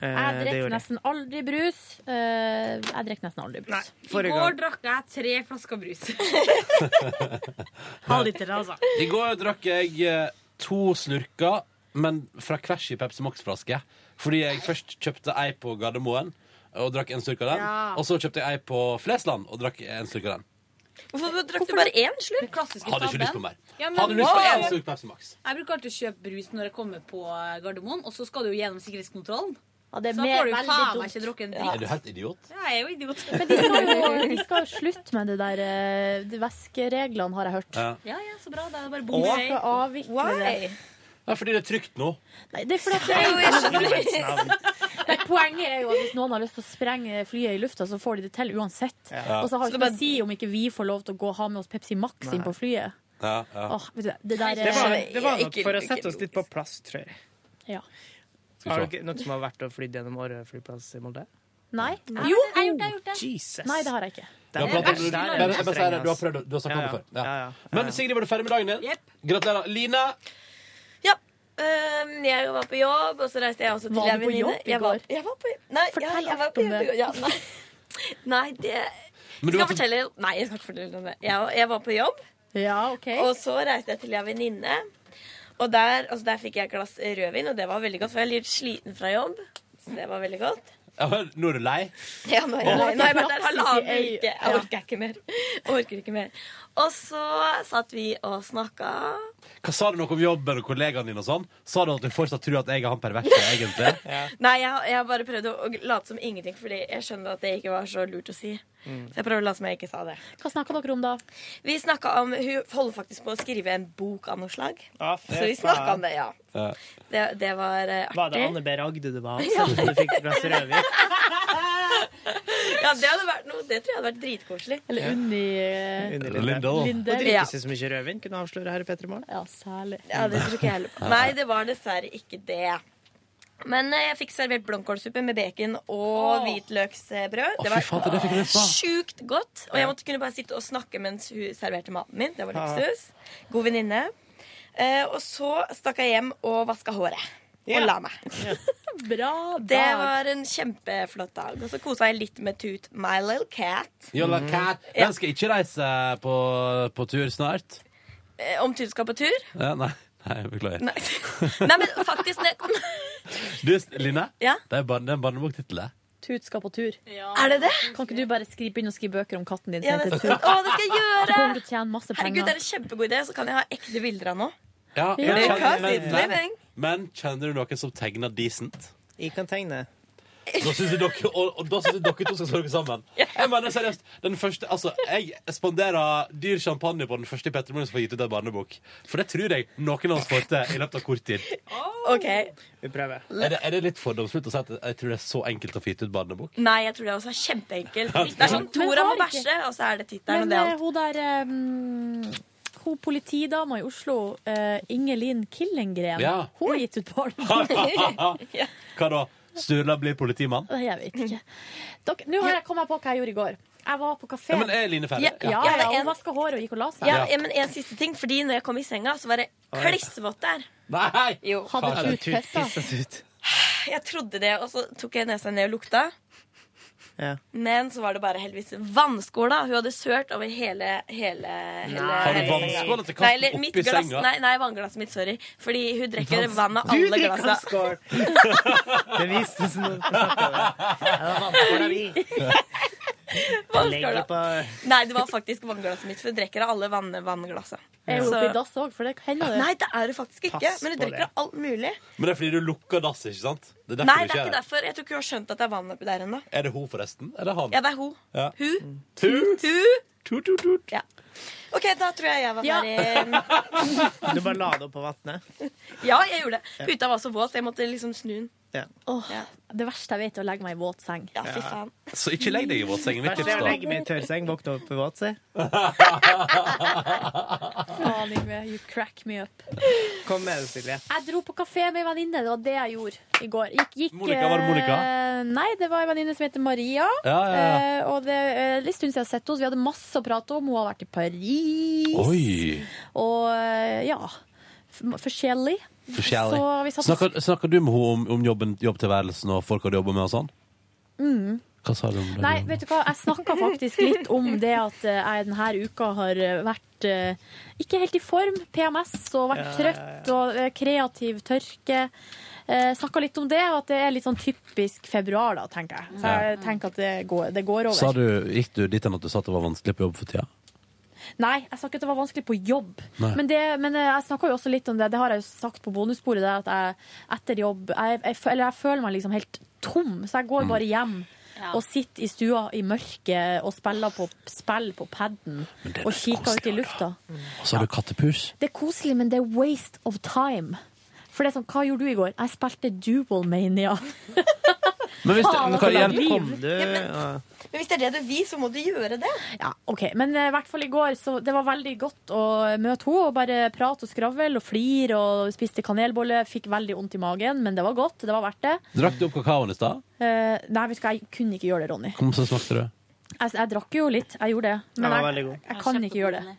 Speaker 3: Jeg
Speaker 5: det
Speaker 3: drikker
Speaker 5: gjorde jeg.
Speaker 3: nesten aldri brus. Eh, Jeg drikker nesten aldri brus.
Speaker 4: I
Speaker 5: Forrige
Speaker 4: går
Speaker 5: gang.
Speaker 4: drakk jeg tre flasker
Speaker 3: *laughs*
Speaker 4: brus. altså.
Speaker 2: I går drakk jeg eh, to slurker, men fra hver sin Pepsi Max-flaske. Fordi jeg først kjøpte ei på Gardermoen og drakk en slurk av den.
Speaker 8: Ja.
Speaker 2: Og så kjøpte jeg ei på Flesland og drakk en slurk av den.
Speaker 8: Hvorfor drakk du bare én slurk?
Speaker 2: Hadde ikke lyst på mer.
Speaker 4: Ja, men
Speaker 2: Hadde lyst på
Speaker 4: wow.
Speaker 2: én slurk Pepsi Max.
Speaker 4: Jeg bruker alltid å kjøpe brus når jeg kommer på eh, Gardermoen, og så skal du jo gjennom sikkerhetskontrollen.
Speaker 3: det er
Speaker 4: så da
Speaker 3: mer-
Speaker 4: får du
Speaker 3: veldig
Speaker 4: faen meg
Speaker 3: dumt.
Speaker 4: ikke drukket en
Speaker 3: Ja.
Speaker 2: Er du
Speaker 4: dritt.
Speaker 2: helt idiot?
Speaker 4: Ja, jeg er jo idiot.
Speaker 3: Men
Speaker 5: *laughs*
Speaker 3: de skal jo,
Speaker 4: *laughs*
Speaker 3: de skal jo slutte med det der eh, de væskereglene, har jeg hørt.
Speaker 2: Ja.
Speaker 4: Ja, ja, så bra. Da er det bare
Speaker 3: De
Speaker 4: bom i
Speaker 3: skal avvikle det.
Speaker 2: Ja, fordi det er trygt nå.
Speaker 3: Nei, det er fordi at det
Speaker 2: Jo, jeg
Speaker 3: er
Speaker 2: skjønner.
Speaker 3: Nei, Poenget er jo at hvis noen har lyst til å sprenge flyet i lufta, så får de det til uansett.
Speaker 2: Ja.
Speaker 3: Og så har
Speaker 2: Så
Speaker 3: ikke
Speaker 2: det
Speaker 3: det å si om ikke vi får lov til å gå og ha med oss Pepsi Max inn på flyet.
Speaker 2: Ja,
Speaker 3: Åh, vet du, det der
Speaker 5: Det var,
Speaker 3: er-
Speaker 5: det var nok for å sette oss litt på plass, tror jeg.
Speaker 3: Ja.
Speaker 2: Skal vi
Speaker 5: Har
Speaker 2: se.
Speaker 5: dere noe som har vært å fly gjennom Åre flyplass i Molde?
Speaker 3: Nei.
Speaker 5: Nei.
Speaker 3: Jo!
Speaker 5: Jeg har gjort det, jeg har gjort det. Jesus.
Speaker 3: Nei, det har jeg ikke.
Speaker 2: Du har,
Speaker 5: Det er
Speaker 2: pratet, om-
Speaker 5: verst, det er
Speaker 2: jeg- jeg bare sier det,
Speaker 5: streng,
Speaker 2: du har
Speaker 5: ass.
Speaker 2: prøvd, du har sagt om
Speaker 5: Ja,
Speaker 2: det
Speaker 5: ja.
Speaker 2: før. Ja. Men Sigrid, var du ferdig med dagen din? Gratulerer. Line,
Speaker 8: Ehm, jeg var på jobb, og så reiste jeg også til
Speaker 3: Var du
Speaker 8: en
Speaker 3: på
Speaker 8: venninne.
Speaker 3: jobb i
Speaker 8: Jeg var-
Speaker 3: går?
Speaker 8: Jeg var på, nei, ja,
Speaker 3: Fortell
Speaker 8: jeg var
Speaker 3: alt om
Speaker 8: på jobb i
Speaker 3: det.
Speaker 8: går. Ja, nei. *laughs* nei, det
Speaker 3: Men du
Speaker 8: skal
Speaker 3: var sånn- til-
Speaker 8: fortelle, Nei, jeg skal ikke fortelle om det. Jeg, var- jeg var på jobb,
Speaker 3: Ja, ok.
Speaker 8: og så reiste jeg til en venninne. Og der, altså der fikk jeg et glass rødvin, og det var veldig godt, for jeg er litt sliten fra jobb. Så det var veldig godt.
Speaker 2: ja, men nå er du lei?
Speaker 8: Ja, nå er jeg,
Speaker 2: Åh.
Speaker 8: lei. nå har jeg vært der
Speaker 2: Praksis i
Speaker 8: halvannen
Speaker 2: ei-
Speaker 8: uke. Jeg orker ikke mer. Jeg orker ikke mer. Og så satt vi og snakka.
Speaker 2: Hva Sa du noe om jobben og kollegaene dine? og sånn? Sa du at du fortsatt tror at jeg er han perverse? egentlig?
Speaker 8: Nei, jeg, jeg bare prøvde å å late som ingenting, fordi jeg skjønner at det ikke var så lurt å si. Så jeg prøver å late som jeg ikke sa det.
Speaker 3: Hva snakka dere om da?
Speaker 8: Vi snakket om, Hun holder faktisk på å skrive en bok av noe slag.
Speaker 5: Ja, fy
Speaker 8: så vi
Speaker 5: faen.
Speaker 8: snakka om det, ja. Det, det var eh,
Speaker 5: Var det
Speaker 8: artig.
Speaker 5: Anne B. Ragde
Speaker 8: *laughs*
Speaker 5: du var hos,
Speaker 8: Ja.
Speaker 5: som du fikk fra Strøvik?
Speaker 8: ja, det hadde vært noe. Det tror jeg hadde vært dritkoselig.
Speaker 5: Eller Ja.
Speaker 3: Unni eh,
Speaker 5: Under
Speaker 8: Lindell.
Speaker 5: Og drikke
Speaker 8: Eh, Ja.
Speaker 5: seg så mye rødvin, kunne avsløre her i Petter Morgen. Mm.
Speaker 3: Ja, særlig.
Speaker 8: Ja, det tror ikke jeg heller på. *laughs* Nei, det var dessverre ikke det. Men eh, jeg fikk servert blomkålsuppe med bacon og hvitløksbrød.
Speaker 29: Å, fy faen, det fikk jeg lyst på.
Speaker 8: sjukt godt. Og jeg måtte kunne bare sitte og snakke mens hun serverte maten min. Det var
Speaker 29: Ja.
Speaker 8: luksus. God venninne. Eh, og så stakk jeg hjem og vaska håret.
Speaker 3: Ja.
Speaker 8: Og la meg. *laughs*
Speaker 3: Bra
Speaker 8: Det var en kjempeflott dag. Og så kosa jeg litt med Toot, my little cat.
Speaker 2: Yola Cat.
Speaker 8: Ja.
Speaker 2: Den skal ikke reise på, på tur snart.
Speaker 8: Eh, Om Toot skal på tur?
Speaker 2: Ja, nei, nei, beklager.
Speaker 8: Nei. Nei, men faktisk når jeg kom *laughs*
Speaker 2: Du, Line,
Speaker 8: Ja?
Speaker 2: det er barne- det er en barneboktittel. det.
Speaker 3: Tut skal på tur.
Speaker 8: Er det det?
Speaker 3: Kan ikke du bare skrive, begynne å skrive bøker om katten din?
Speaker 8: Ja,
Speaker 3: som
Speaker 8: det,
Speaker 3: heter
Speaker 8: å,
Speaker 3: Tut?
Speaker 8: det skal jeg
Speaker 3: Så kommer
Speaker 8: gjøre!
Speaker 3: du til å tjene masse
Speaker 8: Herregud,
Speaker 3: penger.
Speaker 8: det er en kjempegod idé. Så kan jeg ha ekte bilder av nå.
Speaker 2: Ja,
Speaker 8: Ja.
Speaker 2: men,
Speaker 8: Because
Speaker 2: kjenner,
Speaker 8: it's
Speaker 2: men, men,
Speaker 8: living.
Speaker 2: kjenner du noen som tegner decent?
Speaker 5: Jeg kan tegne.
Speaker 2: Da syns jeg dere, og, og da synes jeg dere to skal slå dere sammen. Jeg mener seriøst, den første, altså, jeg spanderer dyr champagne på den første Petter Moen som får gitt ut en barnebok. For det tror jeg noen av oss får til i løpet av kort tid.
Speaker 3: Oh.
Speaker 8: OK.
Speaker 5: Vi prøver.
Speaker 2: Er det, er det litt fordomsfullt å si at jeg tror det er så enkelt å få gitt ut
Speaker 8: *laughs*
Speaker 2: barnebok?
Speaker 8: Nei, jeg tror det også er kjempeenkelt.
Speaker 2: Ja.
Speaker 8: Det er sånn Tora må bæsje, og så er det tittelen. og det
Speaker 3: Men
Speaker 8: er
Speaker 3: eh,
Speaker 8: alt.
Speaker 3: hun der eh, hun politidama i Oslo, eh, Ingelin Killengren,
Speaker 2: Ja.
Speaker 3: hun har gitt ut
Speaker 2: *laughs*
Speaker 3: barnebok.
Speaker 2: Hva da? Sturla blir politimann?
Speaker 3: Nei, Jeg vet ikke. Dere- Nå har jeg kommet på hva jeg gjorde i går. Jeg var på kafé.
Speaker 2: Ja, men er Line ferdig?
Speaker 3: Ja,
Speaker 2: Ja.
Speaker 3: ja,
Speaker 2: Ja,
Speaker 3: ja,
Speaker 2: men
Speaker 3: hun vaska håret og gikk og la seg.
Speaker 8: Ja, ja, men en siste ting, fordi når jeg kom i senga, så var det klissvått der.
Speaker 2: Nei!
Speaker 8: Jo.
Speaker 5: Hadde Tut pisset ut?
Speaker 8: Jeg trodde det, og så tok jeg nesa ned og lukta.
Speaker 5: Ja.
Speaker 8: Men så var det bare heldigvis vannskåla. Hun hadde sølt over hele, hele, hele
Speaker 2: Har du
Speaker 8: hele senga.
Speaker 2: vannskåla til katten
Speaker 8: Nei, eller
Speaker 2: oppi
Speaker 8: mitt glass,
Speaker 2: senga?
Speaker 8: Nei, nei, vannglasset mitt. Sorry. Fordi hun drikker
Speaker 5: Vanns-
Speaker 8: vann av
Speaker 5: Du
Speaker 8: alle
Speaker 5: drikker
Speaker 8: glassa.
Speaker 5: Det viste seg når vi
Speaker 8: *laughs*
Speaker 5: legger på
Speaker 8: Nei, det var faktisk vannglasset mitt, for hun drikker av alle vann, vannglassene.
Speaker 3: Er hun
Speaker 8: Så-
Speaker 3: oppi dass òg, for det hender det.
Speaker 8: Nei, det er hun faktisk ikke.
Speaker 3: Pass
Speaker 8: Men hun
Speaker 3: på
Speaker 8: drikker
Speaker 3: det.
Speaker 8: av alt mulig.
Speaker 2: Men det er fordi du lukker dass, ikke sant? Det er derfor
Speaker 8: Nei,
Speaker 2: du
Speaker 8: det er ikke
Speaker 2: det.
Speaker 8: derfor. Jeg tror ikke hun har skjønt at det er vann oppi der ennå.
Speaker 2: Er det hun, forresten? Er det han?
Speaker 8: Ja, det er hun.
Speaker 2: Ja.
Speaker 8: Hun.
Speaker 2: Tu?
Speaker 8: Tu,
Speaker 2: tu, tu.
Speaker 8: Ja. OK, da tror jeg jeg var
Speaker 5: Ja.
Speaker 3: *laughs*
Speaker 8: ferdig.
Speaker 5: Du bare la det opp på vannet.
Speaker 8: Ja, jeg gjorde det.
Speaker 5: Ja.
Speaker 8: Puta var så våt, så jeg måtte liksom snu den.
Speaker 5: Ja.
Speaker 3: Åh, Det verste jeg vet, er å legge meg i våt seng.
Speaker 8: Ja, fy faen.
Speaker 2: Så ikke legg deg i våtsengen. Mitt
Speaker 5: Verst er å legge
Speaker 2: tips,
Speaker 5: meg i tørrseng, våkne opp på våt, se.
Speaker 3: Faen, Yngve, you crack me up.
Speaker 5: Kom med det, Silje.
Speaker 3: Jeg dro på kafé med ei venninne. Det var det jeg gjorde i går. Gikk, gikk,
Speaker 5: Monica, var det Monica?
Speaker 3: eh, Nei, det var ei venninne som heter Maria.
Speaker 5: Ja, ja, ja.
Speaker 3: Eh, og det er litt stund siden jeg har sett henne, så vi hadde masse å prate om. Hun har vært i Paris.
Speaker 2: da. Oi!
Speaker 3: Og eh, ja f- Forskjellig.
Speaker 2: Forskjellig.
Speaker 3: Så vi satt-
Speaker 2: Snakker, snakker du med henne om, om jobben, jobbtilværelsen og folk hun jobber med og sånn?
Speaker 3: Mm.
Speaker 2: Hva sa du om det?
Speaker 3: Nei, vet du hva, jeg snakka faktisk litt om det at eh, jeg denne uka har eh, vært eh, ikke helt i form. PMS og vært
Speaker 30: Ja, ja, ja.
Speaker 3: trøtt og eh, kreativ tørke. Snakka litt om det, og at det er litt sånn typisk februar, da, tenker jeg. Så jeg tenker at det går, det går
Speaker 2: Sa
Speaker 3: over.
Speaker 2: du, gikk du dit enn at du sa at det var vanskelig på jobb for tida?
Speaker 3: Nei, jeg sa ikke at det var vanskelig på jobb,
Speaker 2: Nei.
Speaker 3: men, det, men eh, jeg snakka jo også litt om det. Det har jeg jo sagt på bonussporet, det at jeg etter jobb jeg, jeg, fø- Eller jeg føler meg liksom helt tom, så jeg går bare hjem. Og sitter i stua i mørket og spiller på spill på paden og kikker ut i lufta.
Speaker 2: Og så har du kattepus.
Speaker 3: Det er koselig, men det er waste of time. For det er sånn, hva gjorde du i går? Jeg spilte Dual Mania.
Speaker 2: Men
Speaker 3: hvis det- Faen, men hva altså, hjelp- liv.
Speaker 5: Kom du
Speaker 3: Ja, men-
Speaker 5: ja.
Speaker 8: Men hvis det er det du vil, så må du gjøre det.
Speaker 3: Ja, ok. Men eh, i hvert fall i går, så det var veldig godt å møte henne og bare prate og skravle og flire og spiste kanelbolle. Fikk veldig vondt i magen, men det var godt. Det var verdt det.
Speaker 2: Drakk du opp kakaoen i stad?
Speaker 3: Eh, nei, vet du hva, jeg kunne ikke gjøre det, Ronny.
Speaker 2: Hvordan smakte det?
Speaker 3: Jeg, jeg drakk jo litt, jeg gjorde det.
Speaker 5: Den
Speaker 3: Men
Speaker 5: var
Speaker 3: jeg,
Speaker 5: veldig god.
Speaker 3: jeg kan ikke gjøre det.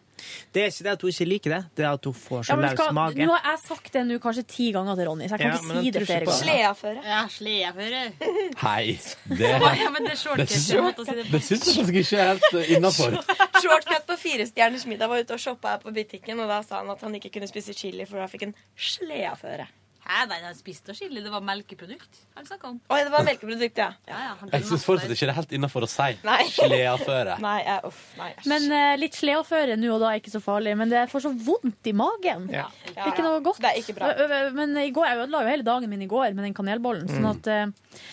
Speaker 5: Det er ikke det at hun ikke liker det, det er at hun får
Speaker 3: Ja,
Speaker 5: så
Speaker 3: men vet du
Speaker 5: løs
Speaker 3: hva,
Speaker 5: mage.
Speaker 3: nå har jeg sagt det nå kanskje ti ganger til Ronny, så jeg kan
Speaker 5: Ja, men jeg
Speaker 3: ikke si det
Speaker 5: tror ikke
Speaker 3: flere
Speaker 5: på det.
Speaker 3: ganger.
Speaker 6: Ja, sleaføre.
Speaker 2: Hei!
Speaker 8: *laughs*
Speaker 2: Det,
Speaker 6: Ja, men det er shortcut,
Speaker 2: det syns jeg
Speaker 6: jeg måtte si det på.
Speaker 2: det syns jeg faktisk ikke er helt eh, innafor.
Speaker 8: *laughs* Shortcut på Firestjerners middag var ute og shoppa her på butikken, og da sa han at han ikke kunne spise chili, for da fikk han sleaføre.
Speaker 4: Nei, nei, han spiste og skille. Det var melkeprodukt han snakket om.
Speaker 8: Oi, det var melkeprodukt, ja.
Speaker 4: Ja, ja, han
Speaker 2: Jeg syns fortsatt ikke det er helt innafor å si
Speaker 8: Nei.
Speaker 2: sleaføre.
Speaker 8: Nei, jeg, uff, nei.
Speaker 3: Men eh, litt sleaføre nå og da er ikke så farlig, men det får så vondt i magen.
Speaker 2: Ja.
Speaker 3: Det er ikke noe godt. Ø- ø- Men i går, jeg ødela jo hele dagen min i går med den kanelbollen, sånn
Speaker 5: Mm.
Speaker 3: at eh,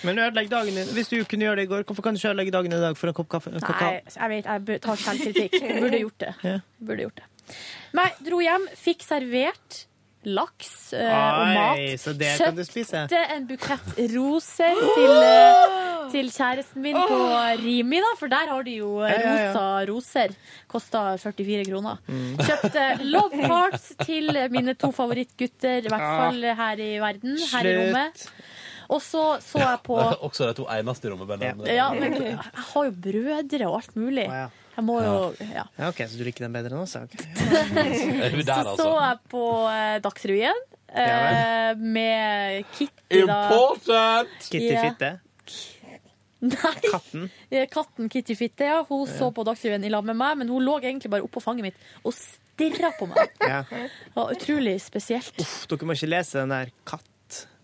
Speaker 5: Men ødelegg dagen din. Hvis du kunne gjøre det i går, hvorfor kan du ikke ødelegge dagen i dag for en kopp kaffe? En kopp
Speaker 3: Nei,
Speaker 5: kaffe?
Speaker 3: jeg vet, jeg bør- tar selvkritikk. Burde gjort det.
Speaker 5: Ja.
Speaker 3: Burde gjort det. Nei, dro hjem, fikk servert laks eh, og mat.
Speaker 5: Oi, så det kan du spise.
Speaker 3: Kjøpte en bukett roser til, eh, til kjæresten min på Rimi, da, for der har de jo eh,
Speaker 5: Ja, ja, ja. Mm.
Speaker 3: rosa roser. Kosta 44 kroner. Kjøpte love hearts til mine to favorittgutter, i hvert
Speaker 2: Ah.
Speaker 3: fall her i verden, her i
Speaker 2: Slutt.
Speaker 3: rommet. Og så så jeg
Speaker 5: *laughs*
Speaker 3: på
Speaker 2: Det er *laughs* Også de to eneste i rommet. men-
Speaker 3: Ja, men jeg har jo brødre og alt mulig. Jeg må jo Ja.
Speaker 5: Ja, ok, Så du liker den bedre enn oss? ja, ok.
Speaker 2: hun der,
Speaker 3: Så så
Speaker 2: altså?
Speaker 3: jeg på eh, Dagsrevyen eh, med Kitty, da.
Speaker 2: Important!
Speaker 5: Kitty
Speaker 3: Ja.
Speaker 5: Fitte.
Speaker 3: Nei.
Speaker 5: Katten.
Speaker 3: Eh, Katten Kitty Fitte, ja. Hun så på Dagsrevyen i lag med meg, men hun lå egentlig bare oppå fanget mitt og stirra på meg.
Speaker 5: Ja.
Speaker 3: Det var utrolig spesielt.
Speaker 5: Uff, dere må ikke lese den der Katt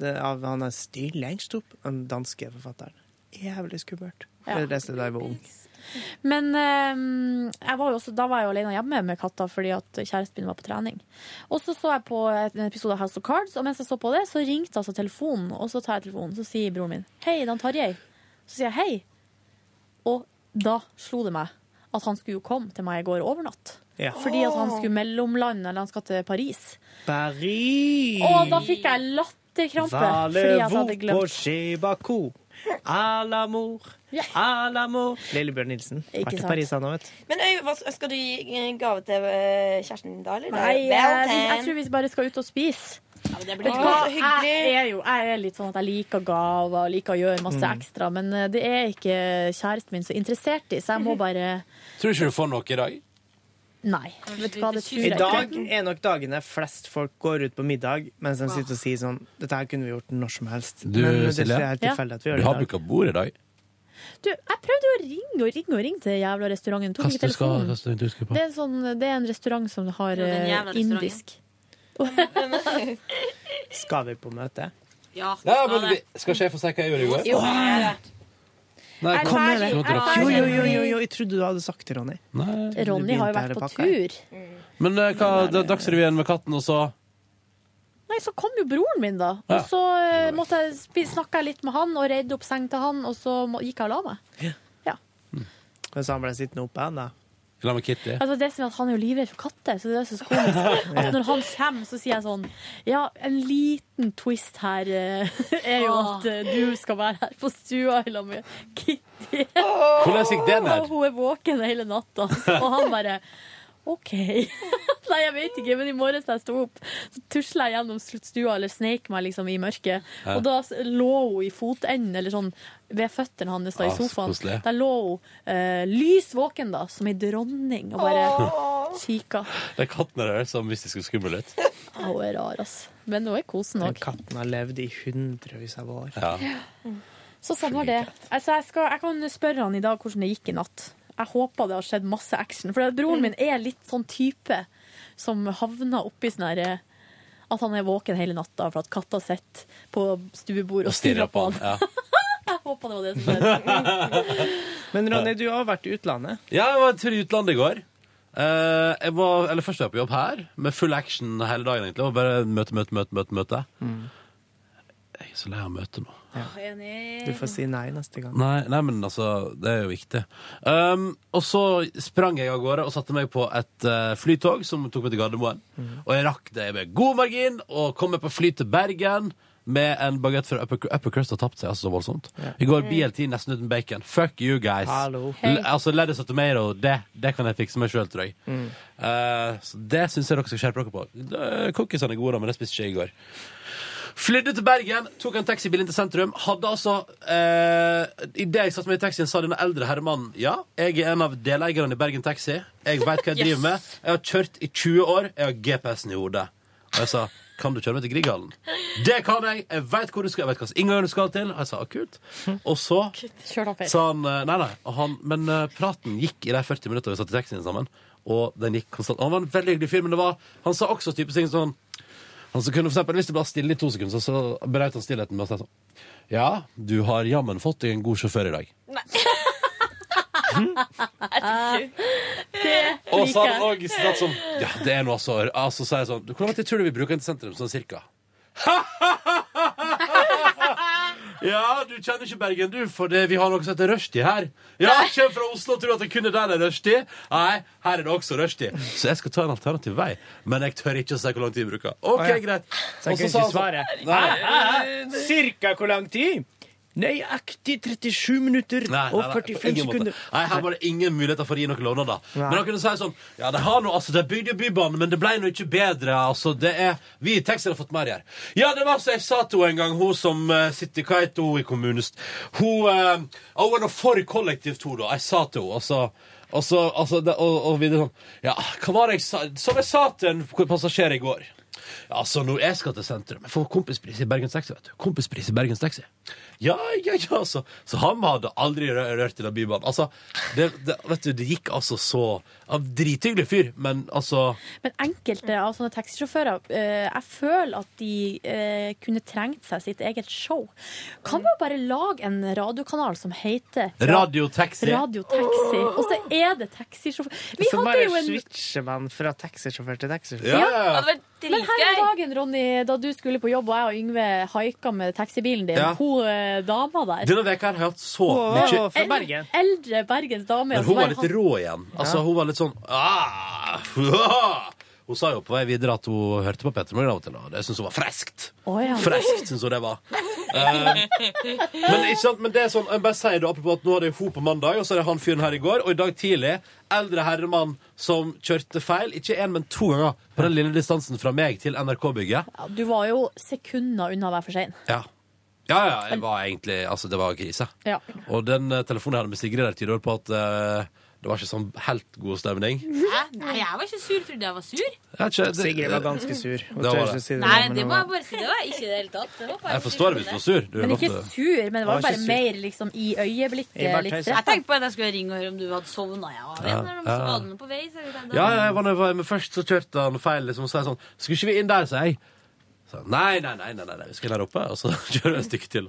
Speaker 5: det er av han er Stig Lengstrup, den danske forfatteren. Jævlig skummelt.
Speaker 3: Ja.
Speaker 5: Jeg leste det da jeg var ung.
Speaker 3: Men eh, jeg var jo også, da var jeg jo alene hjemme med katta fordi at kjæresten min var på trening. Og så så jeg på en episode av House of Cards, og mens jeg så på det, så ringte altså telefonen. Og så tar jeg telefonen, så sier broren min 'Hei, det er han Tarjei'. Så sier jeg 'Hei'. Og da slo det meg at han skulle jo komme til meg i går overnatt.
Speaker 5: Ja.
Speaker 3: Fordi at han skulle mellomlande, eller han skal til Paris.
Speaker 5: Paris!
Speaker 3: Og da fikk jeg latterkrampe fordi at jeg
Speaker 5: Valez-vous
Speaker 3: hadde
Speaker 5: på
Speaker 3: glemt
Speaker 5: Chebaco? À l'amour,
Speaker 3: Ja.
Speaker 5: à l'amour Lillebjørn Nilsen.
Speaker 8: Ikke
Speaker 5: Vært i
Speaker 8: sant.
Speaker 5: Paris, han òg, vet du.
Speaker 8: Men øy, hva, skal du gi eh, gave til eh, kjæresten din da, eller?
Speaker 3: Nei,
Speaker 8: Det er jo
Speaker 3: jeg, vi- jeg
Speaker 8: valentine.
Speaker 3: tror vi bare skal ut og spise.
Speaker 8: det blir
Speaker 3: Vet du
Speaker 8: hyggelig.
Speaker 3: hva?
Speaker 8: Så hyggelig.
Speaker 3: Jeg er jo jeg er litt sånn at jeg liker gaver, liker å gjøre masse
Speaker 2: Mm.
Speaker 3: ekstra, men eh, det er ikke kjæresten min så interessert i, så jeg må bare
Speaker 2: Tror du ikke du får noe i dag?
Speaker 3: Nei. Vet du hva, det tror
Speaker 5: I
Speaker 3: jeg
Speaker 5: dag
Speaker 3: ikke.
Speaker 5: er nok dagene flest folk går ut på middag mens de sitter og sier sånn Dette her kunne vi gjort når som helst.
Speaker 2: Du,
Speaker 5: Men det er
Speaker 2: Silje,
Speaker 5: ikke helt tilfeldig at vi gjør
Speaker 2: du
Speaker 5: det
Speaker 2: har
Speaker 5: i dag.
Speaker 2: bruka bord i dag.
Speaker 3: Du, jeg prøvde jo å ringe og ringe og ringe til jævla restauranten. Tok
Speaker 2: Hva
Speaker 3: ikke
Speaker 2: du skal, hva
Speaker 3: telefonen.
Speaker 2: skal du huske på?
Speaker 3: Det er, en sånn, det er en restaurant som har
Speaker 4: Jo, den
Speaker 3: eh,
Speaker 4: jævla
Speaker 3: *laughs*
Speaker 4: restauranten.
Speaker 3: indisk. *laughs*
Speaker 5: Skal vi på møte?
Speaker 4: Ja,
Speaker 2: Ja, men vi- skal ikke jeg få si hva jeg gjorde i går?
Speaker 5: Jo,
Speaker 2: Nei,
Speaker 5: Kom med det.
Speaker 2: Nå drakk
Speaker 5: Jo,
Speaker 2: jeg.
Speaker 5: jo, jo, jo, jo, jeg trodde du hadde sagt det, Ronny.
Speaker 2: Nei.
Speaker 3: Ronny har jo vært på tur.
Speaker 2: Men eh, hva, det er Dagsrevyen med katten, og så
Speaker 3: Nei, så kom jo broren min, da.
Speaker 2: Ja.
Speaker 3: Og så eh, måtte jeg spi- snakka jeg litt med han og reide opp seng til han, og så må, gikk jeg og la meg.
Speaker 5: Men så han ble sittende oppe, han da.
Speaker 2: I lag med Kitty.
Speaker 3: Altså, det som er at Han er jo livredd for katter, så det er
Speaker 2: *laughs*
Speaker 3: så komisk. At når han kommer, så sier jeg sånn Ja, en liten twist her eh, er jo at eh, du skal være her på stua i lag med Kitty.
Speaker 2: Hvordan gikk det ned?
Speaker 3: Og hun er våken hele natta, så- og han bare OK. *laughs* Nei, jeg vet ikke, men i morges da jeg sto opp, så tusla jeg gjennom stua eller sneik meg liksom i mørket.
Speaker 2: Ja.
Speaker 3: Og da s- lå hun i fotenden, eller sånn ved føttene hans da, i
Speaker 2: Ah, så
Speaker 3: sofaen.
Speaker 2: koselig.
Speaker 3: Der lå hun eh, lys våken, da, som ei dronning, og bare kikka.
Speaker 2: Den katten der som hvis det skulle skumle ut.
Speaker 3: Ja, Hun er rar, ass. Men hun er kosen
Speaker 5: Den
Speaker 3: òg.
Speaker 5: katten har levd i hundrevis av år.
Speaker 2: Ja.
Speaker 3: Så sånn var det. Altså, jeg, skal, jeg kan spørre han i dag hvordan det gikk i natt. Jeg håper det har skjedd masse action. For broren min er litt sånn type som havner oppi sånn her eh, At han er våken hele natta for at katta sitter på stuebordet og stirrer på han.
Speaker 2: Ja.
Speaker 3: Jeg håper det var det som skjedde.
Speaker 5: *laughs* Men Ronny, du har vært i utlandet.
Speaker 2: Ja, jeg var en tur i utlandet i går. Eh, jeg var, eller Først var jeg på jobb her, med full action hele dagen. egentlig. Det var bare møte, møte, møte, møte. møte.
Speaker 5: Mm.
Speaker 2: Jeg er så lei av møte nå.
Speaker 5: Du får si nei neste gang.
Speaker 2: Nei, nei, men altså, det er jo viktig. Um, og så sprang jeg av gårde og satte meg på et eh, flytog som tok meg til Gardermoen.
Speaker 5: Mhm.
Speaker 2: Og jeg rakk det med god margin og kom meg på fly til Bergen med en bagett fra Upper, upper Crust og tapte seg altså så voldsomt. I går BLT nesten uten bacon. Fuck you guys.
Speaker 5: Mm. Hallo.
Speaker 2: L altså, Lettuce og tomato, det, det kan jeg fikse meg sjøl, tror
Speaker 5: Mm.
Speaker 2: jeg. Eh, så det syns jeg dere skal skjerpe dere på. Eh, Cookiesene er gode, da, men det spiste ikke jeg i går. Flydde til Bergen, tok en taxibil inn til sentrum. Hadde altså eh, Idet jeg satte meg i taxien, sa denne eldre herremannen ja, jeg er en av deleierne i Bergen Taxi. Jeg veit hva jeg driver med. Jeg har kjørt i 20 år. Jeg har GPS-en i hodet. Og jeg sa kan du kjøre meg til Grieghallen? Det kan jeg! Jeg veit hvor du skal, jeg vet hva slags inngang du skal til. Og jeg sa «Ah, kult. Og så
Speaker 3: Kjør da feil.
Speaker 2: sa han eh, Nei, nei. Og han, men eh, praten gikk i de 40 minutter vi satt i taxien sammen. Og den gikk konstant. Og Han var en veldig hyggelig fyr, men det var, han sa også type ting sånn Han som kunne for eksempel, Hvis det ble stille i to sekunder, så så brøt han stillheten med å si sånn Ja, du har jammen fått deg en god sjåfør i dag.
Speaker 3: *laughs*
Speaker 31: Det
Speaker 2: Og så hadde han òg stått som Ja, det er noe så Altså, så er jeg sånn Hvor lang tid tror du vi bruker den til sentrum? Sånn cirka? *laughs* Ja, du kjenner ikke Bergen, du, for det, vi har noe som heter rushtid her. Ja, Kjem fra Oslo og tror at det kun er der det er rushtid. Nei, her er det også rushtid. Så jeg skal ta en alternativ vei, men jeg tør ikke å si hvor lang tid vi bruker. OK,
Speaker 5: Å, ja.
Speaker 2: greit.
Speaker 5: Så jeg
Speaker 2: Og
Speaker 5: kunne
Speaker 2: sa
Speaker 5: ikke svare.
Speaker 2: han sånn- Nei.
Speaker 5: Cirka hvor lang tid? Nøyaktig 37 minutter
Speaker 2: Nei, nei,
Speaker 5: og
Speaker 2: nei, på
Speaker 5: 45
Speaker 2: ingen måte.
Speaker 5: sekunder.
Speaker 2: Nei, her var det ingen muligheter for å gi noen lovnader. Men han kunne si sånn Ja, de har nå altså De bygde Bybanen, men det ble nå ikke bedre. Altså, det er Vi i Texas har fått mer her. Ja, det var så jeg sa til henne en gang, hun som eh, sitter Hva heter hun i kommunen? Hun eh, ja, Hun er nå for kollektivt, hun, da. Jeg sa til henne, altså og så, altså, det, og, og videre sånn Ja, hva var det jeg sa Som jeg sa til en passasjer i går Ja, altså, når jeg skal til sentrum Jeg får kompispris i Bergens Taxi, vet du Kompispris i Bergens Taxi Ja, ja, ja, altså Så han hadde aldri rø- rørt i den bybanen Altså, det, det, vet du, det gikk altså så Av drithyggelig fyr, men altså
Speaker 3: Men enkelte av sånne taxisjåfører, eh, jeg føler at de eh, kunne trengt seg sitt eget show. Kan man bare lage en radiokanal som heter
Speaker 2: Radiotaxi
Speaker 3: Radiotaxi, og så er det taxisjåfør. Vi
Speaker 5: Så
Speaker 3: hadde
Speaker 5: bare
Speaker 3: jo en
Speaker 5: switcher man fra taxisjåfør til taxisjåfør.
Speaker 3: Ja. Men her om dagen, Ronny, da du skulle på jobb, og jeg og Yngve haika med taxibilen din,
Speaker 2: Ja.
Speaker 3: hun eh, dama der
Speaker 2: Denne veka har jeg hatt så mye
Speaker 3: El- Eldre Bergens dame.
Speaker 2: Men
Speaker 3: som
Speaker 2: hun var
Speaker 3: bare
Speaker 2: litt rå igjen. Altså,
Speaker 3: Ja.
Speaker 2: Hun var litt sånn «Ah, *laughs* ah!» Hun sa jo på vei videre at hun hørte på Petter Morgen av og til, og det syntes hun var freskt.
Speaker 3: Å, ja.
Speaker 2: Freskt, syns hun det
Speaker 3: *laughs*
Speaker 2: var. Eh, men, ikke sant? men det er sånn, jeg bare sier det apropos at nå hadde jeg hun på mandag, og så er det han fyren her i går, og i dag tidlig eldre herremann som kjørte feil, ikke én, men to ganger, på den lille distansen fra meg til NRK-bygget.
Speaker 3: Ja, Du var jo sekunder unna å være for sein.
Speaker 2: Ja. ja, ja, jeg var egentlig Altså, det var krise.
Speaker 3: Ja.
Speaker 2: Og den eh, telefonen jeg hadde med Sigrid der tidligere, på at eh, det var ikke sånn helt god stemning.
Speaker 4: Hæ? Nei, jeg var ikke sur. Trodde jeg var sur.
Speaker 2: Jeg vet ikke, det-
Speaker 5: Sigrid var ganske sur. Hun
Speaker 2: Det
Speaker 5: tør
Speaker 2: var det.
Speaker 5: ikke si det.
Speaker 4: Nei,
Speaker 5: men
Speaker 4: det
Speaker 5: hun
Speaker 4: må
Speaker 5: var-
Speaker 4: jeg bare si. Det var jeg ikke i det hele tatt. Det var bare
Speaker 2: Jeg forstår hvis du er sur. Du er
Speaker 3: Men ikke
Speaker 2: ofte-
Speaker 3: sur, men det var
Speaker 2: Jeg var
Speaker 3: jo bare
Speaker 2: ikke sur.
Speaker 3: mer liksom i øyeblikket. liksom.
Speaker 2: Jeg var
Speaker 3: Litt
Speaker 2: tøys.
Speaker 3: stress.
Speaker 4: Jeg tenkte på at jeg skulle ringe og høre om du hadde sovna. Jeg var
Speaker 2: Ja,
Speaker 4: ja, når de
Speaker 2: ja.
Speaker 4: skadene på vei. Så jeg tenkte,
Speaker 2: Ja, ja, jeg var nødt til- men først så kjørte han feil, liksom, og sa sånn Skulle ikke vi inn der, sa jeg. Så, han, nei, nei, nei, nei, nei, nei, vi skal inn her oppe, og så *laughs* kjører vi et stykke til.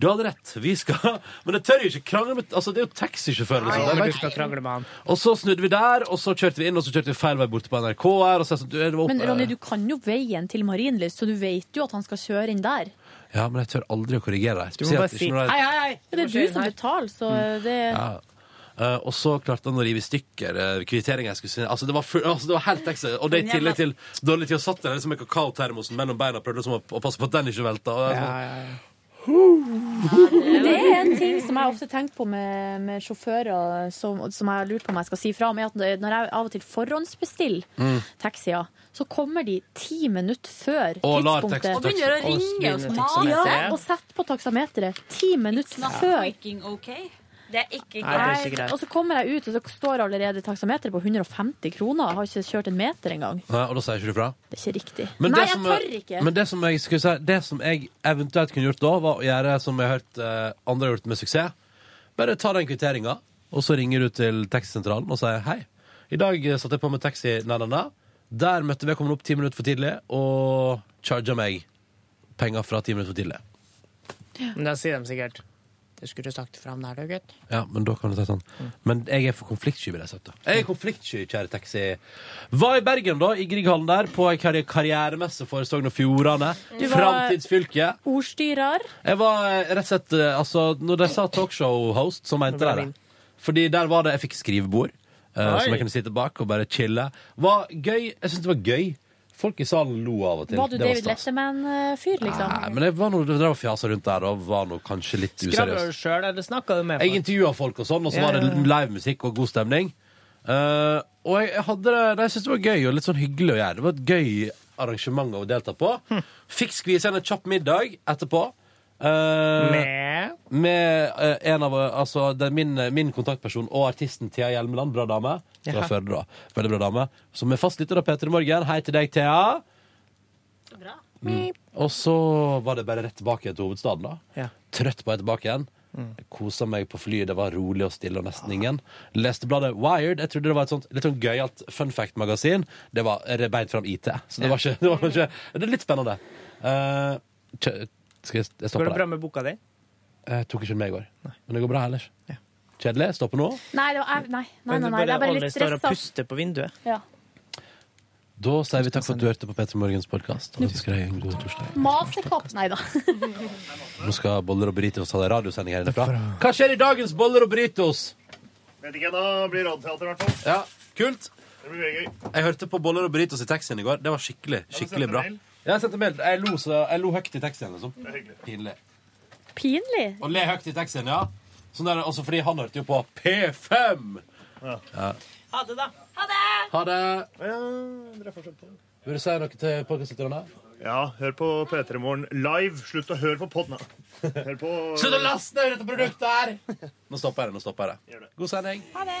Speaker 2: Du hadde rett, vi skal *laughs* Men jeg tør jo ikke krangle med Altså, det er jo taxisjåføren, liksom.
Speaker 5: Nei,
Speaker 2: Jeg
Speaker 5: men du
Speaker 2: vet-
Speaker 5: skal krangle med han.
Speaker 2: Og så snudde vi der, og så kjørte vi inn, og så kjørte vi feil vei bort på NRK her, og så er jeg sånn, du, det var oppe.
Speaker 3: Men Ronny, du kan jo veien til Marienlyst, så du vet jo at han skal kjøre inn der.
Speaker 2: Ja, men jeg tør aldri å korrigere deg.
Speaker 5: Du må bare
Speaker 2: spesielt
Speaker 5: si
Speaker 2: ikke når det
Speaker 5: hei,
Speaker 2: er-
Speaker 5: hei, hei.
Speaker 3: Det er
Speaker 5: Må
Speaker 3: du
Speaker 5: kjøre
Speaker 3: som
Speaker 5: her.
Speaker 3: betaler, så det
Speaker 2: Ja. Eh, og så klarte han å rive i stykker uh, kvitteringa jeg skulle sende. Altså, det var, full, altså, det var helt ekstra. Og det i tillegg til dårlig tid å satt der liksom med kakaotermosen mellom beina og prøvde liksom å, å passe på at den ikke velta. Og, jeg sånn,
Speaker 3: Men det er en ting som jeg ofte tenker på med, med sjåfører, som, som jeg har lurt på om jeg skal si fra om, er at når jeg av og til forhåndsbestiller
Speaker 2: Mm.
Speaker 3: taxier, så kommer de ti minutter før
Speaker 2: Og lar
Speaker 3: tidspunktet.
Speaker 2: tekst- Og begynner å tekst- ringe og skriver smale.
Speaker 3: Ja, og setter på taksameteret ti minutter
Speaker 4: not
Speaker 3: før.
Speaker 4: fucking okay.
Speaker 6: Det er ikke
Speaker 3: Nei, og så kommer jeg ut, og så står allerede taksameteret på 150 kroner. Jeg har ikke kjørt en meter engang.
Speaker 2: Nei, og da sier ikke du fra?
Speaker 3: Det er ikke riktig.
Speaker 2: Men
Speaker 3: Nei,
Speaker 2: det
Speaker 3: jeg
Speaker 2: som,
Speaker 3: tør ikke.
Speaker 2: Men det som jeg, skulle si, det som jeg eventuelt kunne gjort da, var å gjøre som jeg har hørt eh, andre har gjort med suksess. Bare ta den kvitteringa, og så ringer du til taxisentralen og sier hei. I dag eh, satte jeg på med taxi na, na, na. Der møtte vedkommende opp ti minutter for tidlig og charga meg penger fra ti minutter for tidlig.
Speaker 5: Men da sier de sikkert Du skulle sagt fra om det her, du, gutt.
Speaker 2: Ja, Men da kan du si sånn Men jeg er for konfliktsky, vil jeg si. da. Jeg er konfliktsky, kjære taxi. Var i Bergen, da, i Grieghallen der, på ei karri- karrieremesse for Sogn og Fjordane.
Speaker 3: Du var-
Speaker 2: Framtidsfylket.
Speaker 3: Ordstyrer.
Speaker 2: Jeg var eh, rett og slett eh, altså, Når de sa talkshow-host, så mente de det. Fordi der var det Jeg fikk skrivebord, eh,
Speaker 3: Oi.
Speaker 2: som jeg kunne sitte bak og bare chille. Var gøy. Jeg syntes det var gøy. Folk i salen lo av og til.
Speaker 3: Var du
Speaker 2: Det
Speaker 3: David
Speaker 2: stas.
Speaker 3: Letterman-fyr, liksom?
Speaker 2: Nei, men jeg var noe, drev og fjasa rundt der og var noe kanskje litt
Speaker 5: Skravla
Speaker 2: useriøs.
Speaker 5: du sjøl, eller snakka du med
Speaker 2: Jeg intervjua folk og sånn, og så
Speaker 5: Ja,
Speaker 2: var det
Speaker 5: ja, ja.
Speaker 2: livemusikk og god stemning. Eh, og jeg, jeg hadde det nei, Jeg syntes det var gøy og litt sånn hyggelig å gjøre. Det var et gøy arrangement å delta på.
Speaker 5: Hm.
Speaker 2: Fikk skvise inn en kjapp middag etterpå. Eh,
Speaker 5: Med?
Speaker 2: med, eh, en av eh, altså, det er min, min kontaktperson og artisten Thea Hjelmeland. Bra dame. Fra
Speaker 5: Ja.
Speaker 2: Førde, da. Veldig bra dame. Som er fastlytter av P3 Morgen. Hei til deg, Thea.
Speaker 6: Mm.
Speaker 2: Mm. Og så var det bare rett tilbake til hovedstaden, da.
Speaker 5: Ja.
Speaker 2: Trøtt på vei tilbake igjen.
Speaker 6: Mm.
Speaker 2: Kosa meg på flyet, det var rolig og stille og nesten ingen. Leste bladet Wired. Jeg trodde det var et sånt litt sånn gøyalt fun fact-magasin. Det var beint fram IT, så det var ikke, *laughs* det var ikke Det er litt spennende. Eh, kjø- skal jeg, jeg
Speaker 6: Går
Speaker 2: stoppe
Speaker 6: det bra
Speaker 2: der?
Speaker 6: med boka di?
Speaker 2: Jeg tok ikke den med i går. Men det går bra ellers. Kjedelig? Stoppe nå?
Speaker 3: Nei, det var, nei, nei, nei, nei, det er bare
Speaker 6: Olli
Speaker 3: litt
Speaker 6: står og
Speaker 3: stressa.
Speaker 6: puster på vinduet.
Speaker 3: Ja.
Speaker 2: Da sier vi takk for at du hørte på Petter Morgens podkast, og ønsker deg en god torsdag.
Speaker 3: Masekapp, nei da.
Speaker 2: Nå skal Boller og Britos ha en radiosending her innenfra. Hva skjer i dagens Boller og Britos?
Speaker 32: Vet ikke, da blir radioteater i hvert fall.
Speaker 2: Ja, kult.
Speaker 32: Det blir veldig gøy.
Speaker 2: Jeg hørte på Boller og Burritos i taxien i går. Det var skikkelig skikkelig
Speaker 32: sendte
Speaker 2: bra.
Speaker 32: mail?
Speaker 2: Ja, Jeg sendte mail. Jeg lo, så, jeg lo høyt i taxien. Liksom. Pinlig.
Speaker 3: Pinlig.
Speaker 2: Å le høyt i taxien, ja. Sånn der, også fordi han hørte jo på P5. Ja.
Speaker 6: Ha det, da.
Speaker 2: Ha det.
Speaker 32: Ja, dere er fortsatt på.
Speaker 2: Vil du si noe til podkastlytterne?
Speaker 32: Ja, hør på P3 Morgen live. Slutt å høre på podden. Hør på
Speaker 2: Slutt å laste ned dette produktet her! Nå stopper jeg det. nå stopper jeg det. God sending.
Speaker 32: Ha det.